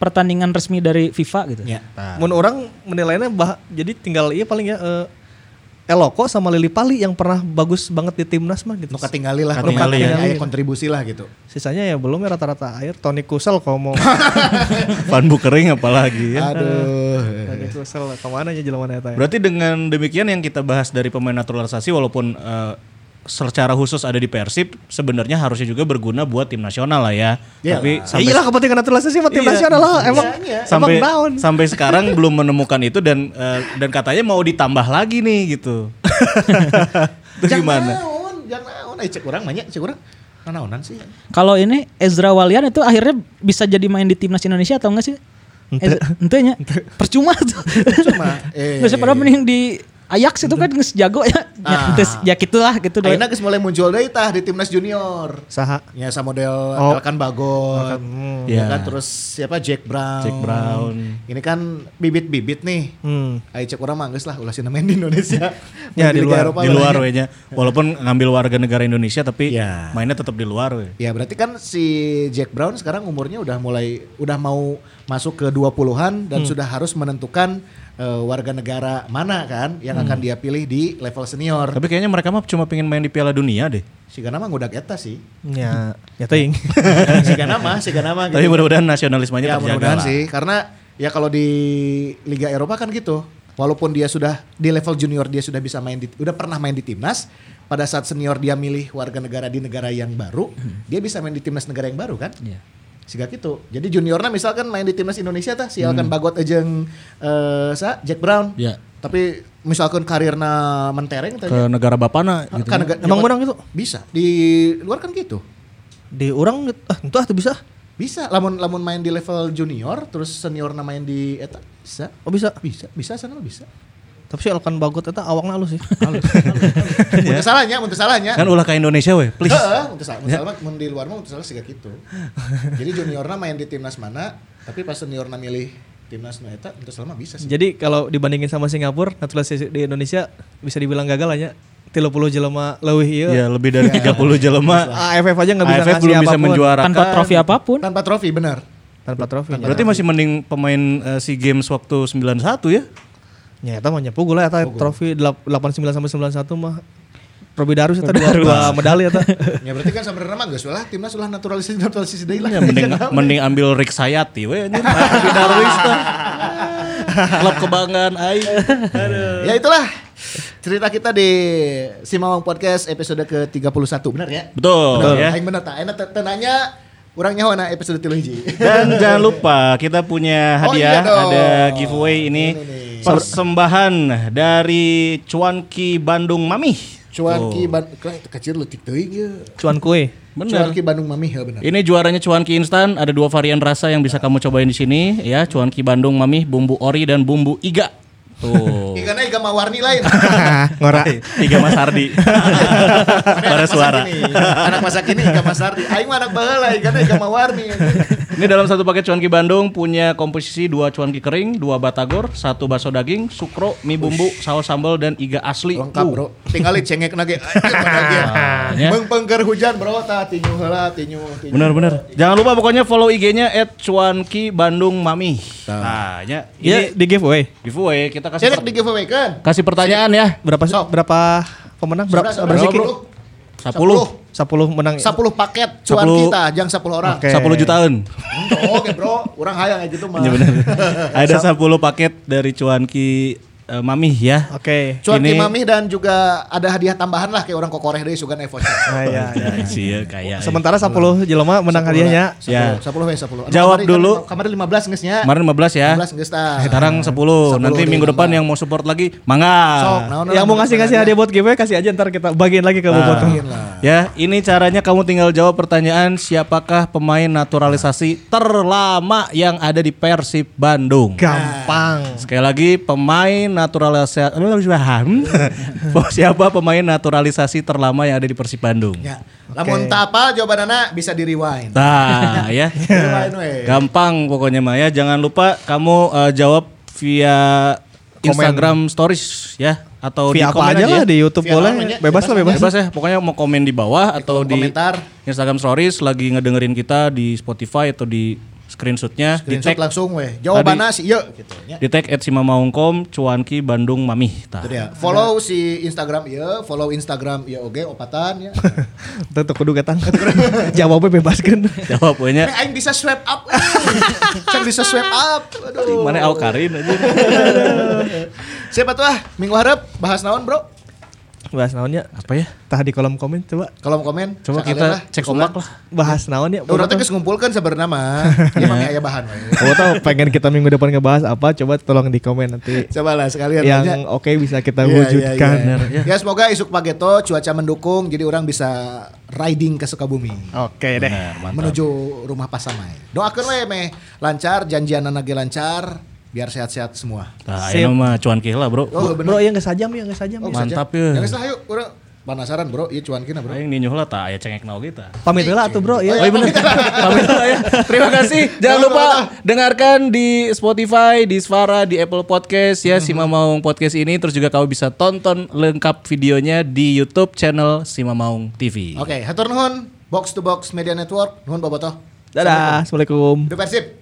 Speaker 5: pertandingan resmi dari FIFA gitu.
Speaker 2: Ya.
Speaker 4: Mun orang menilainya bah, jadi tinggal iya paling ya eh, Eloko sama Lili Pali yang pernah bagus banget di timnas mah gitu.
Speaker 2: Nu katinggali lah, nu
Speaker 3: Katinggali
Speaker 4: ya.
Speaker 5: Iya.
Speaker 2: katinggali, aya kontribusi lah gitu.
Speaker 4: Sisanya ya belum ya rata-rata air Tony Kusel komo.
Speaker 3: Van Bukering apalagi ya.
Speaker 2: Aduh.
Speaker 4: Tony Kusel kemana aja jelema eta ya.
Speaker 3: Berarti dengan demikian yang kita bahas dari pemain naturalisasi walaupun eh, secara khusus ada di Persib sebenarnya harusnya juga berguna buat tim nasional lah ya.
Speaker 2: Iyalah.
Speaker 3: Tapi
Speaker 4: Ya
Speaker 3: sampai
Speaker 4: iyalah kepentingan naturalisasi buat tim
Speaker 3: Iya.
Speaker 4: nasional lah emang
Speaker 3: sampai
Speaker 4: emang down.
Speaker 3: sampai sekarang belum menemukan itu dan eh, dan katanya mau ditambah lagi nih gitu. Itu
Speaker 2: Jangan
Speaker 3: gimana?
Speaker 2: naon, jangan naon. Eh, cek orang banyak, cek orang. Nanaonan sih.
Speaker 5: Kalau ini Ezra Walian itu akhirnya bisa jadi main di timnas Indonesia atau enggak sih? Ente nya percuma tuh.
Speaker 2: Percuma. Eh,
Speaker 5: Terus padahal mending di Ajax itu kan geus jago ya. Ya,
Speaker 2: Ah.
Speaker 5: terus ya gitulah gitu deh.
Speaker 2: Ayeuna geus mulai muncul deui tah di timnas junior.
Speaker 4: Saha.
Speaker 2: Ya sama model
Speaker 4: Oh.
Speaker 2: Elkan Bagon.
Speaker 3: Ya.
Speaker 2: Ya kan terus siapa Jack Brown.
Speaker 3: Jack Brown.
Speaker 2: Ini kan bibit-bibit nih.
Speaker 4: Hmm.
Speaker 2: Ayo cek orang manggis lah ulah sina main di Indonesia.
Speaker 4: Ya,
Speaker 2: Main Liga
Speaker 4: di luar-
Speaker 2: Eropa
Speaker 3: Di
Speaker 2: lah.
Speaker 3: luar wehnya. Walaupun ngambil warga negara Indonesia tapi
Speaker 2: Iya.
Speaker 3: mainnya tetap di luar weh.
Speaker 2: Ya berarti kan si Jack Brown sekarang umurnya udah mulai udah mau masuk ke 20-an dan sudah harus menentukan eh, warga negara mana kan yang akan dia pilih di level senior.
Speaker 3: Tapi kayaknya mereka mah cuma pengen main di Piala Dunia deh.
Speaker 2: Si Gana mah ngudak eta sih.
Speaker 4: Ya, ya teuing.
Speaker 2: si Gana mah, si Gana mah
Speaker 3: Tapi mudah-mudahan nasionalismenya
Speaker 2: Ah, gitu. Ya
Speaker 3: terjaga
Speaker 2: mudah-mudahan
Speaker 3: lah.
Speaker 2: sih karena ya kalau di Liga Eropa kan gitu. Walaupun dia sudah di level junior dia sudah bisa main di udah pernah main di timnas, pada saat senior dia milih warga negara di negara yang baru,
Speaker 3: Hmm.
Speaker 2: dia bisa main di timnas negara yang baru kan?
Speaker 5: Iya.
Speaker 2: Sehingga gitu. Jadi juniornya misalkan main di timnas Indonesia tah si Elkan Bagot jeung eh sa Jack Brown.
Speaker 3: Hmm. Iya.
Speaker 2: Tapi misalkan karirna mentereng teh.
Speaker 3: Ke negara bapana gitu.
Speaker 2: Kan nega-
Speaker 4: Emang menang gitu?
Speaker 2: Bisa. Di luar kan gitu.
Speaker 4: Di orang ah itu ah tuh bisa.
Speaker 2: Bisa, lamun lamun main di level junior terus senior na main di eta bisa.
Speaker 4: Oh bisa.
Speaker 2: Bisa, bisa sana mah bisa.
Speaker 4: Tapi si Elkan Bagot eta awakna halus sih.
Speaker 2: Mun teu salahnya, mun teu salahnya.
Speaker 3: Kan ulah ke Indonesia weh, Ya. please. Ya.
Speaker 2: Heeh, mun teu salah, mun salah mah, mun di luar mah mun teu salah siga kitu. Jadi juniorna main di timnas mana, tapi pas seniorna milih timnas nu eta mun teu salah mah bisa sih.
Speaker 4: Jadi kalau dibandingin sama Singapura, naturalisasi di Indonesia bisa dibilang gagal hanya 30 jelema leuwih iya. ieu.
Speaker 3: Ya lebih dari 30 jelema.
Speaker 4: AFF aja nggak bisa
Speaker 3: AFF
Speaker 4: ngasih
Speaker 3: belum bisa
Speaker 4: apapun.
Speaker 3: menjuarakan.
Speaker 5: tanpa trofi apapun.
Speaker 2: Tanpa trofi benar.
Speaker 4: tanpa trofi. ya.
Speaker 3: Berarti masih mending pemain eh, SEA Games waktu 91 ya.
Speaker 4: Ya eta mah nyepu gula eta trofi delap- 89 sampai 91 mah Robi Darus eta dua, dua medali eta.
Speaker 2: Ya berarti kan sebenarnya mah geus lah timnas ulah naturalisasi naturalisasi deui lah.
Speaker 3: Ya, mending mending ambil Rick Sayati weh anjir. Tapi Darwis tuh. Klub kebanggaan aing.
Speaker 2: Ya itulah cerita kita di Simawang Podcast episode ke-31 benar ya?
Speaker 3: Betul
Speaker 2: Betul.
Speaker 3: ya.
Speaker 2: Aing bener tak? Enak teu- teu nanya Orang nyawa na episode tilu hiji.
Speaker 3: Dan jangan lupa kita punya
Speaker 2: Oh, iya
Speaker 3: hadiah
Speaker 2: dong.
Speaker 3: ada giveaway ini persembahan dari Cuanki Bandung Mami.
Speaker 2: Cuan ki Ban- Kla- kecil leutik teuing ye.
Speaker 4: Cuan kue.
Speaker 2: Cuan
Speaker 3: Bener.
Speaker 2: ki Bandung Mami ya benar.
Speaker 3: Ini juaranya Cuanki Instan, ada dua varian rasa yang bisa kamu cobain di sini ya, Cuanki Bandung Mami, bumbu ori dan bumbu iga. Tuh.
Speaker 2: Ikannya ikan warni lain.
Speaker 4: Ngora.
Speaker 3: Tiga Mas Hardi. Para suara.
Speaker 2: anak masak ini ikan masardi. Aing mah anak baheula ikannya ikan warni.
Speaker 3: Ini dalam satu paket cuanki Bandung punya komposisi dua cuanki kering, dua batagor, satu bakso daging, sukro, mie bumbu, saus sambal dan iga asli.
Speaker 2: Lengkap
Speaker 3: Uh,
Speaker 2: bro. Tinggal cengek nage.
Speaker 3: ya.
Speaker 2: Mengpengker hujan bro. Ta tinyu heula tinyu. tinyu.
Speaker 3: Benar benar. Jangan lupa pokoknya follow IG-nya @cuanki_bandung_mami. Nah, ya,
Speaker 4: Iya
Speaker 3: ini
Speaker 4: di giveaway.
Speaker 3: giveaway kita kasih
Speaker 2: Cek
Speaker 3: per-
Speaker 2: di giveaway kan.
Speaker 3: kasih pertanyaan ya.
Speaker 4: Berapa sih? Berapa pemenang? Berapa
Speaker 2: Sudah,
Speaker 4: berapa
Speaker 2: sudah.
Speaker 4: sih? Ki?
Speaker 3: 10
Speaker 4: 10 menang.
Speaker 2: 10 paket cuan
Speaker 3: 10.
Speaker 2: kita jang 10 orang. Hmm,
Speaker 4: Oke.
Speaker 3: 10 jutaan.
Speaker 2: Oke bro, orang hayang aja gitu mah.
Speaker 3: Iya benar. Ada 10 paket dari cuanki eh, Mami ya.
Speaker 4: Oke.
Speaker 2: Cuan
Speaker 3: Ini-
Speaker 2: Kimami dan juga ada hadiah tambahan lah kayak orang kokoreh deh sugan iPhone.
Speaker 4: Nah, ya, ya.
Speaker 3: Sih ya kayak.
Speaker 4: Sementara 10 jelema menang hadiahnya.
Speaker 3: Ya.
Speaker 2: 10 we 10. Anu,
Speaker 3: Jawab
Speaker 2: kamari-
Speaker 3: dulu.
Speaker 2: Kamari 15 ngesnya.
Speaker 3: Kemarin 15 ya.
Speaker 2: 15 geus tah.
Speaker 3: Sekarang 10.
Speaker 2: 10,
Speaker 3: Nanti
Speaker 2: udah
Speaker 3: minggu depan
Speaker 2: nambah.
Speaker 3: yang mau support lagi, mangga.
Speaker 2: Sok, naon
Speaker 4: Yang mau ngasih-ngasih hadiah buat giveaway kasih aja ntar kita Nah. bagiin lagi ke Boboto.
Speaker 3: Ya, ini caranya kamu tinggal jawab pertanyaan siapakah pemain naturalisasi terlama yang ada di Persib Bandung.
Speaker 4: Gampang.
Speaker 3: Sekali lagi pemain naturalisasi siapa pemain naturalisasi terlama yang ada di Persib Bandung.
Speaker 2: Ya. Lamun tak apa jawabanana bisa di rewind.
Speaker 3: Nah, ya.
Speaker 2: Rewind we.
Speaker 3: Gampang pokoknya Maya. Jangan lupa kamu eh, jawab via Instagram Stories ya atau di
Speaker 4: Via apa
Speaker 3: komen
Speaker 4: aja lah
Speaker 3: ya.
Speaker 4: di YouTube
Speaker 2: Via
Speaker 4: boleh.
Speaker 2: apa aja,
Speaker 4: Bebas lah bebas.
Speaker 3: Bebas ya, pokoknya mau komen di bawah atau di
Speaker 2: komentar.
Speaker 3: Instagram Stories lagi ngedengerin kita di Spotify atau di screenshotnya di
Speaker 2: Screenshot
Speaker 3: tag
Speaker 2: langsung weh. Jawabanana si ieu gitu nya.
Speaker 3: di tag at Simamaungkom Cuanki Bandung Mami. Tah.
Speaker 2: Itu dia. Follow si Instagram ieu, follow Instagram ieu oge opatan ya.
Speaker 4: Tuh tuh kudu ketang. Jawabnya bebas kan.
Speaker 2: Eh,
Speaker 3: Jawabnya
Speaker 2: aing bisa swipe up. Cek bisa swipe up.
Speaker 3: di
Speaker 2: Aduh.
Speaker 3: mana Alkarin aja.
Speaker 2: Siapa tuh ah? Minggu harap bahas naon, Bro?
Speaker 4: Bahas naonnya.
Speaker 3: Apa ya?
Speaker 4: Tah di kolom komen coba
Speaker 2: Kolom komen.
Speaker 3: Coba
Speaker 2: sekalian
Speaker 3: kita
Speaker 2: lah.
Speaker 3: cek ombak lah.
Speaker 4: bahas naon ya.
Speaker 2: Urang teh
Speaker 4: Boboto.
Speaker 2: geus ngumpulkeun sabenerna mah.
Speaker 3: Iya.
Speaker 2: Emang aya bahan we.
Speaker 4: Boboto pengen kita minggu depan ngebahas apa coba tolong di komen nanti.
Speaker 2: Coba lah sekalian aja.
Speaker 4: Yang oke bisa kita
Speaker 2: Iya,
Speaker 4: wujudkan.
Speaker 2: iya, iya. Ya semoga isuk pageto cuaca mendukung jadi orang bisa riding ke Sukabumi.
Speaker 4: Oke deh.
Speaker 3: Benar, mantap.
Speaker 2: menuju rumah pasamai. Doakeun we meh lancar janjianna ge lancar biar sehat-sehat semua.
Speaker 3: Tah,
Speaker 4: Sip.
Speaker 3: ayo mah Cuanki lah, Bro.
Speaker 2: Oh, bener.
Speaker 4: Bro, ya nggak sajam ya nggak sajam.
Speaker 2: Oh,
Speaker 4: ya.
Speaker 3: mantap
Speaker 2: saja.
Speaker 3: Iya. ya.
Speaker 2: Ya geus lah yuk urang penasaran Bro, ieu cuan kina Bro.
Speaker 3: Aing ninjuh lah tah aya cengek nau kita.
Speaker 4: Pamit heula atuh bro
Speaker 2: Oh,
Speaker 4: ya.
Speaker 2: iya, bener.
Speaker 3: Pamit lah ya. Terima kasih. Jangan lupa dengarkan di Spotify, di Svara, di Apple Podcast ya Si Mamaung Podcast ini terus juga kamu bisa tonton lengkap videonya di YouTube channel Si Mamaung TV.
Speaker 2: Oke, hatur nuhun. Box to Box Media Network, nuhun bobotoh.
Speaker 4: Dadah. Assalamualaikum.
Speaker 2: Duh Persib.